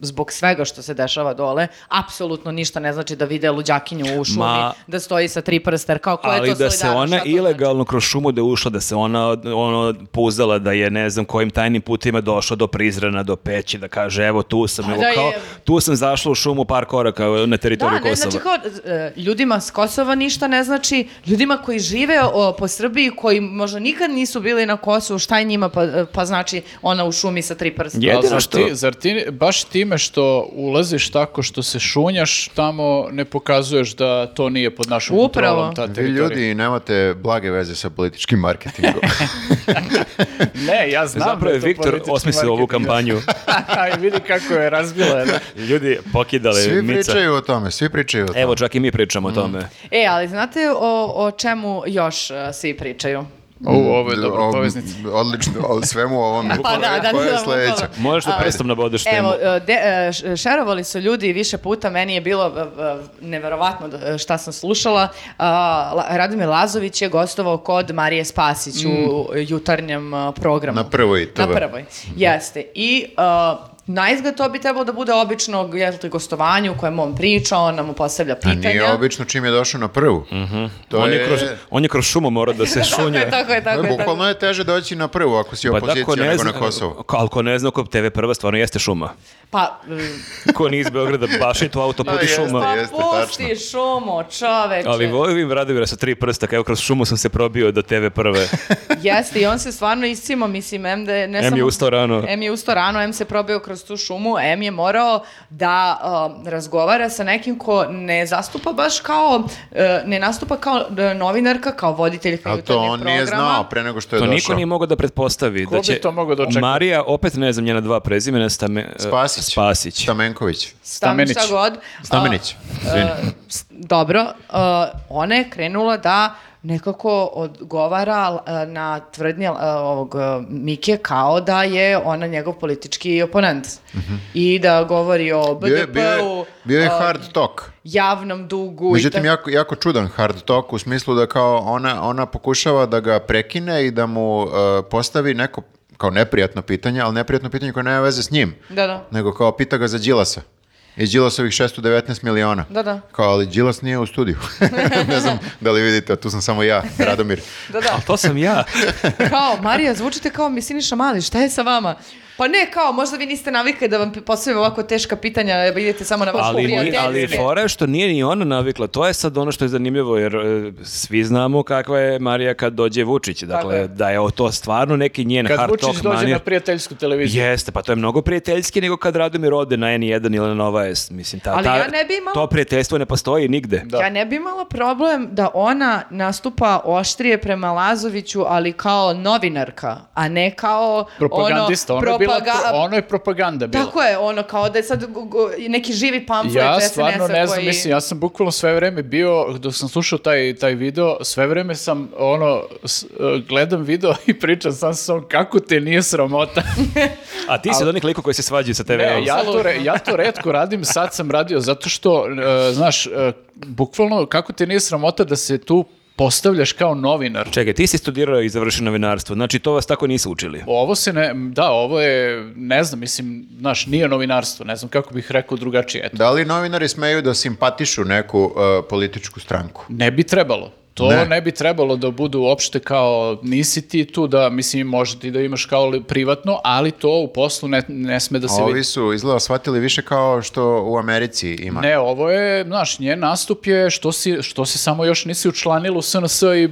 [SPEAKER 4] zbog svega što se dešava dole, apsolutno ništa ne znači da vide luđakinju u šumi,
[SPEAKER 1] Ma-
[SPEAKER 4] da stoji sa tri prsta, jer kao ko je to
[SPEAKER 1] ali da se
[SPEAKER 4] solidarno,
[SPEAKER 1] ona
[SPEAKER 4] šta to znači?
[SPEAKER 1] ilegalno kroz šumu da je ušla, da se ona ono pouzala da je ne znam kojim tajnim putima došla do Prizrena, do Peći, da kaže evo tu sam,
[SPEAKER 4] Pa
[SPEAKER 1] nego
[SPEAKER 4] da
[SPEAKER 1] kao
[SPEAKER 4] je-
[SPEAKER 1] tu sam zašla u šumu par koraka na teritoriju
[SPEAKER 4] Da, ne,
[SPEAKER 1] Kosova.
[SPEAKER 4] znači kao, e, ljudima s Kosova ništa ne znači, ljudima koji žive o, po Srbiji, koji možda nikad nisu bili na Kosovu, šta je njima, pa, pa znači ona u šumi sa tri prsta.
[SPEAKER 1] Je. Jedino
[SPEAKER 3] Ali zar
[SPEAKER 1] što-
[SPEAKER 3] Ti, zar ti baš time što ulaziš tako što se šunjaš, tamo ne pokazuješ da to nije pod našom
[SPEAKER 4] Upravo.
[SPEAKER 3] kontrolom ta
[SPEAKER 2] Vi
[SPEAKER 3] teritorija?
[SPEAKER 2] ljudi nemate blage veze sa političkim marketingom.
[SPEAKER 3] Ne, ja znam da
[SPEAKER 1] Zapravo je
[SPEAKER 3] to
[SPEAKER 1] Viktor
[SPEAKER 3] politički
[SPEAKER 1] osmislio ovu
[SPEAKER 3] marketing.
[SPEAKER 1] kampanju.
[SPEAKER 3] I vidi kako je razbila. jedna.
[SPEAKER 1] Ljudi pokidale
[SPEAKER 2] Svi
[SPEAKER 1] mica.
[SPEAKER 2] pričaju o tome, svi pričaju o tome.
[SPEAKER 1] Evo, čak i mi pričamo o
[SPEAKER 3] Mm.
[SPEAKER 1] tome.
[SPEAKER 4] E, ali znate o, o čemu još e, svi pričaju?
[SPEAKER 1] Mm,
[SPEAKER 3] U, ovo je
[SPEAKER 2] O-
[SPEAKER 3] dobra poveznica.
[SPEAKER 2] Mm. Odlično, o svemu ovome.
[SPEAKER 4] Pa da, da,
[SPEAKER 2] Koja je
[SPEAKER 4] da, da,
[SPEAKER 2] sledeća?
[SPEAKER 4] da.
[SPEAKER 1] Možeš da
[SPEAKER 4] A,
[SPEAKER 1] prestom nabodeš temu.
[SPEAKER 4] Evo, e, de, e, š- šerovali su ljudi više puta, meni je bilo e, e, neverovatno da- e, šta sam slušala. A, La- Radomir Lazović je gostovao kod Marije Spasić u e, jutarnjem e, programu.
[SPEAKER 2] Mm. Na prvoj TV.
[SPEAKER 4] Na prvoj, jeste. I uh, na izgled to bi trebalo da bude obično jel te, gostovanje u kojem on priča, on nam postavlja
[SPEAKER 2] A
[SPEAKER 4] pitanja.
[SPEAKER 2] nije obično čim je došao na prvu.
[SPEAKER 4] Mhm.
[SPEAKER 2] To
[SPEAKER 1] on, je...
[SPEAKER 2] je,
[SPEAKER 1] kroz, on je kroz šumu mora da se
[SPEAKER 4] Tako
[SPEAKER 1] šunja.
[SPEAKER 4] je, tako je, tako je. tako
[SPEAKER 2] Bukvalno
[SPEAKER 4] je.
[SPEAKER 2] je teže doći na prvu ako
[SPEAKER 1] Pa
[SPEAKER 2] si opozicija
[SPEAKER 1] ko
[SPEAKER 2] nego
[SPEAKER 1] zna,
[SPEAKER 2] na Kosovo.
[SPEAKER 1] ko- ali ko ne zna ko TV prva stvarno jeste šuma.
[SPEAKER 4] Pa, mm,
[SPEAKER 1] Ko nije iz Beograda, baš je to autoput
[SPEAKER 2] A,
[SPEAKER 1] i
[SPEAKER 2] jeste.
[SPEAKER 1] šuma.
[SPEAKER 4] pa
[SPEAKER 2] jeste,
[SPEAKER 4] pusti šumo, čoveče.
[SPEAKER 1] Ali volim Radovira sa tri prsta, kao kroz šumu sam se probio do TV prve.
[SPEAKER 4] Jeste, i on se stvarno iscimo, mislim, em da je... Ne
[SPEAKER 1] Em je
[SPEAKER 4] samo-
[SPEAKER 1] ustao rano.
[SPEAKER 4] Em je ustao rano, em se probio kroz tu šumu, em je morao da um, razgovara sa nekim ko ne zastupa baš kao, e, ne nastupa kao e, novinarka, kao voditeljka
[SPEAKER 2] Ali to
[SPEAKER 4] jutarnjeg
[SPEAKER 2] on nije
[SPEAKER 4] programa.
[SPEAKER 2] znao pre nego što je
[SPEAKER 1] To
[SPEAKER 2] došao.
[SPEAKER 1] niko nije mogao da pretpostavi.
[SPEAKER 3] Ko
[SPEAKER 1] da
[SPEAKER 3] bi
[SPEAKER 1] će
[SPEAKER 3] to mogao da očekuje?
[SPEAKER 1] Marija, opet ne znam njena dva prezimena, Stame, e,
[SPEAKER 2] Spasić.
[SPEAKER 1] Spasić.
[SPEAKER 2] Stamenković.
[SPEAKER 4] Stam- šta
[SPEAKER 3] Stamenić.
[SPEAKER 4] god.
[SPEAKER 2] Stamenić. Izvini.
[SPEAKER 4] A, s- dobro, a, ona je krenula da nekako odgovara a, na tvrdnje a, ovog a, Mike kao da je ona njegov politički oponent i da govori o
[SPEAKER 2] Mhm. Bio je, bio je,
[SPEAKER 4] BDP-u,
[SPEAKER 2] bio je
[SPEAKER 1] um,
[SPEAKER 4] a,
[SPEAKER 2] hard talk.
[SPEAKER 4] uh, javnom dugu. i
[SPEAKER 2] Međutim,
[SPEAKER 4] tako-
[SPEAKER 2] jako, jako čudan hard talk u smislu da kao ona, ona pokušava da ga prekine i da mu uh, postavi neko kao neprijatno pitanje, ali neprijatno pitanje koje nema veze s njim.
[SPEAKER 4] Da, da.
[SPEAKER 2] Nego kao pita ga za Đilasa. I Đilasovih 619 miliona.
[SPEAKER 4] Da, da.
[SPEAKER 2] Kao, ali Đilas nije u studiju. ne znam da li vidite, a tu sam samo ja, Radomir.
[SPEAKER 4] Da, da.
[SPEAKER 1] Ali to sam ja.
[SPEAKER 4] Kao, Marija, zvučite kao mi Siniša Mali, šta je sa vama? Pa ne, kao, možda vi niste navikli da vam postavim ovako teška pitanja, evo, idete samo na vašu
[SPEAKER 1] ali, ni- ali fora je što nije ni ona navikla. To je sad ono što je zanimljivo, jer e, svi znamo kakva je Marija kad dođe Vučić. Dakle,
[SPEAKER 4] je.
[SPEAKER 1] da je o- to stvarno neki njen
[SPEAKER 3] Kad
[SPEAKER 1] hard
[SPEAKER 3] Vučić
[SPEAKER 1] talk
[SPEAKER 3] dođe
[SPEAKER 1] manir.
[SPEAKER 3] na prijateljsku televiziju.
[SPEAKER 1] Jeste, pa to je mnogo prijateljski nego kad Radomir ode na N1 ili na Nova S. Mislim, ta,
[SPEAKER 4] Ali
[SPEAKER 1] ta-
[SPEAKER 4] ja ne bi imala-
[SPEAKER 1] To prijateljstvo ne postoji nigde.
[SPEAKER 3] Da.
[SPEAKER 4] Ja ne bi imala problem da ona nastupa oštrije prema Lazoviću, ali kao novinarka, a ne kao
[SPEAKER 3] Propagandista,
[SPEAKER 4] ono,
[SPEAKER 3] ona je bila bila,
[SPEAKER 4] propaga-
[SPEAKER 3] pro- ono je propaganda bila.
[SPEAKER 4] Tako je, ono, kao da je sad gu- gu- neki živi pamflet
[SPEAKER 3] Ja
[SPEAKER 4] SNS-a
[SPEAKER 3] stvarno ne znam,
[SPEAKER 4] koji...
[SPEAKER 3] mislim, ja sam bukvalno sve vreme bio, dok sam slušao taj, taj video, sve vreme sam, ono, s- e, gledam video i pričam sam sam kako te nije sramota.
[SPEAKER 1] A ti si od onih likova koji se svađaju sa tv
[SPEAKER 3] Ne,
[SPEAKER 1] ja...
[SPEAKER 3] ja, to re- ja to redko radim, sad sam radio zato što, e, znaš, e, bukvalno kako te nije sramota da se tu postavljaš kao novinar.
[SPEAKER 1] Čekaj, ti si studirao i završio novinarstvo, znači to vas tako nisu učili.
[SPEAKER 3] Ovo se ne, da, ovo je, ne znam, mislim, znaš, nije novinarstvo, ne znam kako bih rekao drugačije, eto.
[SPEAKER 2] Da li novinari smeju da simpatišu neku uh, političku stranku?
[SPEAKER 3] Ne bi trebalo. To
[SPEAKER 2] Ne.
[SPEAKER 3] ne. bi trebalo da budu uopšte kao nisi ti tu da, mislim, možda ti da imaš kao li- privatno, ali to u poslu ne, ne sme da se vidi.
[SPEAKER 2] Ovi su izgleda shvatili više kao što u Americi ima.
[SPEAKER 3] Ne, ovo je, znaš, njen nastup je što, si, što se samo još nisi učlanila u SNS i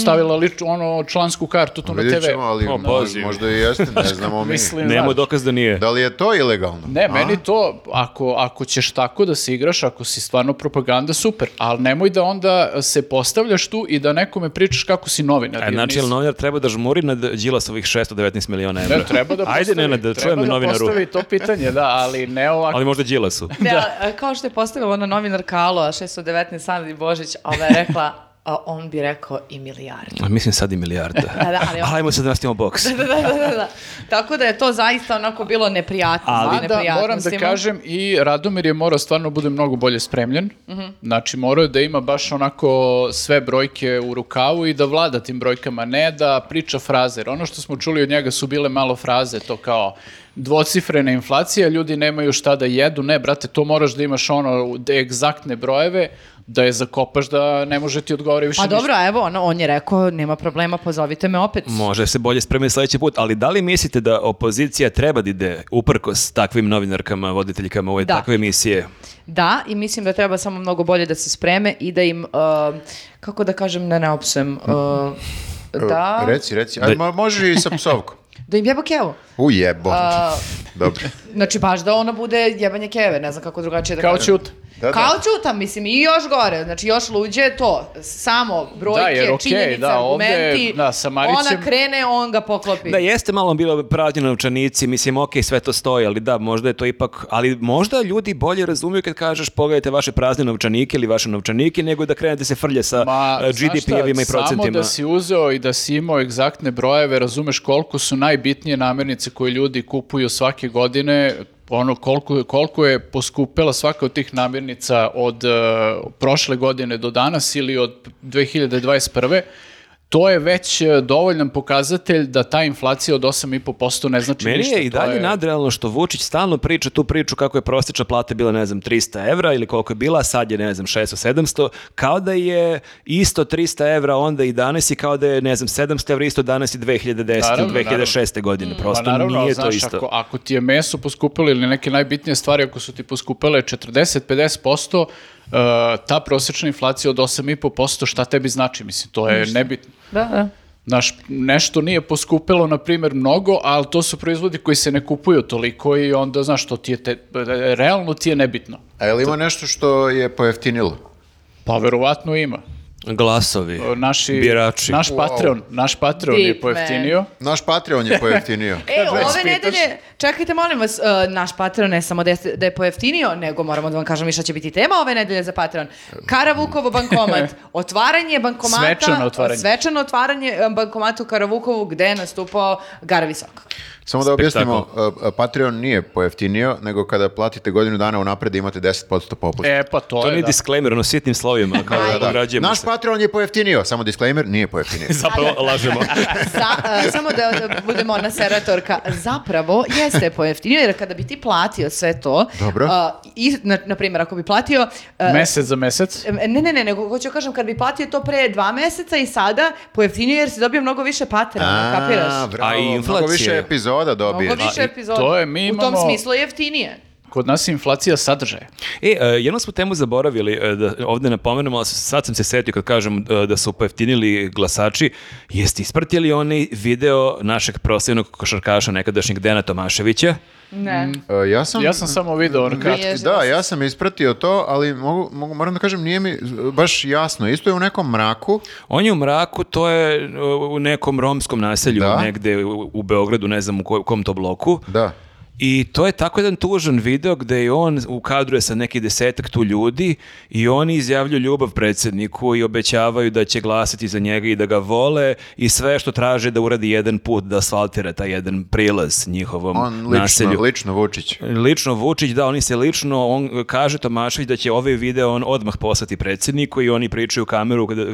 [SPEAKER 3] stavila lič, ono, člansku kartu tu na
[SPEAKER 2] Vidjet
[SPEAKER 3] TV.
[SPEAKER 2] ćemo, ali
[SPEAKER 1] O,
[SPEAKER 2] možda,
[SPEAKER 1] pazi.
[SPEAKER 2] možda i jeste, ne znamo mi.
[SPEAKER 3] Mislim,
[SPEAKER 1] Nemo
[SPEAKER 3] znaš.
[SPEAKER 1] dokaz da nije.
[SPEAKER 2] Da li je to ilegalno?
[SPEAKER 3] Ne,
[SPEAKER 2] A?
[SPEAKER 3] meni to, ako, ako ćeš tako da se igraš, ako si stvarno propaganda, super, ali nemoj da onda se postavljaš tu i da nekome pričaš kako si novinar.
[SPEAKER 1] E,
[SPEAKER 3] jer
[SPEAKER 1] znači, jel
[SPEAKER 3] nisi.
[SPEAKER 1] novinar treba da žmuri nad Đilasovih 619 miliona evra?
[SPEAKER 3] Ne, treba da postavi,
[SPEAKER 1] Ajde, Nenad, da
[SPEAKER 3] treba
[SPEAKER 1] čujem
[SPEAKER 3] da
[SPEAKER 1] novinaru.
[SPEAKER 3] postavi to pitanje, da, ali ne ovako.
[SPEAKER 1] Ali možda Đilasu.
[SPEAKER 4] Ne, a, kao što je postavila ona novinarka Aloa 619 Sandi Božić, a ona je rekla, a on bi rekao i milijardu.
[SPEAKER 1] A Mislim sad i milijarda.
[SPEAKER 4] Da, da, ali-
[SPEAKER 1] Ajmo sad da nastavimo boks.
[SPEAKER 4] da, da, da, da, da. Tako da je to zaista onako bilo neprijatno.
[SPEAKER 3] Ali da, moram da kažem i Radomir je morao stvarno bude mnogo bolje spremljen.
[SPEAKER 4] Mhm.
[SPEAKER 3] Znači morao je da ima baš onako sve brojke u rukavu i da vlada tim brojkama, ne da priča fraze. Jer Ono što smo čuli od njega su bile malo fraze, to kao dvocifrena inflacija, ljudi nemaju šta da jedu. Ne, brate, to moraš da imaš ono de- egzaktne brojeve, da je zakopaš da ne može ti odgovori više
[SPEAKER 4] Pa
[SPEAKER 3] ništa.
[SPEAKER 4] dobro, evo, ono, on je rekao, nema problema, pozovite me opet.
[SPEAKER 1] Može se bolje spremiti sledeći put, ali da li mislite da opozicija treba da ide uprkos takvim novinarkama, voditeljkama ove
[SPEAKER 4] Da.
[SPEAKER 1] takve emisije?
[SPEAKER 4] Da, i mislim da treba samo mnogo bolje da se spreme i da im, uh, kako da kažem, ne naopsujem, uh, da,
[SPEAKER 2] Mm. Reci, reci. Aj,
[SPEAKER 1] Da-
[SPEAKER 2] ma, može i sa psovkom.
[SPEAKER 4] da im jeba kevu.
[SPEAKER 2] U jebo.
[SPEAKER 4] A-
[SPEAKER 2] Dobro.
[SPEAKER 4] Znači, baš da ona bude jebanje keve, ne znam kako drugačije da
[SPEAKER 3] Kao
[SPEAKER 4] kažem.
[SPEAKER 3] ćut.
[SPEAKER 2] Da, da.
[SPEAKER 4] Kao ćuta, mislim, i još gore, znači još luđe je to, samo brojke,
[SPEAKER 3] Da, jer okej,
[SPEAKER 4] činjenice,
[SPEAKER 3] da, ovde,
[SPEAKER 4] argumenti,
[SPEAKER 3] da, sa Marićem-
[SPEAKER 4] ona krene, on ga poklopi.
[SPEAKER 1] Da, jeste malo bilo pražnjeno novčanici, mislim, ok, sve to stoji, ali da, možda je to ipak, ali možda ljudi bolje razumiju kad kažeš pogledajte vaše prazne novčanike ili vaše novčanike, nego da krenete se frlje sa
[SPEAKER 3] Ma,
[SPEAKER 1] eh,
[SPEAKER 3] znaš šta,
[SPEAKER 1] GDP-evima i
[SPEAKER 3] Samo
[SPEAKER 1] procentima.
[SPEAKER 3] da si uzeo i da si imao egzaktne brojeve, razumeš koliko su najbitnije namirnice koje ljudi kupuju svake godine, ono koliko, koliko je poskupela svaka od tih namirnica od e, prošle godine do danas ili od 2021. To je već e, dovoljan pokazatelj da ta inflacija od 8,5% ne znači
[SPEAKER 1] Meni
[SPEAKER 3] ništa.
[SPEAKER 1] je i
[SPEAKER 3] to
[SPEAKER 1] dalje nadrealno što Vučić stalno priča tu priču kako je prosječna plata bila, ne znam, 300 evra ili koliko je bila, sad je, ne znam, 600-700, kao da je isto 300 evra onda i danas i kao da je, ne znam, 700 evra isto danas i 2010.
[SPEAKER 3] Naravno,
[SPEAKER 1] ili 2006. godine. Prosto
[SPEAKER 3] Pa naravno,
[SPEAKER 1] nije
[SPEAKER 3] ali
[SPEAKER 1] to
[SPEAKER 3] znaš,
[SPEAKER 1] isto.
[SPEAKER 3] Ako, ako ti je meso poskupilo ili neke najbitnije stvari, ako su ti poskupile 40-50%, uh, ta prosječna inflacija od 8,5%, šta tebi znači? Mislim, to je nebitno.
[SPEAKER 4] da, da.
[SPEAKER 3] Znaš, nešto nije poskupilo, na primjer, mnogo, ali to su proizvodi koji se ne kupuju toliko i onda, znaš, to ti je, te, realno ti je nebitno.
[SPEAKER 2] A je li ima nešto što je pojeftinilo?
[SPEAKER 3] Pa verovatno ima.
[SPEAKER 1] Glasovi,
[SPEAKER 3] Naši,
[SPEAKER 1] birači.
[SPEAKER 3] Naš Patreon, naš Patreon je
[SPEAKER 4] Deep man.
[SPEAKER 3] pojeftinio.
[SPEAKER 2] Naš Patreon je pojeftinio.
[SPEAKER 4] E,
[SPEAKER 3] već
[SPEAKER 4] ove
[SPEAKER 3] pitaš.
[SPEAKER 4] nedelje, čekajte molim vas, e, naš Patreon ne samo da je, da je pojeftinio, nego moramo da vam kažem i šta će biti tema ove nedelje za Patreon. Karavukovo bankomat, otvaranje bankomata,
[SPEAKER 3] Svečano otvaranje.
[SPEAKER 4] svečano otvaranje, e, bankomata u Karavukovu gde je nastupao Gara Visoko.
[SPEAKER 2] Samo da objasnimo,
[SPEAKER 1] Spektakl.
[SPEAKER 2] uh, uh, Patreon nije pojeftinio, nego kada platite godinu dana unapred imate 10% popust.
[SPEAKER 3] E, pa to,
[SPEAKER 1] To
[SPEAKER 3] je,
[SPEAKER 1] nije
[SPEAKER 3] da.
[SPEAKER 1] disclaimer, ono sitnim slovima, kao
[SPEAKER 4] Da,
[SPEAKER 1] da,
[SPEAKER 4] da.
[SPEAKER 1] ograđujemo
[SPEAKER 2] Naš
[SPEAKER 1] se.
[SPEAKER 2] Patreon je pojeftinio, samo disclaimer, nije pojeftinio.
[SPEAKER 1] pa- Zapravo lažemo.
[SPEAKER 4] Sa- e, samo da, da budemo ona seratorka, zapravo jeste pojeftinio, jer kada bi ti platio sve to,
[SPEAKER 2] Dobro.
[SPEAKER 4] e, i, na, na primjer, ako bi platio e,
[SPEAKER 3] Mesec za mesec.
[SPEAKER 4] E, Ne, ne, ne, nego hoću da kažem kad bi platio to pre dva meseca i sada pojeftinio jer si dobio mnogo više patera, kapiraš?
[SPEAKER 2] bravo,
[SPEAKER 1] A i
[SPEAKER 2] mnogo
[SPEAKER 1] inflacija
[SPEAKER 2] više
[SPEAKER 1] je.
[SPEAKER 2] epizoda dobiješ.
[SPEAKER 4] Mnogo više
[SPEAKER 1] A i
[SPEAKER 4] epizoda.
[SPEAKER 3] to je, mi
[SPEAKER 4] U tom
[SPEAKER 3] imamo-
[SPEAKER 4] smislu je jeftinije.
[SPEAKER 3] Kod nas je inflacija sadržaja.
[SPEAKER 1] E, e, jednom smo temu zaboravili, e, da ovde napomenemo, ali sad sam se setio kad kažem e, da su pojeftinili glasači, jeste ispratili onaj video našeg prosjevnog košarkaša nekadašnjeg Dena Tomaševića?
[SPEAKER 4] Ne.
[SPEAKER 2] E, ja sam...
[SPEAKER 3] Ja sam samo video ono kratko.
[SPEAKER 4] Nije-
[SPEAKER 2] Da, ja sam ispratio to, ali mogu, mogu, moram da kažem, nije mi e, baš jasno. Isto je u nekom mraku.
[SPEAKER 1] On je u mraku, to je e, u nekom romskom naselju
[SPEAKER 2] Da.
[SPEAKER 1] negde u, u Beogradu, ne znam u ko- kom to bloku.
[SPEAKER 2] Da.
[SPEAKER 1] I to je tako jedan tužan video gde je on u kadru je sa neki desetak tu ljudi i oni izjavljuju ljubav predsjedniku i obećavaju da će glasati za njega i da ga vole i sve što traže da uradi jedan put, da asfaltira taj jedan prilaz njihovom
[SPEAKER 2] On lično,
[SPEAKER 1] naselju.
[SPEAKER 2] lično Vučić.
[SPEAKER 1] Lično Vučić, da, oni se lično, on kaže Tomašević da će ovaj video on odmah poslati predsjedniku i oni pričaju u kameru, kada,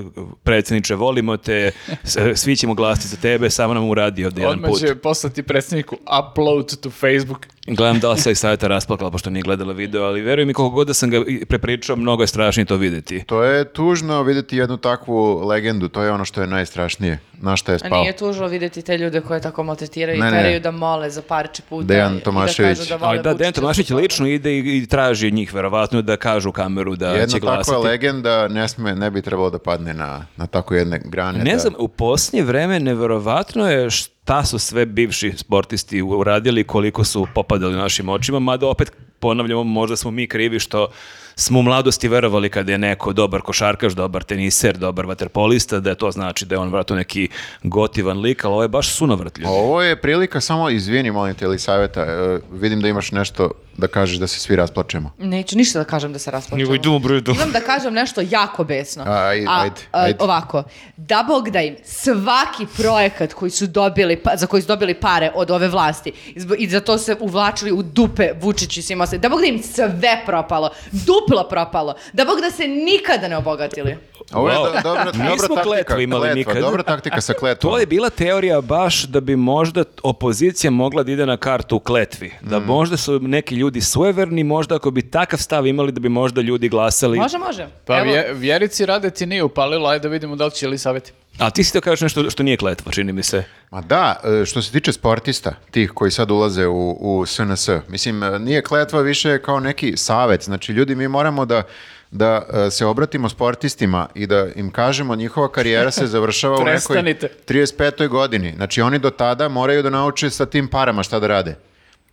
[SPEAKER 1] predsjedniče, volimo te, s- svi ćemo glasiti za tebe, samo nam uradi ovdje jedan
[SPEAKER 3] Odmah
[SPEAKER 1] put.
[SPEAKER 3] će poslati predsjedniku upload to Facebook.
[SPEAKER 1] Gledam da li se i savjeta rasplakala, pošto nije gledala video, ali veruj mi koliko god da sam ga i prepričao, mnogo je strašnije to vidjeti.
[SPEAKER 2] To je tužno vidjeti jednu takvu legendu. To je ono što je najstrašnije. Na šta je
[SPEAKER 4] A
[SPEAKER 2] spao.
[SPEAKER 4] nije tužno vidjeti te ljude koje tako maltretiraju i
[SPEAKER 2] Pa. Ne, ne.
[SPEAKER 4] teraju da mole za parče puta.
[SPEAKER 2] Dejan
[SPEAKER 4] i- i da
[SPEAKER 2] Tomašević.
[SPEAKER 4] kažu vole
[SPEAKER 1] Ali da, Dejan
[SPEAKER 4] Vučića.
[SPEAKER 1] Tomašić lično ide i, i traži od njih, verovatno, da kažu u kameru da
[SPEAKER 2] Jedna
[SPEAKER 1] će glasati.
[SPEAKER 2] takva legenda ne, sme, ne bi trebalo da padne na, na tako jedne grane.
[SPEAKER 1] Ne
[SPEAKER 2] da-
[SPEAKER 1] znam, u posljednje vreme neverovatno je šta su sve bivši sportisti uradili, koliko su popadali našim očima, mada opet ponavljamo, možda smo mi krivi što smo u mladosti verovali kada je neko dobar košarkaš, dobar teniser, dobar vaterpolista, da to znači da je on vratno neki gotivan lik, ali ovo je baš sunovrtljivo.
[SPEAKER 2] Ovo je prilika, samo izvini, molim te, ili savjeta, vidim da imaš nešto da kažeš da se svi rasplačemo.
[SPEAKER 4] Neću ništa da kažem da se rasplačemo. Imam da kažem nešto jako besno.
[SPEAKER 2] A, ajde,
[SPEAKER 4] A,
[SPEAKER 2] ajde,
[SPEAKER 4] a,
[SPEAKER 2] ajde.
[SPEAKER 4] Ovako, da Bog da im svaki projekat koji su dobili, pa- za koji su dobili pare od ove vlasti i zbo- i za to se uvlačili u dupe Vučić i svima ostalim, da Bog da im sve propalo, duplo propalo, da Bog da se nikada ne obogatili.
[SPEAKER 2] Ovo je
[SPEAKER 1] Wow.
[SPEAKER 2] do- dobra,
[SPEAKER 1] Nismo
[SPEAKER 2] dobra taktika.
[SPEAKER 1] kletvu imali
[SPEAKER 2] kletva,
[SPEAKER 1] nikad.
[SPEAKER 2] Dobra taktika sa kletvom.
[SPEAKER 1] To je bila teorija baš da bi možda opozicija mogla da ide na kartu u kletvi. Da
[SPEAKER 2] Mm.
[SPEAKER 1] možda su neki ljudi sueverni, možda ako bi takav stav imali da bi možda ljudi glasali.
[SPEAKER 4] Može, može.
[SPEAKER 3] Pa
[SPEAKER 4] Evo,
[SPEAKER 3] vje, vjerici radeti nije upalilo, ajde da vidimo da li će li savjeti.
[SPEAKER 1] A ti si to kažeš nešto što nije kletva, čini mi se.
[SPEAKER 2] Ma da, e, što se tiče sportista, tih koji sad ulaze u, u SNS, mislim, e, nije kletva više kao neki savet. Znači, ljudi, mi moramo da da e, se obratimo sportistima i da im kažemo njihova karijera se završava u nekoj
[SPEAKER 3] Prestanite.
[SPEAKER 2] 35. godini. Znači oni do tada moraju da nauče sa tim parama šta da rade.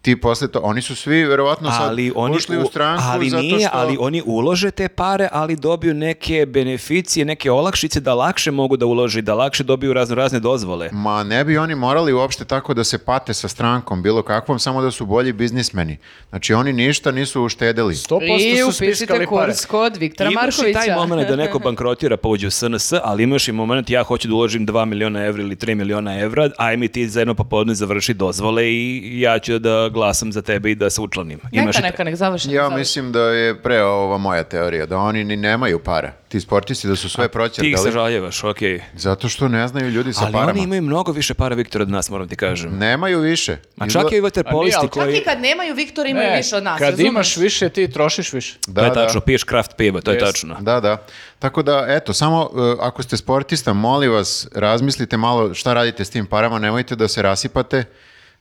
[SPEAKER 2] Ti posle to, oni su svi verovatno sad
[SPEAKER 1] ali oni
[SPEAKER 2] ušli u stranku
[SPEAKER 1] ali
[SPEAKER 2] zato
[SPEAKER 1] nije,
[SPEAKER 2] što...
[SPEAKER 1] ali oni ulože te pare, ali dobiju neke beneficije, neke olakšice da lakše mogu da ulože, i da lakše dobiju razno razne dozvole.
[SPEAKER 2] Ma ne bi oni morali uopšte tako da se pate sa strankom, bilo kakvom, samo da su bolji biznismeni. Znači oni ništa nisu uštedeli.
[SPEAKER 3] 100%
[SPEAKER 4] I
[SPEAKER 3] su
[SPEAKER 4] upišite
[SPEAKER 3] spiskali pare.
[SPEAKER 4] kurs kod Viktora
[SPEAKER 1] imaš i
[SPEAKER 4] Markovića.
[SPEAKER 1] taj moment da neko bankrotira pa uđe u SNS, ali imaš i moment ja hoću da uložim 2 miliona evra ili 3 miliona evra, aj mi ti za jedno popodne završi dozvole i ja ću da glasam za tebe i da se učlanim. Imaš
[SPEAKER 4] Neka,
[SPEAKER 1] i taj-
[SPEAKER 4] neka, nek završi.
[SPEAKER 2] Ja
[SPEAKER 4] nek završi.
[SPEAKER 2] mislim da je pre ova moja teorija, da oni ni nemaju para. Ti sportisti da su
[SPEAKER 1] Ti
[SPEAKER 2] sve
[SPEAKER 1] ih se
[SPEAKER 2] proćerdali.
[SPEAKER 1] žaljevaš, okej.
[SPEAKER 2] Zato što ne znaju ljudi sa
[SPEAKER 1] Ali
[SPEAKER 2] parama.
[SPEAKER 1] oni imaju mnogo više para Viktora od nas, moram ti kažem.
[SPEAKER 2] Nemaju više.
[SPEAKER 1] Ma
[SPEAKER 2] Izgleda-
[SPEAKER 1] čak i
[SPEAKER 3] A
[SPEAKER 1] vaterpolisti
[SPEAKER 3] nije, ali
[SPEAKER 1] koji...
[SPEAKER 4] Čak i kad nemaju, Viktor imaju
[SPEAKER 3] Ne,
[SPEAKER 4] više od nas.
[SPEAKER 3] Kad
[SPEAKER 4] razumeš?
[SPEAKER 3] imaš više, ti trošiš više.
[SPEAKER 1] to je tačno, piješ kraft piva, to je
[SPEAKER 3] Jest.
[SPEAKER 1] tačno.
[SPEAKER 2] Da, da. Tako da, eto, samo e, ako ste sportista, molim vas, razmislite malo šta radite s tim parama, nemojte da se rasipate.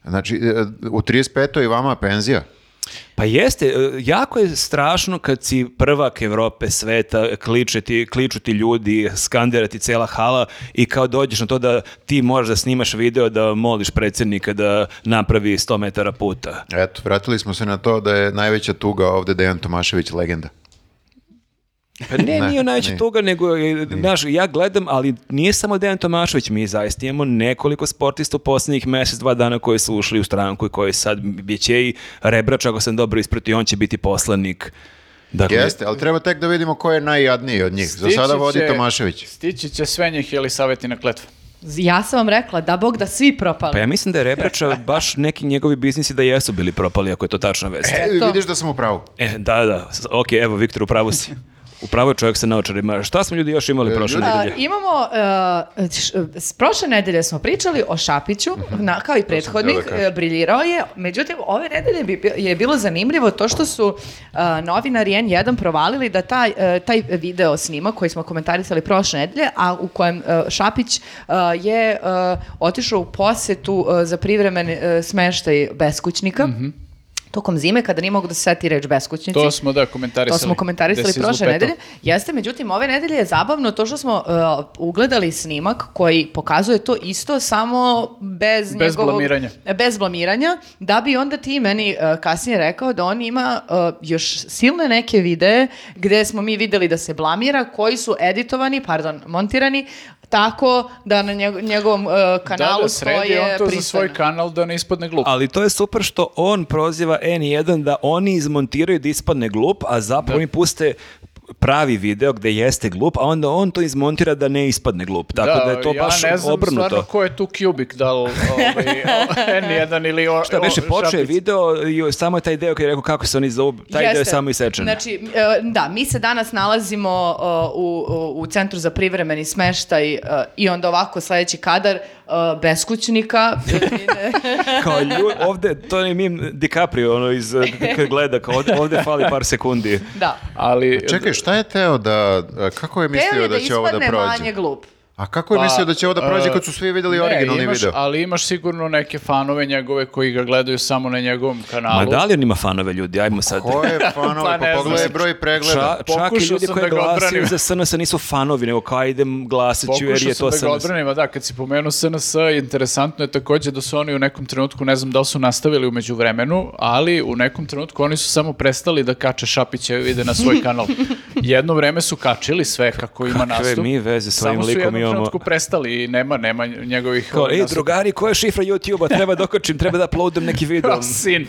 [SPEAKER 2] Znači, e, u 35. i vama penzija.
[SPEAKER 1] Pa jeste, e, jako je strašno kad si prvak Evrope, sveta, kliče ti, kliču ti ljudi, skandira ti cela hala i kao dođeš na to da ti moraš da snimaš video da moliš predsjednika da napravi 100 metara puta.
[SPEAKER 2] Eto, vratili smo se na to da je najveća tuga ovde Dejan Tomašević legenda.
[SPEAKER 1] Pa ne, nije najveća
[SPEAKER 2] nije.
[SPEAKER 1] toga, nego, e, znaš, ja gledam, ali nije samo Dejan Tomašević, mi zaista imamo nekoliko sportista u posljednjih mjesec, dva dana koji su ušli u stranku i koji sad bit će i Rebrač, ako sam dobro ispratio, on će biti poslanik. Dakle,
[SPEAKER 2] Jeste, ali treba tek da vidimo ko je najjadniji od njih. Za
[SPEAKER 3] Stići
[SPEAKER 2] sada vodi
[SPEAKER 3] će-
[SPEAKER 2] Tomašević.
[SPEAKER 3] Stići će sve njih ili savjeti na kletvu.
[SPEAKER 4] Ja sam vam rekla, da Bog da svi propali.
[SPEAKER 1] Pa ja mislim da je Rebrača baš neki njegovi biznisi da jesu bili propali, ako je to tačna vest.
[SPEAKER 2] E,
[SPEAKER 4] Eto.
[SPEAKER 2] vidiš da sam u pravu.
[SPEAKER 1] E, da, da, s- ok, evo, Viktor, upravo si. Upravo je čovjek sa naočarima. Šta smo ljudi još imali prošle
[SPEAKER 2] ljudi-
[SPEAKER 4] A,
[SPEAKER 1] nedelje?
[SPEAKER 4] imamo, e, š- s prošle nedelje smo pričali o Šapiću, na, kao i prethodnik,
[SPEAKER 2] htio da kažem.
[SPEAKER 4] e, briljirao je, međutim, ove nedelje bi bi- je bilo zanimljivo to što su e, novinari N1 provalili da taj, e, taj video snima koji smo komentarisali prošle nedelje, a u kojem e, Šapić e, je e, otišao u posetu e, za privremen e, smeštaj beskućnika, To tokom zime kada nije mogu da se seti reč beskućnici.
[SPEAKER 3] To smo da komentarisali.
[SPEAKER 4] To smo komentarisali
[SPEAKER 3] Gde si
[SPEAKER 4] prošle
[SPEAKER 3] izlupetao.
[SPEAKER 4] nedelje. Jeste, međutim, ove nedelje je zabavno to što smo uh, ugledali snimak koji pokazuje to isto, samo
[SPEAKER 3] Bez
[SPEAKER 4] bez, njegovog...
[SPEAKER 3] blamiranja.
[SPEAKER 4] Bez blamiranja, da bi onda ti meni uh, kasnije rekao da on ima uh, još silne neke videe gde smo mi videli da se blamira, koji su editovani, pardon, montirani, tako da na njeg- njegovom uh, kanalu
[SPEAKER 3] da, da,
[SPEAKER 4] stoje
[SPEAKER 3] sredi on to za
[SPEAKER 4] pristojno.
[SPEAKER 3] svoj kanal da ne ispadne glup.
[SPEAKER 1] Ali to je super što on proziva N1 da oni izmontiraju da ispadne glup, a zapravo oni puste pravi video gde jeste glup, a onda on to izmontira da ne ispadne glup. Tako da, je to
[SPEAKER 3] ja
[SPEAKER 1] baš
[SPEAKER 3] ne znam stvarno
[SPEAKER 1] obrnuto.
[SPEAKER 3] ko je tu kubik, da li ovaj, N1 ili o,
[SPEAKER 1] Šta beše,
[SPEAKER 3] o-
[SPEAKER 1] počeo je
[SPEAKER 3] Šapić.
[SPEAKER 1] video i samo je taj deo koji je rekao kako se oni zovu, taj deo je
[SPEAKER 4] Jeste.
[SPEAKER 1] samo isečen.
[SPEAKER 4] Znači, e, da, mi se danas nalazimo e, u, u- u centru za privremeni smeštaj e, i onda ovako sledeći kadar e, beskućnika.
[SPEAKER 1] Kao lju, ovde, to je mim DiCaprio, ono iz, eh, kad gleda, kao ovde, ovde fali par sekundi.
[SPEAKER 4] da.
[SPEAKER 3] Ali,
[SPEAKER 2] Čekaj, šta je teo da, kako je
[SPEAKER 4] Teo
[SPEAKER 2] mislio
[SPEAKER 4] je
[SPEAKER 2] da će ovo da
[SPEAKER 4] ispadne
[SPEAKER 2] prođe?
[SPEAKER 4] manje glup.
[SPEAKER 2] A kako je mislio da će ovo da prođe
[SPEAKER 3] e,
[SPEAKER 2] kad su svi videli
[SPEAKER 3] ne,
[SPEAKER 2] originalni
[SPEAKER 3] imaš,
[SPEAKER 2] video?
[SPEAKER 3] Ali imaš sigurno neke fanove njegove koji ga gledaju samo na njegovom
[SPEAKER 1] Ma
[SPEAKER 3] kanalu.
[SPEAKER 1] da li on ima fanove ljudi, ajmo sad.
[SPEAKER 2] Ko je fanove?
[SPEAKER 3] Pa
[SPEAKER 2] pa
[SPEAKER 3] ne znam.
[SPEAKER 2] pogledaj broj pregleda.
[SPEAKER 1] Ča, čak i
[SPEAKER 3] Pokušao
[SPEAKER 1] ljudi
[SPEAKER 3] sam
[SPEAKER 1] koji
[SPEAKER 3] da ga
[SPEAKER 1] glasaju
[SPEAKER 3] odbranim.
[SPEAKER 1] za SNS nisu fanovi, nego kao idem glasiću jer
[SPEAKER 3] Pokušao
[SPEAKER 1] je
[SPEAKER 3] sam
[SPEAKER 1] to
[SPEAKER 3] da ga
[SPEAKER 1] SNS.
[SPEAKER 3] odbranim, a da, kad si pomenuo SNS, interesantno je takođe da su oni u nekom trenutku, ne znam da li su nastavili umeđu vremenu, ali u nekom trenutku oni su samo prestali da kače Šapićeve vide na svoj kanal. Jedno vreme su kačili sve kako ima nastup.
[SPEAKER 1] mi veze s ovim
[SPEAKER 3] Samo su u
[SPEAKER 1] likom
[SPEAKER 3] jednom
[SPEAKER 1] imamo?
[SPEAKER 3] trenutku prestali i nema, nema njegovih...
[SPEAKER 1] Kao,
[SPEAKER 3] ovih
[SPEAKER 1] ej,
[SPEAKER 3] nastupa.
[SPEAKER 1] drugari, koja je šifra YouTube-a? Treba da okačim, treba da uploadam neki video.
[SPEAKER 3] A, sin.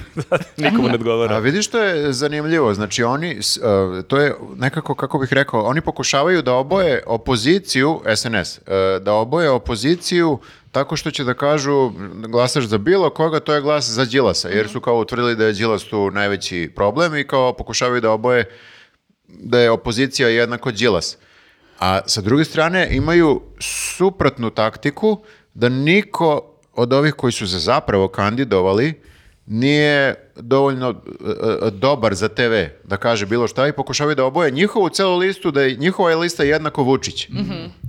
[SPEAKER 1] Nikomu ne
[SPEAKER 2] A
[SPEAKER 1] odgovara.
[SPEAKER 2] vidiš što je zanimljivo, znači oni, s- e, to je nekako, kako bih rekao, oni pokušavaju da oboje opoziciju, SNS, e, da oboje opoziciju tako što će da kažu glasaš za bilo koga, to je glas za Đilasa,
[SPEAKER 4] Mhm.
[SPEAKER 2] jer su kao utvrdili da je Đilas tu najveći problem i kao pokušavaju da oboje da je opozicija jednako Đilas. A sa druge strane imaju suprotnu taktiku da niko od ovih koji su se zapravo kandidovali nije dovoljno e, e, dobar za TV da kaže bilo šta i pokušavaju da oboje njihovu celu listu, da je njihova je lista jednako Vučić.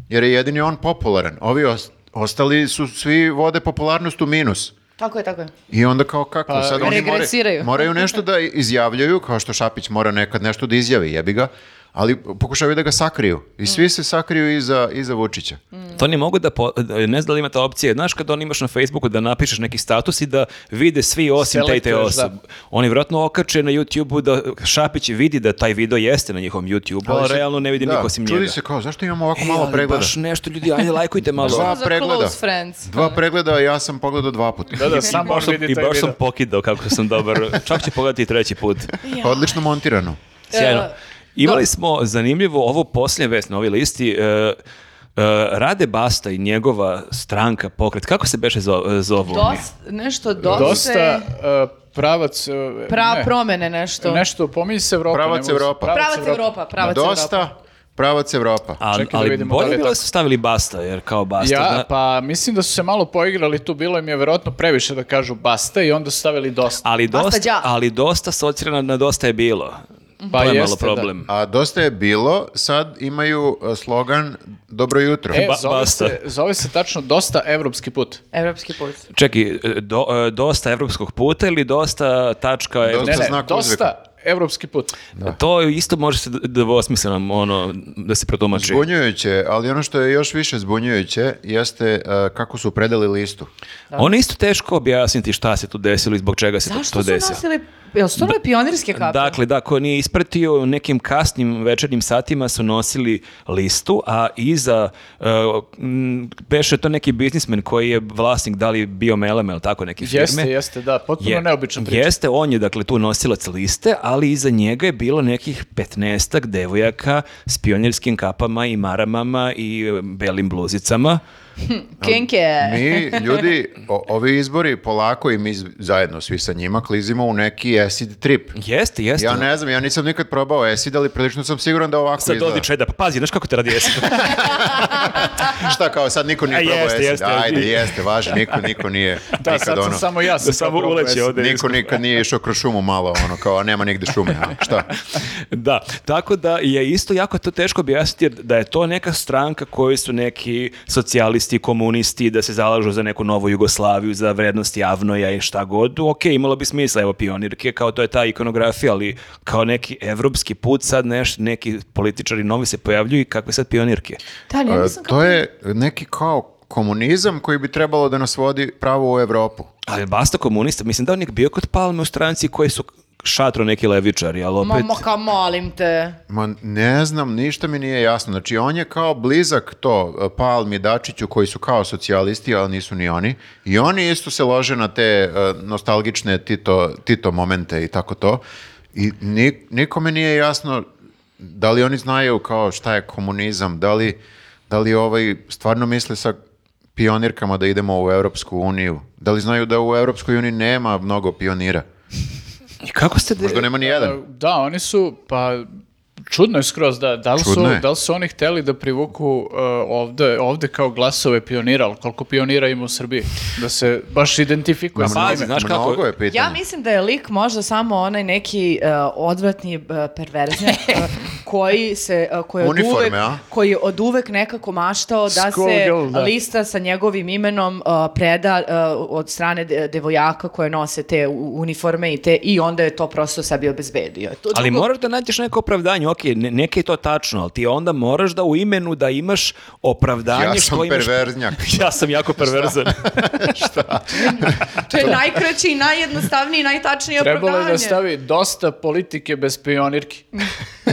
[SPEAKER 2] Jer je jedini on popularan. Ovi os- ostali su svi vode popularnost u minus.
[SPEAKER 4] Tako je, tako je.
[SPEAKER 2] I onda kao kako,
[SPEAKER 1] Pa,
[SPEAKER 2] sad oni moraju,
[SPEAKER 4] regresiraju.
[SPEAKER 2] moraju nešto da izjavljaju, kao što Šapić mora nekad nešto da izjavi, jebi ga, ali pokušavaju da ga sakriju.
[SPEAKER 4] Mm.
[SPEAKER 2] I svi se sakriju iza, iza Vučića.
[SPEAKER 1] To ne mogu da, po, ne znam da li ima ta opcija. Znaš kad on imaš na Facebooku da napišeš neki status i da vide svi osim taj te
[SPEAKER 3] Selektuješ,
[SPEAKER 1] osob. Oni vjerojatno okače na YouTube-u da Šapić vidi da taj video jeste na njihovom YouTube-u, ali Pa,
[SPEAKER 2] se-
[SPEAKER 1] realno ne vidi
[SPEAKER 2] da,
[SPEAKER 1] niko osim njega.
[SPEAKER 2] Čudi se kao, zašto imamo ovako
[SPEAKER 1] E,
[SPEAKER 2] malo
[SPEAKER 1] ali
[SPEAKER 2] pregleda?
[SPEAKER 1] Baš nešto ljudi, ajde lajkujte malo.
[SPEAKER 2] Dva
[SPEAKER 4] Samo za
[SPEAKER 2] pregleda.
[SPEAKER 4] close friends.
[SPEAKER 2] Dva pregleda, a ja sam pogledao dva puta.
[SPEAKER 3] Da, da, samo on
[SPEAKER 1] Baš sam-
[SPEAKER 3] vidi
[SPEAKER 1] I
[SPEAKER 3] taj
[SPEAKER 1] baš sam
[SPEAKER 3] video.
[SPEAKER 1] pokidao kako sam dobar. Čak ću pogledati i treći put.
[SPEAKER 2] Pa, Odlično montirano.
[SPEAKER 1] Sjajno.
[SPEAKER 4] E,
[SPEAKER 1] Imali smo zanimljivo ovo posljednje vest na ovoj listi. e, e, Rade Basta i njegova stranka, pokret, kako se beše zo- zovu? oni?
[SPEAKER 4] Dost, nešto dosta,
[SPEAKER 3] Dosta uh, pravac... uh,
[SPEAKER 4] pra,
[SPEAKER 3] ne,
[SPEAKER 4] promene nešto.
[SPEAKER 3] Nešto, pominji se Evropa. ne
[SPEAKER 2] Pravac
[SPEAKER 3] mogu se-
[SPEAKER 2] Evropa.
[SPEAKER 4] pravac Evropa, pravac
[SPEAKER 2] Dosta,
[SPEAKER 4] Evropa.
[SPEAKER 2] pravac Evropa.
[SPEAKER 1] A,
[SPEAKER 3] Čekaj da
[SPEAKER 1] ali
[SPEAKER 3] vidimo da
[SPEAKER 1] bolje
[SPEAKER 3] li je
[SPEAKER 1] bilo
[SPEAKER 3] tako.
[SPEAKER 1] da su stavili Basta, jer kao Basta.
[SPEAKER 3] Ja,
[SPEAKER 1] zna-
[SPEAKER 3] pa mislim da su se malo poigrali tu, bilo im je verovatno previše da kažu basta i onda su stavili dosta.
[SPEAKER 1] Ali
[SPEAKER 4] Basta
[SPEAKER 1] dosta,
[SPEAKER 4] đa.
[SPEAKER 1] ali dosta asocira na, na dosta je bilo.
[SPEAKER 3] Pa
[SPEAKER 1] to je malo
[SPEAKER 3] jeste, da.
[SPEAKER 1] problem.
[SPEAKER 2] A dosta je bilo, sad imaju e, slogan Dobro jutro.
[SPEAKER 3] E,
[SPEAKER 1] Ba-
[SPEAKER 3] zove,
[SPEAKER 1] basta.
[SPEAKER 3] Se, zove se tačno dosta evropski put.
[SPEAKER 4] Evropski put.
[SPEAKER 1] Čekaj, e, do- e, dosta evropskog puta ili dosta tačka... evropskog-
[SPEAKER 3] Ne,
[SPEAKER 2] Dosta
[SPEAKER 3] ne,
[SPEAKER 2] znak uzvika.
[SPEAKER 3] dosta evropski put.
[SPEAKER 1] To isto može se d- dvosmisleno ono, da se protumači.
[SPEAKER 2] Zbunjujuće, ali ono što je još više zbunjujuće jeste e, kako su predali listu.
[SPEAKER 1] Ono je isto teško objasniti šta se tu desilo i zbog čega se to-
[SPEAKER 4] Zašto
[SPEAKER 1] to
[SPEAKER 4] su
[SPEAKER 1] desilo.
[SPEAKER 4] nosili, jel su to bile pionirske kape?
[SPEAKER 1] Dakle, da, ko nije ispratio, u nekim kasnim večernjim satima su nosili listu, a iza, uh, m, beše to neki biznismen koji je vlasnik, da li bio Melema ili tako neke firme.
[SPEAKER 3] Jeste, jeste, da, potpuno
[SPEAKER 1] Je-
[SPEAKER 3] neobičan priča.
[SPEAKER 1] Jeste, on je dakle tu nosilac liste, ali iza njega je bilo nekih petnestak devojaka s pionirskim kapama i maramama i e, belim bluzicama.
[SPEAKER 4] Kenke.
[SPEAKER 2] Mi, ljudi, o- ovi izbori polako i mi z- zajedno svi sa njima klizimo u neki acid trip.
[SPEAKER 1] Jeste, jeste.
[SPEAKER 2] Ja ne znam, ja nisam nikad probao acid, ali prilično sam siguran da ovako
[SPEAKER 1] Sad
[SPEAKER 2] izgleda.
[SPEAKER 1] dođe Čeda, pa pazi, znaš kako te radi jesi?
[SPEAKER 2] Šta kao, sad niko
[SPEAKER 1] A
[SPEAKER 2] nije probao
[SPEAKER 1] jeste,
[SPEAKER 2] acid.
[SPEAKER 1] jeste,
[SPEAKER 2] Ajde,
[SPEAKER 1] jeste.
[SPEAKER 2] jeste, važno, niko, niko nije.
[SPEAKER 3] Da,
[SPEAKER 2] nikad
[SPEAKER 3] sad sam
[SPEAKER 2] ono,
[SPEAKER 3] samo ja sam kao
[SPEAKER 1] Da samo
[SPEAKER 3] probao
[SPEAKER 1] uleće
[SPEAKER 3] jesti.
[SPEAKER 1] ovde.
[SPEAKER 2] Niko nikad nije išao kroz šumu malo, ono, kao, a nema nigde šume, a, šta?
[SPEAKER 1] Da, tako da je isto jako to teško objasniti jer da je to neka stranka koju su neki socijalisti socijalisti, komunisti, da se zalažu za neku novu Jugoslaviju, za vrednost javnoja i šta god, ok, imalo bi smisla, evo pionirke, kao to je ta ikonografija, ali kao neki evropski put sad neš, neki političari novi se pojavljuju i kakve sad pionirke.
[SPEAKER 4] Da, ne,
[SPEAKER 2] E,
[SPEAKER 4] nisam
[SPEAKER 2] to je neki kao komunizam koji bi trebalo da nas vodi pravo u Evropu.
[SPEAKER 1] Ali basta komunista, mislim da on je bio kod Palme u stranci koji su šatro neki levičari, ali opet...
[SPEAKER 4] Mamo, kao molim te.
[SPEAKER 2] Ma ne znam, ništa mi nije jasno. Znači on je kao blizak to e, Palmi Dačiću koji su kao socijalisti, ali nisu ni oni. I oni isto se lože na te e, nostalgične Tito, Tito momente i tako to. I ni, nikome nije jasno da li oni znaju kao šta je komunizam, da li, da li ovaj stvarno misle sa pionirkama da idemo u Europsku uniju. Da li znaju da u Europskoj uniji nema mnogo pionira?
[SPEAKER 1] I kako ste... de-
[SPEAKER 2] Možda nema ni jedan.
[SPEAKER 1] e,
[SPEAKER 3] Da, oni su, pa čudno je skroz, da, da, li, su,
[SPEAKER 2] Čudno je.
[SPEAKER 3] da li su oni hteli da privuku uh, ovde, ovde kao glasove pionira, ali koliko pionira ima u Srbiji, da se baš identifikuje
[SPEAKER 1] Ma,
[SPEAKER 3] sa
[SPEAKER 1] pazi,
[SPEAKER 3] njime.
[SPEAKER 1] znaš kako-
[SPEAKER 2] Mnogo je pitanje.
[SPEAKER 4] Ja mislim da je lik možda samo onaj neki uh, odvratni uh, perverznjak uh, koji se uh, koji je od
[SPEAKER 2] Uniforme,
[SPEAKER 4] uvek,
[SPEAKER 2] a?
[SPEAKER 4] koji je od uvek nekako maštao da
[SPEAKER 3] Skullgirl,
[SPEAKER 4] se
[SPEAKER 3] da.
[SPEAKER 4] lista sa njegovim imenom uh, preda uh, od strane de- devojaka koje nose te u- uniforme i te i onda je to prosto sebi obezbedio. To
[SPEAKER 1] Ali
[SPEAKER 4] drugo-
[SPEAKER 1] moraš da nađeš neko opravdanje, ok, ne, neke je to tačno, ali ti onda moraš da u imenu da imaš opravdanje
[SPEAKER 2] Ja sam
[SPEAKER 1] što imaš...
[SPEAKER 2] perverznjak.
[SPEAKER 1] Ja sam jako perverzan.
[SPEAKER 4] to je najkraći i najjednostavniji i najtačniji
[SPEAKER 3] Trebalo je
[SPEAKER 4] opravdanje.
[SPEAKER 3] da stavi dosta politike bez pionirki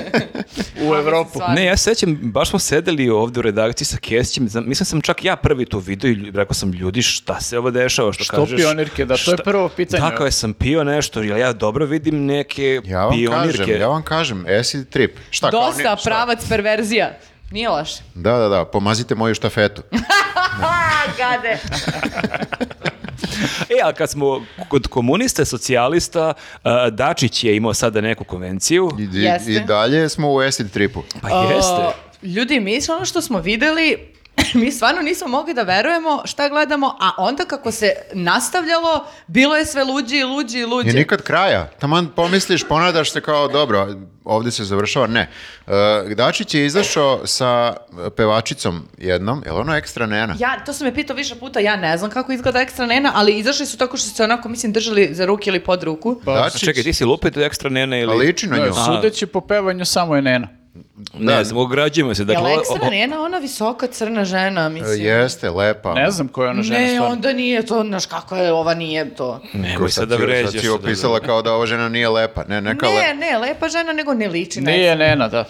[SPEAKER 3] u Evropu.
[SPEAKER 4] Stvarno.
[SPEAKER 1] ne, ja se sećam, baš smo sedeli ovde u redakciji sa Kesićem, znam- mislim sam čak ja prvi to video i lju- rekao sam, ljudi, šta se ovo dešava, što,
[SPEAKER 3] Što
[SPEAKER 1] kažeš?
[SPEAKER 3] pionirke, da, to je prvo pitanje.
[SPEAKER 1] Tako je, sam pio nešto, jel ja dobro vidim neke
[SPEAKER 2] Ja vam
[SPEAKER 1] pionirke.
[SPEAKER 2] kažem, ja vam kažem, acid trip. Šta, kao
[SPEAKER 4] Dosta,
[SPEAKER 2] ni- šta?
[SPEAKER 4] pravac perverzija. Nije loše.
[SPEAKER 2] Da, da, da, pomazite moju štafetu.
[SPEAKER 4] Ha, gade.
[SPEAKER 1] E, a kad smo kod komunista, socijalista, a, Dačić je imao sada neku konvenciju.
[SPEAKER 2] I, i-
[SPEAKER 4] Jeste.
[SPEAKER 2] I dalje smo u acid tripu.
[SPEAKER 1] Pa jeste.
[SPEAKER 4] O, ljudi, mi ono što smo videli, mi stvarno nismo mogli da verujemo šta gledamo, a onda kako se nastavljalo, bilo je sve luđi i luđi i
[SPEAKER 2] I
[SPEAKER 4] luđi.
[SPEAKER 2] nikad kraja. Taman pomisliš, ponadaš se kao, dobro, ovdje se završava. Ne. Uh, Dačić je izašao sa pevačicom jednom, je li ono ekstra nena?
[SPEAKER 4] Ja, to sam me pitao više puta, ja ne znam kako izgleda ekstra nena, ali izašli su tako što su se onako, mislim, držali za ruke ili pod ruku.
[SPEAKER 3] Pa,
[SPEAKER 1] A Čekaj, ti si lupet ekstra nene ili...
[SPEAKER 2] liči na
[SPEAKER 3] Da,
[SPEAKER 2] nju.
[SPEAKER 3] sudeći po pevanju samo je Nena.
[SPEAKER 1] Ne znam, ograđujemo se. Dakle,
[SPEAKER 4] Dakle,
[SPEAKER 1] o-
[SPEAKER 4] je ekstra
[SPEAKER 1] o-
[SPEAKER 4] nena ona visoka crna žena, mislim.
[SPEAKER 2] E, Jeste, lepa.
[SPEAKER 3] Ne znam koja je ona žena
[SPEAKER 4] Ne,
[SPEAKER 3] stvarno.
[SPEAKER 4] onda nije to, znaš kako je, ova nije to.
[SPEAKER 1] Nemoj sad da
[SPEAKER 2] si-
[SPEAKER 1] vređaš.
[SPEAKER 2] Sad si opisala kao da ova žena nije lepa. Ne, neka
[SPEAKER 4] Ne,
[SPEAKER 2] lepa.
[SPEAKER 4] ne, lepa žena, nego ne liči. na
[SPEAKER 3] Nije Nena, da.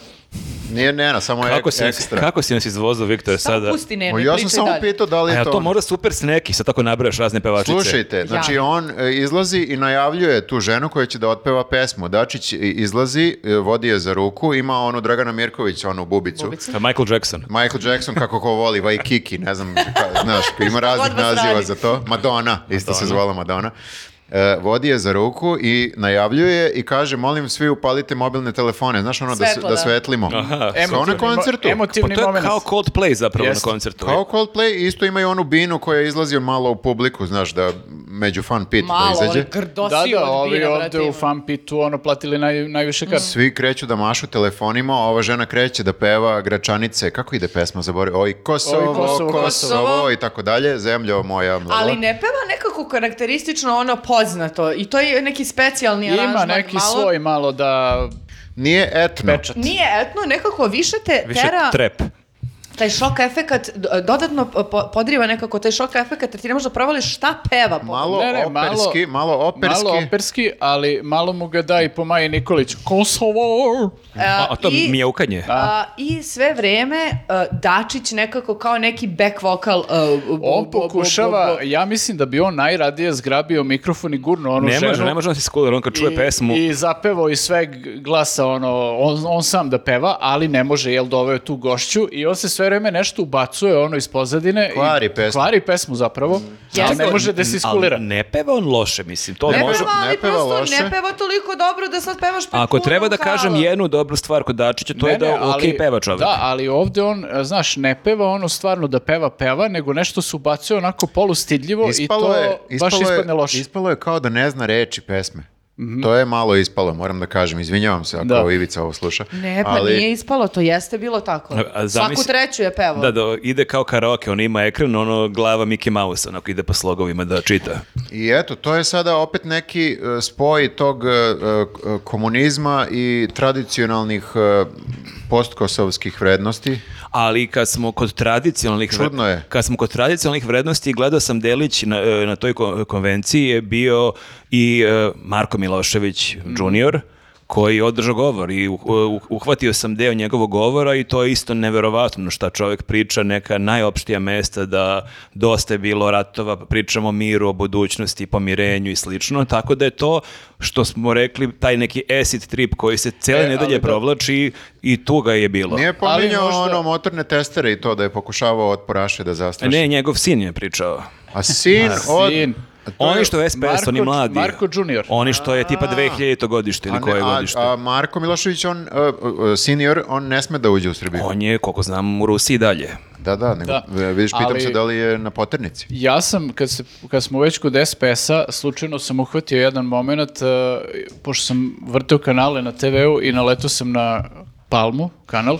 [SPEAKER 2] Nije nena, samo je
[SPEAKER 1] Kako si, nas-
[SPEAKER 2] ekstra.
[SPEAKER 1] kako si nas izvozao, Viktor,
[SPEAKER 4] Samo
[SPEAKER 1] sada?
[SPEAKER 4] pusti nenu
[SPEAKER 2] O,
[SPEAKER 4] i
[SPEAKER 2] ja sam
[SPEAKER 4] pričaj
[SPEAKER 2] samo
[SPEAKER 4] dalje.
[SPEAKER 2] pitao da
[SPEAKER 1] A
[SPEAKER 2] li je
[SPEAKER 1] jel
[SPEAKER 2] to...
[SPEAKER 1] to mora super s neki, sad tako nabrajaš razne pevačice.
[SPEAKER 2] Slušajte, znači
[SPEAKER 4] Ja.
[SPEAKER 2] on e, izlazi i najavljuje tu ženu koja će da otpeva pesmu. Dačić i- izlazi, e, vodi je za ruku, ima onu Dragana Mirković, onu bubicu.
[SPEAKER 4] Bubicu.
[SPEAKER 1] Pa Michael Jackson.
[SPEAKER 2] Michael Jackson, kako ko voli, Waikiki, ne znam, ka- znaš, ima raznih
[SPEAKER 4] vas
[SPEAKER 2] naziva
[SPEAKER 4] radi.
[SPEAKER 2] za to. Madonna, isto se zvala Madonna. E, vodi je za ruku i najavljuje i kaže, molim svi upalite mobilne telefone, znaš ono, da, se-
[SPEAKER 4] Svetlo,
[SPEAKER 2] da
[SPEAKER 4] da.
[SPEAKER 2] svetlimo.
[SPEAKER 1] Aha.
[SPEAKER 2] Kao na
[SPEAKER 3] Emotivni mo-
[SPEAKER 2] koncertu.
[SPEAKER 1] Pa
[SPEAKER 3] Emotivni
[SPEAKER 1] to je
[SPEAKER 3] moment.
[SPEAKER 1] kao Coldplay zapravo
[SPEAKER 3] Jeste.
[SPEAKER 1] na koncertu.
[SPEAKER 2] Kao Coldplay, isto imaju onu binu koja izlazi malo u publiku, znaš, da među fan pit da
[SPEAKER 4] Malo,
[SPEAKER 2] izađe.
[SPEAKER 4] ali grdo
[SPEAKER 3] Da,
[SPEAKER 4] si
[SPEAKER 3] da,
[SPEAKER 4] odbina,
[SPEAKER 3] ovi
[SPEAKER 4] brate,
[SPEAKER 3] ovde u
[SPEAKER 4] ima. Mm.
[SPEAKER 3] fan pitu ono platili naj, najviše kartu.
[SPEAKER 2] Svi kreću da mašu telefonima, a ova žena kreće da peva Gračanice. Kako ide pesma? Zaboravio. Oj, Kosovo,
[SPEAKER 3] Oj, Kosovo,
[SPEAKER 2] Kosovo,
[SPEAKER 4] Kosovo.
[SPEAKER 2] i tako dalje. Zemljo moja. mlala.
[SPEAKER 4] Ali ne peva nekako karakteristično ono poznato i to je neki specijalni aranžman.
[SPEAKER 3] Ima neki
[SPEAKER 4] malo-
[SPEAKER 3] svoj malo da
[SPEAKER 2] Nije etno.
[SPEAKER 3] pečat.
[SPEAKER 4] Nije etno, nekako više te
[SPEAKER 1] Više
[SPEAKER 4] tera
[SPEAKER 1] trep.
[SPEAKER 4] taj šok efekat, d- dodatno po- podriva nekako taj šok efekat, jer ti ne možeš da provališ šta peva. po-
[SPEAKER 2] Malo
[SPEAKER 3] Ne, ne, malo-
[SPEAKER 2] operski, malo, operski.
[SPEAKER 3] Malo operski, ali malo mu ga da i po Maji Nikolić. Kosovo!
[SPEAKER 4] E,
[SPEAKER 1] A, a to
[SPEAKER 4] i-
[SPEAKER 1] mjaukanje.
[SPEAKER 4] a, I sve vreme e, Dačić nekako kao neki back vokal. e, bu- bu-
[SPEAKER 3] On
[SPEAKER 4] bu-
[SPEAKER 3] pokušava, E,
[SPEAKER 4] bu-
[SPEAKER 3] ja mislim da bi on najradije zgrabio mikrofon i gurno onu
[SPEAKER 1] Ne
[SPEAKER 3] ženu.
[SPEAKER 1] može, ne može on se skulir, on kad čuje
[SPEAKER 3] I-
[SPEAKER 1] pesmu,
[SPEAKER 3] I zapevao i sve g- glasa, ono, on, on sam da peva, ali ne može, jel doveo je tu gošću i on se sve vreme nešto ubacuje, ono, iz pozadine. i-
[SPEAKER 2] Kvari pesmu.
[SPEAKER 3] Kvari pesmu zapravo, ali
[SPEAKER 4] Jeste.
[SPEAKER 3] ne može da se iskulira.
[SPEAKER 1] Ali ne peva on loše, mislim. To
[SPEAKER 2] Ne
[SPEAKER 4] Ne
[SPEAKER 1] može...
[SPEAKER 4] peva, ali
[SPEAKER 2] ne peva
[SPEAKER 4] prosto
[SPEAKER 2] loše.
[SPEAKER 4] ne peva toliko dobro da sad pevaš pred
[SPEAKER 1] Ako
[SPEAKER 4] punom
[SPEAKER 1] treba da
[SPEAKER 4] halom.
[SPEAKER 1] kažem jednu dobru stvar kod Dačića, to je
[SPEAKER 3] Ne,
[SPEAKER 1] da
[SPEAKER 3] ne,
[SPEAKER 1] ok
[SPEAKER 3] ali-
[SPEAKER 1] peva čovjek.
[SPEAKER 3] Da, ali ovdje on, e, znaš, ne peva ono stvarno da peva, peva, nego nešto se ubacuje onako polustidljivo i to baš
[SPEAKER 2] je-
[SPEAKER 3] ispadne loše. Mhm.
[SPEAKER 2] Ispalo je kao da ne zna reči pesme. To je malo ispalo, moram da kažem. Izvinjavam se ako
[SPEAKER 3] Da.
[SPEAKER 2] Ivica ovo sluša.
[SPEAKER 4] Ne, pa nije ispalo, to jeste bilo tako.
[SPEAKER 1] A- a zamisli-
[SPEAKER 4] Svaku treću je pevao.
[SPEAKER 1] Da, da, ide kao karaoke, on ima ekran, ono glava Mickey Mouse, onako ide po slogovima da čita.
[SPEAKER 2] I eto, to je sada opet neki e, spoj tog e, e, komunizma i tradicionalnih e, postkosovskih vrednosti.
[SPEAKER 1] Ali kad smo kod tradicionalnih vre-
[SPEAKER 2] Čudno je.
[SPEAKER 1] kad smo kod tradicionalnih vrednosti gledao sam Delić na, e, na toj ko- konvenciji je bio i e, Marko Milošević junior koji je održao govor i u- u- uhvatio sam deo njegovog govora i to je isto neverovatno šta čovjek priča, neka najopštija mesta da dosta je bilo ratova, pa pričamo o miru, o budućnosti, pomirenju i slično, tako da je to što smo rekli, taj neki acid trip koji se cele
[SPEAKER 3] E, ali
[SPEAKER 1] nedelje
[SPEAKER 3] da.
[SPEAKER 1] provlači i tu ga je bilo.
[SPEAKER 2] Nije pominjao
[SPEAKER 3] možda-
[SPEAKER 2] ono motorne testere i to da je pokušavao otporaše da zastraši.
[SPEAKER 1] Ne, njegov sin je pričao.
[SPEAKER 2] A sin od...
[SPEAKER 3] Sin.
[SPEAKER 2] To je-
[SPEAKER 1] Oni što je SPS, oni
[SPEAKER 3] Marko-
[SPEAKER 1] mladi.
[SPEAKER 3] Marko Junior.
[SPEAKER 1] Oni što je tipa 2000. godište
[SPEAKER 2] A
[SPEAKER 1] ili
[SPEAKER 2] ne,
[SPEAKER 1] koje
[SPEAKER 2] a-
[SPEAKER 1] godište.
[SPEAKER 2] a Marko Milošević, on, e, e, senior, on ne sme da uđe u Srbiju.
[SPEAKER 1] On je, koliko znam, u Rusiji dalje.
[SPEAKER 2] Da, da, nego,
[SPEAKER 3] Da.
[SPEAKER 2] e, vidiš, pitam
[SPEAKER 3] Ali-
[SPEAKER 2] se da li je na poternici.
[SPEAKER 3] Ja sam, kad, se, kad smo već kod SPS-a, slučajno sam uhvatio jedan moment, eh, pošto sam vrteo kanale na TV-u i naletao sam na Palmu, kanal,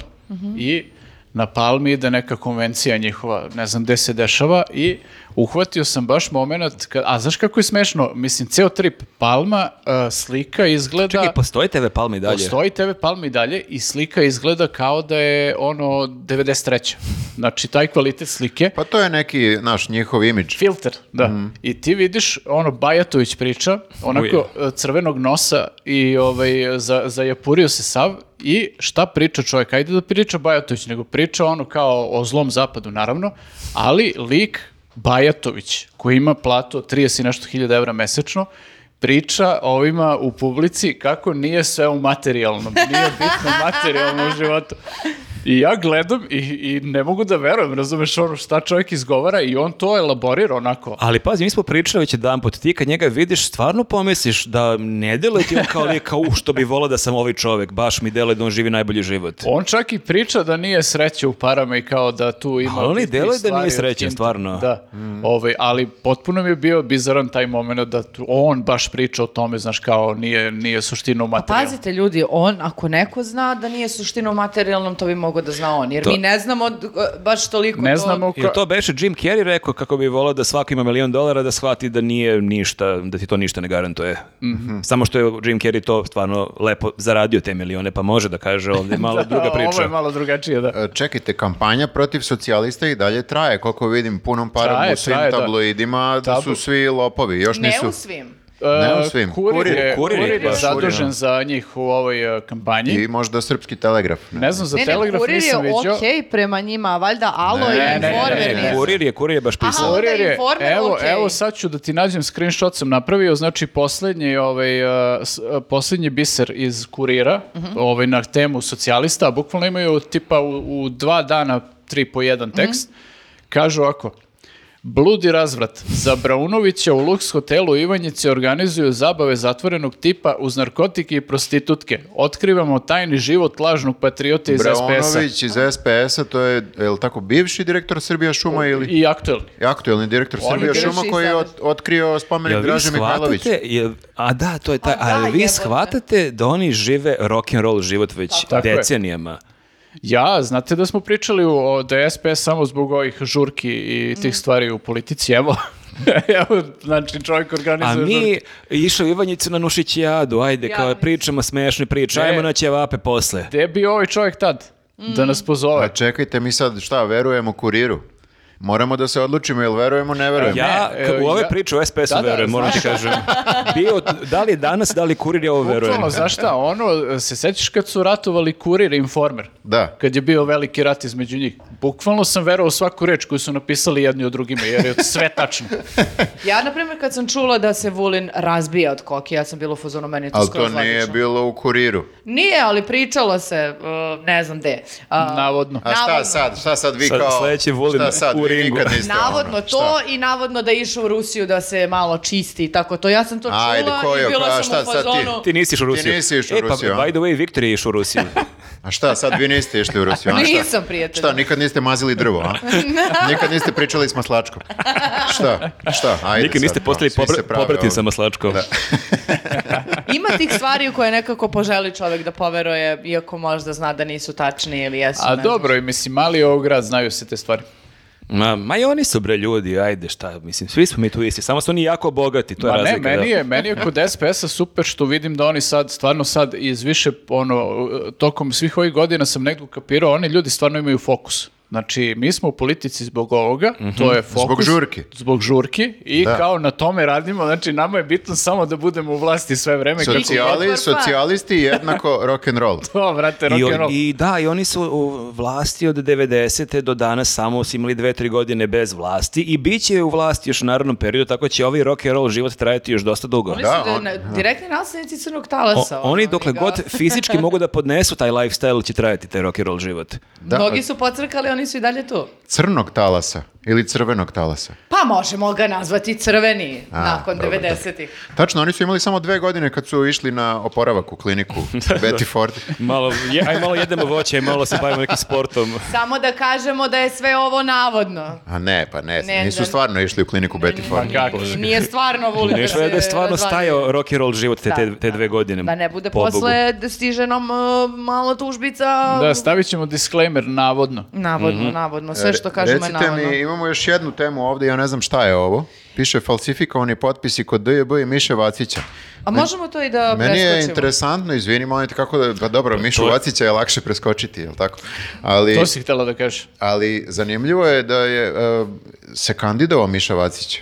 [SPEAKER 3] i na Palmi ide neka konvencija njihova, ne znam gde se dešava, i uhvatio sam baš moment, kad, a znaš kako je smešno, mislim, ceo trip Palma, eh, slika izgleda...
[SPEAKER 1] Čekaj, postoji TV Palma i dalje?
[SPEAKER 3] Postoji TV Palma i dalje i slika izgleda kao da je ono 93. Znači, taj kvalitet slike
[SPEAKER 2] Pa to je neki, naš, njihov imidž.
[SPEAKER 3] filter, da. I ti vidiš, ono, Bajatović priča, onako e, crvenog nosa i ovaj, za, zajapurio se sav i šta priča čovjek? Ajde da priča Bajatović, nego priča ono kao o zlom zapadu, naravno, ali lik Bajatović, koji ima platu od 30 i nešto hiljada evra mesečno, priča o ovima u publici kako nije sve u materijalnom, nije bitno materijalno u životu. I ja gledam i, i ne mogu da verujem, razumeš ono šta čovjek izgovara i on to elaborira onako.
[SPEAKER 1] Ali pazi, mi smo pričali već jedan put, ti kad njega vidiš, stvarno pomisliš da ne deluje ti on kao lik, kao u što bi volao da sam ovaj čovek, baš mi deluje da on živi najbolji život.
[SPEAKER 3] On čak i priča da nije sreće u parama i kao da tu ima...
[SPEAKER 1] Ali oni
[SPEAKER 3] bitnih
[SPEAKER 1] deluje da
[SPEAKER 3] stvari
[SPEAKER 1] nije
[SPEAKER 3] od
[SPEAKER 1] srećan,
[SPEAKER 3] Kinta.
[SPEAKER 1] stvarno.
[SPEAKER 3] Da,
[SPEAKER 2] Mm.
[SPEAKER 3] ovaj, ali potpuno mi je bio bizaran taj moment da tu- on baš priča o tome, znaš, kao nije, nije suština u materijalu.
[SPEAKER 4] Pazite ljudi, on ako neko zna da nije suština u materijalnom, to bi mogao da zna on, jer
[SPEAKER 1] To-
[SPEAKER 4] mi ne znamo d- baš toliko
[SPEAKER 3] Ne
[SPEAKER 4] to-
[SPEAKER 3] znamo
[SPEAKER 1] Jel
[SPEAKER 3] ka-
[SPEAKER 1] to beše Jim Carrey rekao kako bi volao da svako ima milion dolara da shvati da nije ništa, da ti to ništa ne garantuje. Samo što je Jim Carrey to stvarno lepo zaradio te milione, pa može da kaže ovdje je malo druga priča.
[SPEAKER 3] Ovo je malo drugačije, da.
[SPEAKER 2] E, Čekajte, kampanja protiv socijalista i dalje traje, koliko vidim punom parom
[SPEAKER 3] Traje,
[SPEAKER 2] u svim
[SPEAKER 3] traje, da.
[SPEAKER 2] tabloidima, da.
[SPEAKER 3] Tabu-
[SPEAKER 2] su svi lopovi, još
[SPEAKER 4] Ne
[SPEAKER 2] nisu.
[SPEAKER 4] u svim.
[SPEAKER 2] Ne
[SPEAKER 3] E,
[SPEAKER 2] u svim.
[SPEAKER 3] Kurir, je,
[SPEAKER 1] Kurir,
[SPEAKER 3] Kurir je
[SPEAKER 1] kurir, ono. baš.
[SPEAKER 3] zadužen za njih u ovoj e, kampanji.
[SPEAKER 2] I možda srpski telegraf. ne.
[SPEAKER 3] Ne znam, za
[SPEAKER 4] Ne, ne,
[SPEAKER 3] Telegraf
[SPEAKER 4] kurir je
[SPEAKER 3] nisam vidio.
[SPEAKER 4] okej prema njima, a valjda alo
[SPEAKER 2] Ne,
[SPEAKER 4] i
[SPEAKER 2] ne,
[SPEAKER 3] ne,
[SPEAKER 4] informer
[SPEAKER 2] ne,
[SPEAKER 1] E,
[SPEAKER 4] je.
[SPEAKER 1] kurir je, kurir je baš
[SPEAKER 4] Aha.
[SPEAKER 1] pisao.
[SPEAKER 4] Onda
[SPEAKER 3] Kurir je,
[SPEAKER 4] Informer,
[SPEAKER 3] evo,
[SPEAKER 4] okej.
[SPEAKER 3] evo sad ću da ti nađem screenshot sam napravio, znači posljednji, ovaj, uh, s- uh, posljednji biser iz kurira
[SPEAKER 4] Mhm.
[SPEAKER 3] ovaj, na temu socijalista, a bukvalno imaju tipa u, u dva dana tri po jedan
[SPEAKER 4] Mhm.
[SPEAKER 3] tekst, kažu ovako, Bludi razvrat. Za Braunovića u Lux hotelu u Ivanjici organizuju zabave zatvorenog tipa uz narkotike i prostitutke. Otkrivamo tajni život lažnog patriota iz SPS-a.
[SPEAKER 2] Braunović iz SPS-a, to je, je li tako, bivši direktor Srbija šuma ili...
[SPEAKER 3] I aktuelni.
[SPEAKER 2] Aktuelni direktor
[SPEAKER 3] On je
[SPEAKER 2] Srbija
[SPEAKER 4] bivši
[SPEAKER 2] šuma koji je
[SPEAKER 4] sada.
[SPEAKER 2] ot- otkrio spomenik
[SPEAKER 1] Jel vi
[SPEAKER 2] Draže Mihajlović.
[SPEAKER 1] shvatate, jel- a da, to je taj,
[SPEAKER 4] A da,
[SPEAKER 1] ali vi
[SPEAKER 4] jebote.
[SPEAKER 1] shvatate da oni žive rock and roll život već
[SPEAKER 3] Tako je.
[SPEAKER 1] decenijama.
[SPEAKER 3] Ja, znate da smo pričali u- o DSP samo zbog ovih žurki i tih stvari u politici, evo. evo, znači čovjek
[SPEAKER 1] A
[SPEAKER 3] organizuje
[SPEAKER 1] mi
[SPEAKER 3] žurke.
[SPEAKER 1] išli u Ivanjicu na Nušićijadu, ajde,
[SPEAKER 4] Ja
[SPEAKER 1] kao
[SPEAKER 4] mislim.
[SPEAKER 1] pričamo smešne priče,
[SPEAKER 3] Ne.
[SPEAKER 1] ajmo na ćevape posle.
[SPEAKER 3] Gde je bio ovaj čovjek tad? Da nas
[SPEAKER 2] A
[SPEAKER 3] pozove.
[SPEAKER 1] Znači,
[SPEAKER 2] čekajte, mi sad šta, verujemo kuriru? Moramo da se odlučimo, jel verujemo, ne verujemo?
[SPEAKER 1] Ja
[SPEAKER 3] Ne,
[SPEAKER 1] k-
[SPEAKER 3] e,
[SPEAKER 1] u ove
[SPEAKER 3] ja-
[SPEAKER 1] priče o SPS-u
[SPEAKER 3] Da, da,
[SPEAKER 1] verujem, moram ti
[SPEAKER 3] znaš.
[SPEAKER 1] kažem. Bio, da li je danas, da li je kurir, ja ovo verujem.
[SPEAKER 3] Bukvalno, znaš šta, ono, se sećaš kad su ratovali kurir i informer?
[SPEAKER 2] Da.
[SPEAKER 3] Kad je bio veliki rat između njih. Bukvalno sam verovao u svaku reč koju su napisali jedni o drugima, jer je sve tačno.
[SPEAKER 4] Ja, na primjer, kad sam čula da se Vulin razbija od koke, ja sam bila u fazonu, meni je to
[SPEAKER 2] Ali
[SPEAKER 4] skroz
[SPEAKER 2] to nije
[SPEAKER 4] logično.
[SPEAKER 2] bilo u kuriru.
[SPEAKER 4] Nije, ali pričalo se, uh, ne znam gde. A,
[SPEAKER 3] Navodno.
[SPEAKER 2] A šta
[SPEAKER 4] Navodno.
[SPEAKER 2] sad, šta sad vi
[SPEAKER 1] Sad
[SPEAKER 2] kao...
[SPEAKER 1] sledeći Vulin
[SPEAKER 2] šta sad,
[SPEAKER 1] u
[SPEAKER 2] vi
[SPEAKER 1] ringu.
[SPEAKER 2] nikad niste ono,
[SPEAKER 4] Navodno to
[SPEAKER 2] šta?
[SPEAKER 4] i navodno da je išao u Rusiju da se malo čisti i tako to. Ja sam to čula
[SPEAKER 2] Ajde, ko je,
[SPEAKER 4] i bila
[SPEAKER 2] a
[SPEAKER 4] sam
[SPEAKER 2] šta
[SPEAKER 4] u
[SPEAKER 2] sad ti?
[SPEAKER 4] fazonu...
[SPEAKER 1] Ti nisi išao u
[SPEAKER 2] Ti
[SPEAKER 1] Rusiju.
[SPEAKER 2] nisi išao u
[SPEAKER 1] e, pa,
[SPEAKER 2] Rusiju, a?
[SPEAKER 1] by the
[SPEAKER 3] ono.
[SPEAKER 1] way, Viktor je išao u Rusiju.
[SPEAKER 2] A šta, sad vi niste išli u Rusiju? a šta?
[SPEAKER 4] Nisam, prijatelju.
[SPEAKER 2] Šta, nikad niste mazili drvo, a? nikad niste pričali s maslačkom. Šta, šta, ajde
[SPEAKER 1] Nikad niste
[SPEAKER 2] sad,
[SPEAKER 3] ono,
[SPEAKER 1] postali
[SPEAKER 2] svi se
[SPEAKER 1] pobra-
[SPEAKER 2] prave ono.
[SPEAKER 1] pobratim
[SPEAKER 2] ovdje.
[SPEAKER 1] sa Maslačkom.
[SPEAKER 4] Ima tih stvari u koje nekako poželi čovek da poveruje, iako možda zna da nisu tačni ili jesu.
[SPEAKER 3] A
[SPEAKER 4] ne
[SPEAKER 3] dobro, i mislim, mali je ovo grad, znaju se te stvari.
[SPEAKER 1] Ma, ma i oni su bre ljudi, ajde šta, mislim, svi smo mi tu isti, samo su oni jako bogati, to je
[SPEAKER 3] Ma ne,
[SPEAKER 1] razlika.
[SPEAKER 3] meni
[SPEAKER 1] da.
[SPEAKER 3] je, meni je kod SPS-a super što vidim da oni sad, stvarno sad iz više, ono, tokom svih ovih godina sam negdje ukapirao, oni ljudi stvarno imaju fokus. Znači, mi smo u politici zbog ovoga, to je fokus.
[SPEAKER 2] Mhm. Zbog žurki.
[SPEAKER 3] Zbog žurki i
[SPEAKER 2] Da.
[SPEAKER 3] kao na tome radimo, znači nama je bitno samo da budemo u vlasti sve vreme. kako-
[SPEAKER 2] Socijali, socijalisti jednako rock and roll.
[SPEAKER 3] To, vrate,
[SPEAKER 1] I,
[SPEAKER 3] rock'n'roll.
[SPEAKER 1] on- I da, i oni su u vlasti od 90. do danas samo su imali dve, tri godine bez vlasti i bit će u vlasti još u narodnom periodu, tako će ovaj rock and roll život trajati još dosta dugo.
[SPEAKER 4] Oni
[SPEAKER 2] Da,
[SPEAKER 4] su
[SPEAKER 2] on-
[SPEAKER 4] na-
[SPEAKER 2] da.
[SPEAKER 4] direktni naslednici crnog
[SPEAKER 1] O-
[SPEAKER 4] talasa. ono,
[SPEAKER 1] oni dokle
[SPEAKER 4] ga-
[SPEAKER 1] god fizički mogu da podnesu taj lifestyle će trajati taj rock and roll život.
[SPEAKER 2] Da,
[SPEAKER 4] Mnogi su pocrkali, oni su i dalje tu.
[SPEAKER 2] Crnog talasa ili crvenog talasa.
[SPEAKER 4] Pa možemo ga nazvati crveni
[SPEAKER 2] A,
[SPEAKER 4] nakon
[SPEAKER 2] dobro,
[SPEAKER 4] 90-ih.
[SPEAKER 2] Tačno, oni su imali samo dve godine kad su išli na oporavak u kliniku Betty Ford.
[SPEAKER 1] Malo, je, aj malo jedemo voće, aj malo se bavimo nekim sportom.
[SPEAKER 4] Samo da kažemo da je sve ovo navodno.
[SPEAKER 2] A ne, pa ne,
[SPEAKER 4] Ne,
[SPEAKER 2] nisu
[SPEAKER 4] ne.
[SPEAKER 2] stvarno išli u kliniku Betty Ford.
[SPEAKER 3] Pa kako?
[SPEAKER 4] Nije stvarno volio
[SPEAKER 1] Nešto je da je stvarno stajao rock and roll život te, te, te dve godine.
[SPEAKER 4] Da ne bude
[SPEAKER 1] pobogu.
[SPEAKER 4] posle da stiže nam e, malo tužbica.
[SPEAKER 3] Da, stavit ćemo disclaimer, navodno.
[SPEAKER 4] Navodno, navodno. Sve što kažemo je
[SPEAKER 2] Mhm. E, Recite
[SPEAKER 4] navodno.
[SPEAKER 3] ono.
[SPEAKER 2] mi, imamo još jednu temu ovdje, ja ne znam šta je ovo. Piše falsifikovani potpisi kod DJB i Miše Vacića.
[SPEAKER 4] A možemo to i
[SPEAKER 3] Pa
[SPEAKER 4] da
[SPEAKER 2] Meni je
[SPEAKER 4] preskočimo?
[SPEAKER 2] interesantno, izvini, molim te, kako da, pa dobro, Mišu
[SPEAKER 1] je-
[SPEAKER 2] Vacića je lakše preskočiti, jel tako? Ali,
[SPEAKER 3] To si htjela da kažeš.
[SPEAKER 2] ali zanimljivo je da je e, se kandidovao Miša Vacić.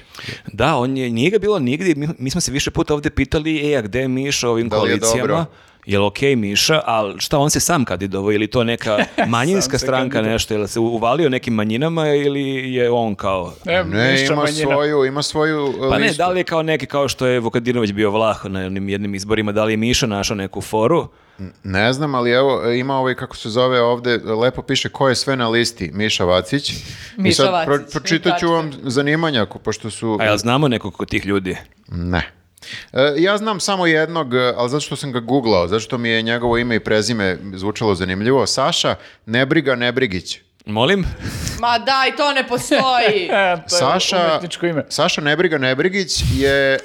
[SPEAKER 1] Da, on je, nije ga bilo nigdje. Mi, mi smo se više puta ovdje pitali, e, a gde je Miša u ovim
[SPEAKER 2] Da li je dobro?
[SPEAKER 1] koalicijama? Je li okej Miša, ali šta on se sam kandidovao ili to neka manjinska stranka nešto, je li se uvalio nekim manjinama ili je on kao...
[SPEAKER 3] E,
[SPEAKER 2] Ne,
[SPEAKER 3] Miša
[SPEAKER 2] ima
[SPEAKER 3] manjina.
[SPEAKER 2] svoju, ima svoju e,
[SPEAKER 1] Pa ne,
[SPEAKER 2] listu.
[SPEAKER 1] da li je kao neki, kao što je Vukadinović bio vlah na onim jednim izborima, da li je Miša našao neku foru?
[SPEAKER 2] Ne znam, ali evo, ima ovaj, kako se zove ovde, lepo piše ko je sve na listi, Miša Vacić. I
[SPEAKER 4] Miša
[SPEAKER 2] sad
[SPEAKER 4] Vacić,
[SPEAKER 2] pro- pročitat ću vam zanimanja, ako- pošto su...
[SPEAKER 1] A jel znamo nekog od tih ljudi?
[SPEAKER 2] Ne. E, ja znam samo jednog, e, ali zato što sam ga googlao, zato što mi je njegovo ime i prezime zvučalo zanimljivo, Saša Nebriga Nebrigić.
[SPEAKER 1] Molim?
[SPEAKER 4] Ma daj, to ne postoji.
[SPEAKER 3] E, to je
[SPEAKER 2] Saša,
[SPEAKER 3] umetničko ime.
[SPEAKER 2] Saša Nebriga Nebrigić je... e,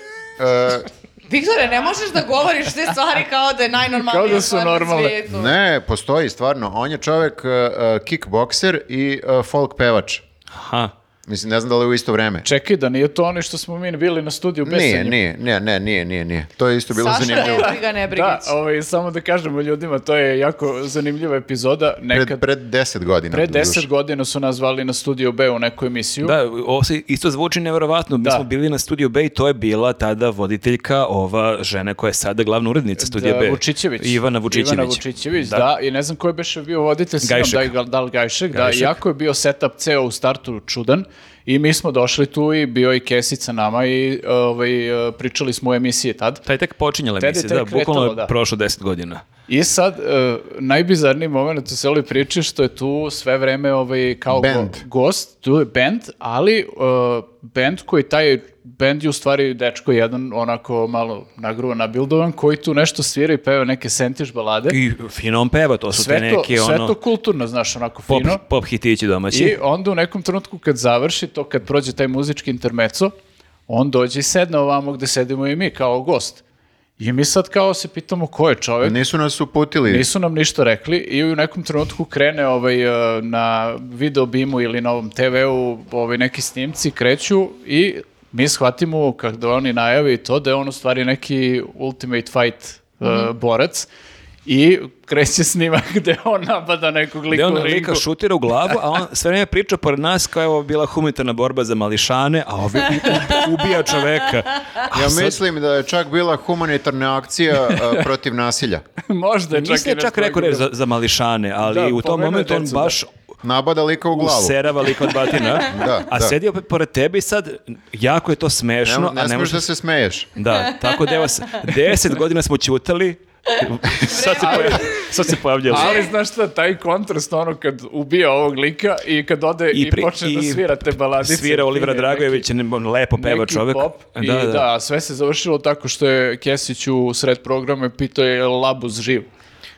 [SPEAKER 4] Viktore, ne možeš da govoriš te stvari kao da je najnormalnije
[SPEAKER 3] Kao da su
[SPEAKER 4] stvar na
[SPEAKER 3] normalne.
[SPEAKER 4] svijetu.
[SPEAKER 2] ne, postoji stvarno. On je čovjek e, e, kickbokser i e, folk pevač.
[SPEAKER 1] Aha.
[SPEAKER 2] Mislim, ne znam da li je u isto vreme.
[SPEAKER 3] Čekaj, da nije to oni što smo mi bili na studiju besanjem.
[SPEAKER 2] Nije, nije, nije, ne, nije, nije, nije. To je isto bilo
[SPEAKER 4] Saša
[SPEAKER 2] zanimljivo.
[SPEAKER 4] Nebriga
[SPEAKER 3] Da,
[SPEAKER 4] Nebrigić.
[SPEAKER 3] ovaj, samo da kažemo ljudima, to je jako zanimljiva epizoda.
[SPEAKER 2] Pred,
[SPEAKER 3] Nekad,
[SPEAKER 2] pred 10 godina.
[SPEAKER 3] pre
[SPEAKER 2] doduše.
[SPEAKER 3] 10 godina su nas zvali na Studio B u neku emisiju.
[SPEAKER 1] Da, ovo se isto zvuči nevjerovatno. Mi
[SPEAKER 3] Da.
[SPEAKER 1] smo bili na Studio B i to je bila tada voditeljka ova žena koja je sada glavna urednica Studio
[SPEAKER 3] Da,
[SPEAKER 1] B.
[SPEAKER 3] Vučićević.
[SPEAKER 1] Ivana Vučićević.
[SPEAKER 3] Ivana Vučićević, da.
[SPEAKER 1] Da.
[SPEAKER 3] I ne znam ko je beše bio voditelj. Sinom,
[SPEAKER 1] Gajšek.
[SPEAKER 3] Da, i Gal- da li Gajšek,
[SPEAKER 1] Gajšek.
[SPEAKER 3] Da, jako je bio setup ceo u startu čudan. I mi smo došli tu i bio je i Kesica nama i ovaj, pričali smo o emisiji tad.
[SPEAKER 1] Taj tek počinjala
[SPEAKER 3] Tada je
[SPEAKER 1] emisija,
[SPEAKER 3] tek
[SPEAKER 1] da, bukvalno
[SPEAKER 3] kretalo,
[SPEAKER 1] je
[SPEAKER 3] da.
[SPEAKER 1] prošlo deset godina.
[SPEAKER 3] I sad, e, najbizarniji moment u celoj priči što je tu sve vreme ovaj, kao go-
[SPEAKER 2] Band.
[SPEAKER 3] gost, tu je band, ali e, band koji taj band je u stvari dečko jedan onako malo nagruvan, nabildovan, koji tu nešto svira i peva neke sentiš balade.
[SPEAKER 1] I fino on peva, to su te
[SPEAKER 3] sve, to,
[SPEAKER 1] neke
[SPEAKER 3] sve
[SPEAKER 1] ono,
[SPEAKER 3] to kulturno, znaš, onako
[SPEAKER 1] pop,
[SPEAKER 3] fino.
[SPEAKER 1] pop hitići domaći.
[SPEAKER 3] I onda u nekom trenutku kad završi to, kad prođe taj muzički intermeco, on dođe i sedne ovamo gde sedimo i mi kao gost. I mi sad kao se pitamo ko je čovek,
[SPEAKER 2] Nisu nas uputili.
[SPEAKER 3] nisu nam ništa rekli i u nekom trenutku krene ovaj, e, na video bimu ili na ovom TV-u ovaj, neki snimci kreću i mi shvatimo kada oni najavi to da je on u stvari neki ultimate fight e,
[SPEAKER 1] Mhm.
[SPEAKER 3] borac i kreće snimak gde on napada nekog lika
[SPEAKER 1] Gde on
[SPEAKER 3] u ringu.
[SPEAKER 1] lika šutira u glavu, a on sve vrijeme priča pored nas kao je ovo bila humanitarna borba za mališane, a ovi u- ubija čoveka. A
[SPEAKER 2] Ja
[SPEAKER 1] sad-
[SPEAKER 2] mislim da je čak bila humanitarna akcija a, protiv nasilja.
[SPEAKER 3] Možda je čak,
[SPEAKER 1] Mislim da je čak rekao reč za, za mališane, ali
[SPEAKER 3] Da,
[SPEAKER 1] u tom
[SPEAKER 3] pomenuo je
[SPEAKER 1] momentu on
[SPEAKER 3] decu, da.
[SPEAKER 1] baš
[SPEAKER 2] Nabada lika u glavu.
[SPEAKER 1] userava lik od batina.
[SPEAKER 2] Da,
[SPEAKER 1] a
[SPEAKER 2] da.
[SPEAKER 1] sedi opet pored tebe i sad jako je to
[SPEAKER 2] Ne,
[SPEAKER 1] smešno,
[SPEAKER 2] ne
[SPEAKER 1] a ne
[SPEAKER 2] smiješ
[SPEAKER 1] može...
[SPEAKER 2] da se smeješ.
[SPEAKER 1] Da, tako da evo, s- deset godina smo ćutali, sad se, poja... sad se pojavljali.
[SPEAKER 3] Ali znaš šta, taj kontrast ono kad ubija ovog lika i kad ode i,
[SPEAKER 1] pri-
[SPEAKER 3] počne da
[SPEAKER 1] i
[SPEAKER 3] svira te baladice.
[SPEAKER 1] Svira Olivera
[SPEAKER 3] Neki-
[SPEAKER 1] Dragojević, ne- on lepo peva
[SPEAKER 3] neki
[SPEAKER 1] čovek.
[SPEAKER 3] Pop, I da, sve se završilo tako što je Kesić u sred programa i pitao je li Labus živ.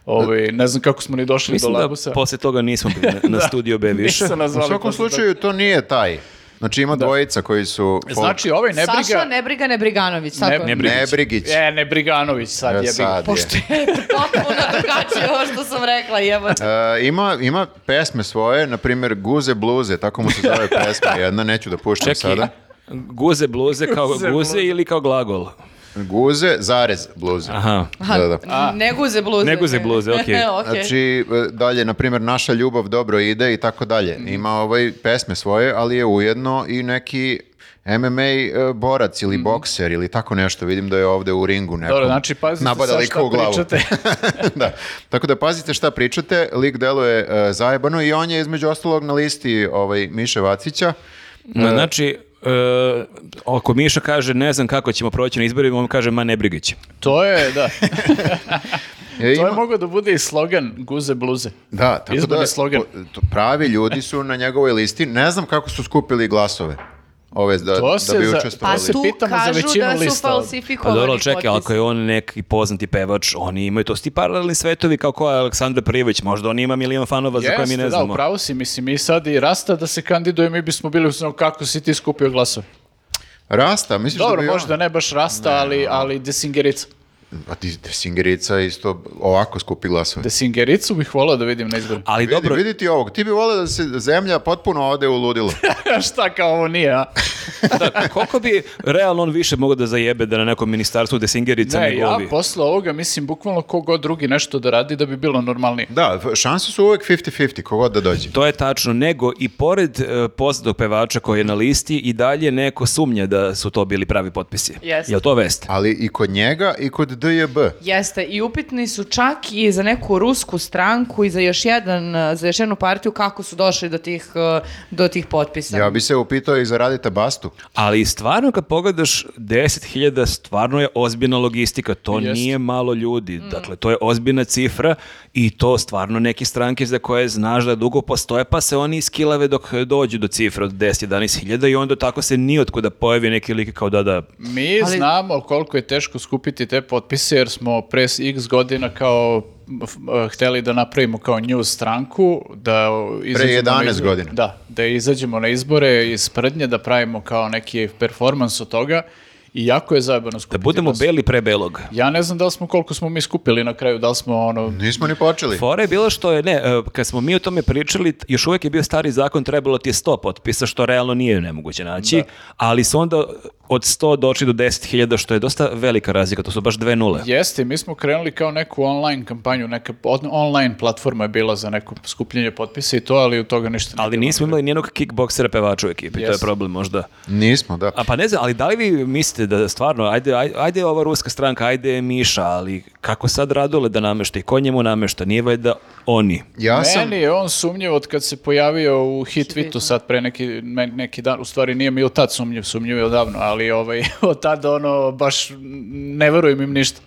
[SPEAKER 3] Ovaj, ne znam kako smo ni došli
[SPEAKER 1] Mislim
[SPEAKER 3] do
[SPEAKER 1] da
[SPEAKER 3] Labusa.
[SPEAKER 1] posle toga nismo bili na, na Studio B više.
[SPEAKER 3] Nisu
[SPEAKER 2] U
[SPEAKER 3] nazvali
[SPEAKER 2] svakom
[SPEAKER 3] posle
[SPEAKER 2] slučaju to nije taj. Znači ima dvojica koji su... folk-
[SPEAKER 3] Znači, ovaj nebriga...
[SPEAKER 4] Saša Nebriga Nebriganović, tako?
[SPEAKER 1] Ne-
[SPEAKER 2] Nebrigić.
[SPEAKER 3] E, Nebriganović sad
[SPEAKER 2] E,
[SPEAKER 3] jebi.
[SPEAKER 2] sad
[SPEAKER 3] ga.
[SPEAKER 2] je.
[SPEAKER 3] Pošto
[SPEAKER 4] E, potpuno drugačije ovo što sam rekla, jebote.
[SPEAKER 2] E, ima, ima pesme svoje, na primjer Guze bluze, tako mu se zove pesma jedna, neću da puštam
[SPEAKER 1] Čekaj,
[SPEAKER 2] sada.
[SPEAKER 1] guze bluze kao guze ili kao glagol?
[SPEAKER 2] Guze, zarez bluze.
[SPEAKER 1] Aha.
[SPEAKER 4] Aha,
[SPEAKER 2] Da, da.
[SPEAKER 4] Ne guze bluze.
[SPEAKER 1] Ne guze bluze, okej.
[SPEAKER 4] Okej.
[SPEAKER 2] Znači, e, dalje, na primjer, naša ljubav dobro ide i tako dalje.
[SPEAKER 3] Mhm.
[SPEAKER 2] Ima ovaj pesme svoje, ali je ujedno i neki MMA e, borac ili bokser ili tako nešto. Vidim da je ovde u ringu neko
[SPEAKER 3] Mhm. Dobro, znači, pazite
[SPEAKER 2] napada
[SPEAKER 3] sad
[SPEAKER 2] lika
[SPEAKER 3] šta
[SPEAKER 2] u glavu.
[SPEAKER 3] pričate.
[SPEAKER 2] da. Tako da pazite šta pričate, lik deluje e, zajebano i on je između ostalog na listi ovaj, Miše Vacića.
[SPEAKER 1] Ma, Znači, e, ako Miša kaže ne znam kako ćemo proći na izborima, on kaže ma ne Pa brigać.
[SPEAKER 3] To je, da.
[SPEAKER 2] E,
[SPEAKER 3] To
[SPEAKER 2] ima-
[SPEAKER 3] je mogao da bude i slogan Guze bluze.
[SPEAKER 2] Da, tako
[SPEAKER 3] Izborni
[SPEAKER 2] da
[SPEAKER 3] slogan.
[SPEAKER 2] po- to- pravi ljudi su na njegovoj listi. Ne znam kako su skupili glasove. Ove da,
[SPEAKER 3] To
[SPEAKER 2] da
[SPEAKER 3] se
[SPEAKER 2] bi
[SPEAKER 3] za-
[SPEAKER 2] učestvovali.
[SPEAKER 4] Pa
[SPEAKER 3] se
[SPEAKER 4] tu
[SPEAKER 3] pitamo za
[SPEAKER 4] kažu
[SPEAKER 3] većinu
[SPEAKER 4] da su
[SPEAKER 3] lista ovde.
[SPEAKER 1] Pa
[SPEAKER 4] falsifikovani
[SPEAKER 1] dobro, ali čekaj,
[SPEAKER 4] potpisi.
[SPEAKER 1] ako je on neki poznati pevač, oni imaju to. Sti paralelni svetovi kao koja je Aleksandra Prijević, možda on ima milion fanova za koje mi ne
[SPEAKER 3] Jeste, da,
[SPEAKER 1] znamo.
[SPEAKER 3] upravo si, mislim, mi sad i Rasta da se kandiduje, mi bismo bili u snu kako si ti skupio glasove.
[SPEAKER 2] Rasta, misliš da
[SPEAKER 3] Dobro,
[SPEAKER 2] bi on-
[SPEAKER 3] možda ne baš Rasta, ali, ali Desingerica.
[SPEAKER 2] Pa ti Desingerica isto ovako skupi glasove.
[SPEAKER 3] Desingericu bih volao da vidim na izboru.
[SPEAKER 1] Ali
[SPEAKER 2] Vidi,
[SPEAKER 1] dobro,
[SPEAKER 2] vidi ti ovog. Ti bi volio da se zemlja potpuno ode u ludilo.
[SPEAKER 3] Šta kao ovo nije, a?
[SPEAKER 1] da, koliko bi realno on više mogao da zajebe da na nekom ministarstvu desingerica
[SPEAKER 3] Ne,
[SPEAKER 1] nego
[SPEAKER 3] ja
[SPEAKER 1] ovi?
[SPEAKER 3] posle ovoga mislim bukvalno kogod drugi nešto da radi da bi bilo normalnije.
[SPEAKER 2] Da, f- šanse su uvek 50-50, kogod da dođe.
[SPEAKER 1] To je tačno, nego i pored e, poznatog pevača koji je na listi i dalje neko sumnja da su to bili pravi potpisi.
[SPEAKER 4] Jeste.
[SPEAKER 1] Je to vest?
[SPEAKER 2] Ali i kod njega i kod DJB.
[SPEAKER 4] Jeste, i upitni su čak i za neku rusku stranku i za još, jedan, eh, za još jednu partiju kako su došli do tih, eh, do tih potpisa.
[SPEAKER 2] Ja bi se upitao i za Radita Bastu.
[SPEAKER 1] Ali stvarno kad pogledaš 10.000 stvarno je ozbiljna logistika, to
[SPEAKER 3] Jest. Mm.
[SPEAKER 1] nije malo ljudi. Dakle to je ozbiljna cifra i to stvarno neke stranke za koje znaš da dugo postoje pa se oni iskilave dok dođu do cifre od 10-11.000 i onda tako se ni da pojavi neki lik kao da da
[SPEAKER 3] Mi
[SPEAKER 4] Ali-
[SPEAKER 3] znamo koliko je teško skupiti te potpise jer smo pre x godina kao f- eh, hteli da napravimo kao news stranku da izađemo na
[SPEAKER 2] 11
[SPEAKER 3] izbore.
[SPEAKER 2] godina.
[SPEAKER 3] Da, da izađemo na izbore iz sprdnje da pravimo kao neki performans od toga i jako je zajebano
[SPEAKER 1] da
[SPEAKER 3] skupiti.
[SPEAKER 1] budemo
[SPEAKER 3] glas.
[SPEAKER 1] beli pre belog.
[SPEAKER 3] Ja ne znam da li smo koliko smo mi skupili na kraju, da li smo ono
[SPEAKER 2] Nismo ni počeli.
[SPEAKER 1] Fora je bila što je, ne, e, kad smo mi o tome pričali, t- još uvijek je bio stari zakon, trebalo ti je 100 potpisa, što realno nije nemoguće naći, ali su onda od 100 došli do 10.000, što je dosta velika razlika, to su baš dve nule.
[SPEAKER 3] Jeste, mi smo krenuli kao neku online kampanju, neka od- online platforma je bila za neko skupljenje potpisa i to, ali od toga ništa ne
[SPEAKER 1] Ali nismo imali nijednog kickboksera pevača u ekipi, to je
[SPEAKER 3] Jeste.
[SPEAKER 1] problem možda.
[SPEAKER 2] Nismo, da.
[SPEAKER 1] A pa ne znam, ali da li vi mislite da stvarno, ajde, ajde, ajde ova ruska stranka, ajde Miša, ali kako sad Radule da namešta i ko njemu namešta, nije valjda oni.
[SPEAKER 2] Ja sam...
[SPEAKER 3] Meni je on sumnjiv od kad se pojavio u Hit
[SPEAKER 4] Hitvitu.
[SPEAKER 3] Vitu sad pre neki, ne- neki dan, u stvari nije mi od tad sumnjiv, sumnjiv je odavno, ali ovaj, od tad ono baš ne verujem im ništa.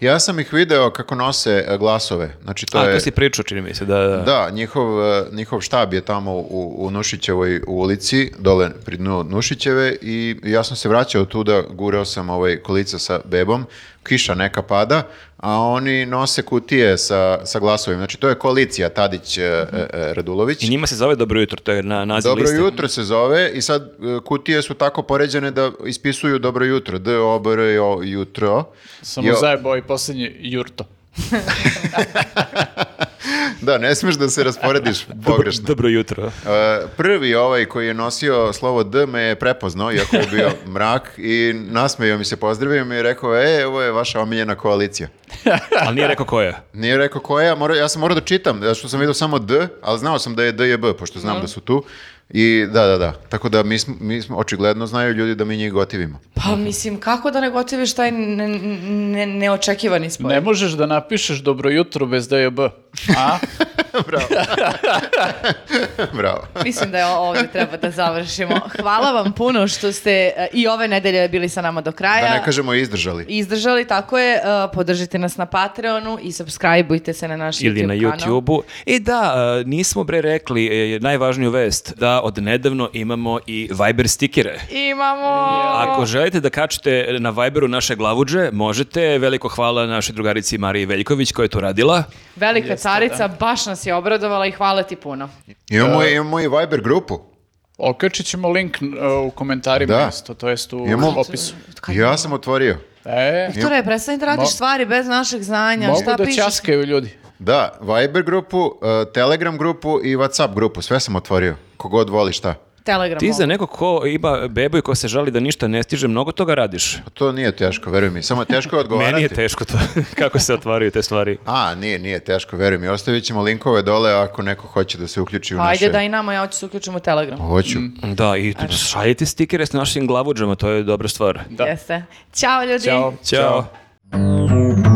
[SPEAKER 2] Ja sam ih video kako nose e, glasove. Znači, to
[SPEAKER 1] To
[SPEAKER 2] je...
[SPEAKER 1] to si pričao, čini mi se, da... da.
[SPEAKER 2] Da, njihov, e, njihov štab je tamo u, u Nušićevoj ulici, dole pri dnu Nušićeve i ja sam se vraćao tuda, gurao sam ovaj kolica sa bebom, kiša neka pada, a oni nose kutije sa, sa glasovima. Znači, to je koalicija Tadić e, e, e, Radulović.
[SPEAKER 1] Mhm. I njima se zove Dobro jutro, to je na naziv
[SPEAKER 2] Dobro
[SPEAKER 1] liste.
[SPEAKER 2] jutro se zove i sad e, kutije su tako poređene da ispisuju dobro jutro, d o b r o jutro.
[SPEAKER 3] Samo
[SPEAKER 2] Jo-
[SPEAKER 3] zajebao i posljednji jurto.
[SPEAKER 2] Da, ne smeš da se rasporediš pogrešno.
[SPEAKER 1] Dobro jutro.
[SPEAKER 2] E, prvi ovaj koji je nosio slovo D me je prepoznao, iako je bio mrak i nasmejao mi se, pozdravio mi i rekao, e, ovo je vaša omiljena koalicija.
[SPEAKER 1] Ali nije rekao ko je.
[SPEAKER 2] Nije rekao koja, mora, ja sam morao da čitam, zato što sam vidio samo D, ali znao sam da je D je B, pošto znam da su tu. I da, da, da. Tako da mi smo, mi smo očigledno znaju ljudi da mi njih gotivimo.
[SPEAKER 4] Pa mislim, kako da ne gotiviš taj ne, ne, neočekivani spoj?
[SPEAKER 3] Ne možeš da napišeš dobro jutro bez DJB, a?
[SPEAKER 2] Bravo. Bravo.
[SPEAKER 4] Mislim da je ovdje treba da završimo. Hvala vam puno što ste eh, i ove nedelje bili sa nama do kraja.
[SPEAKER 2] Da ne kažemo izdržali.
[SPEAKER 4] Izdržali, tako je. eh, Podržite nas na Patreonu i subscribeujte se na naš
[SPEAKER 1] Ili na
[SPEAKER 4] YouTube kanal.
[SPEAKER 1] YouTube-u. I da, e, nismo bre rekli e, najvažniju vest, da od nedavno imamo i Viber stikere.
[SPEAKER 4] Imamo... Oh.
[SPEAKER 1] Ako želite da kačete na Viberu naše glavuđe, možete. Veliko hvala našoj drugarici Mariji Veljković koja je to radila.
[SPEAKER 4] Velika carica baš nas je obradovala i hvala ti puno.
[SPEAKER 2] Imamo, imamo i Viber grupu.
[SPEAKER 3] Okačit ćemo link uh, u komentarima
[SPEAKER 2] Da.
[SPEAKER 3] isto, to jest u
[SPEAKER 2] Imamo-
[SPEAKER 3] opisu.
[SPEAKER 4] Kad-
[SPEAKER 2] Ja sam otvorio.
[SPEAKER 3] E,
[SPEAKER 4] Viktore, prestani da radiš
[SPEAKER 3] Mo-
[SPEAKER 4] stvari bez našeg znanja.
[SPEAKER 3] mogu
[SPEAKER 4] Šta
[SPEAKER 3] da
[SPEAKER 4] pišeš?
[SPEAKER 3] časkaju ljudi.
[SPEAKER 2] Da, Viber grupu, eh, Telegram grupu i Whatsapp grupu. Sve sam otvorio. Kogod voli šta.
[SPEAKER 4] Telegram.
[SPEAKER 1] Ti
[SPEAKER 4] ovo.
[SPEAKER 1] za nekog ko ima bebu i ko se žali da ništa ne stiže, mnogo toga radiš.
[SPEAKER 2] Pa to nije teško, veruj mi. Samo je teško odgovarati.
[SPEAKER 1] Meni je teško to, kako se otvaraju te stvari.
[SPEAKER 2] A, nije, nije teško, veruj mi. Ostavit ćemo linkove dole ako neko hoće da se uključi u naše...
[SPEAKER 4] Ajde da i nama, ja hoću se uključim u Telegram.
[SPEAKER 2] Hoću.
[SPEAKER 1] Da, i šaljite stikere s našim glavuđama, to je dobra stvar.
[SPEAKER 3] Da.
[SPEAKER 4] Jeste. Ćao ljudi.
[SPEAKER 3] Ćao.
[SPEAKER 1] Ćao.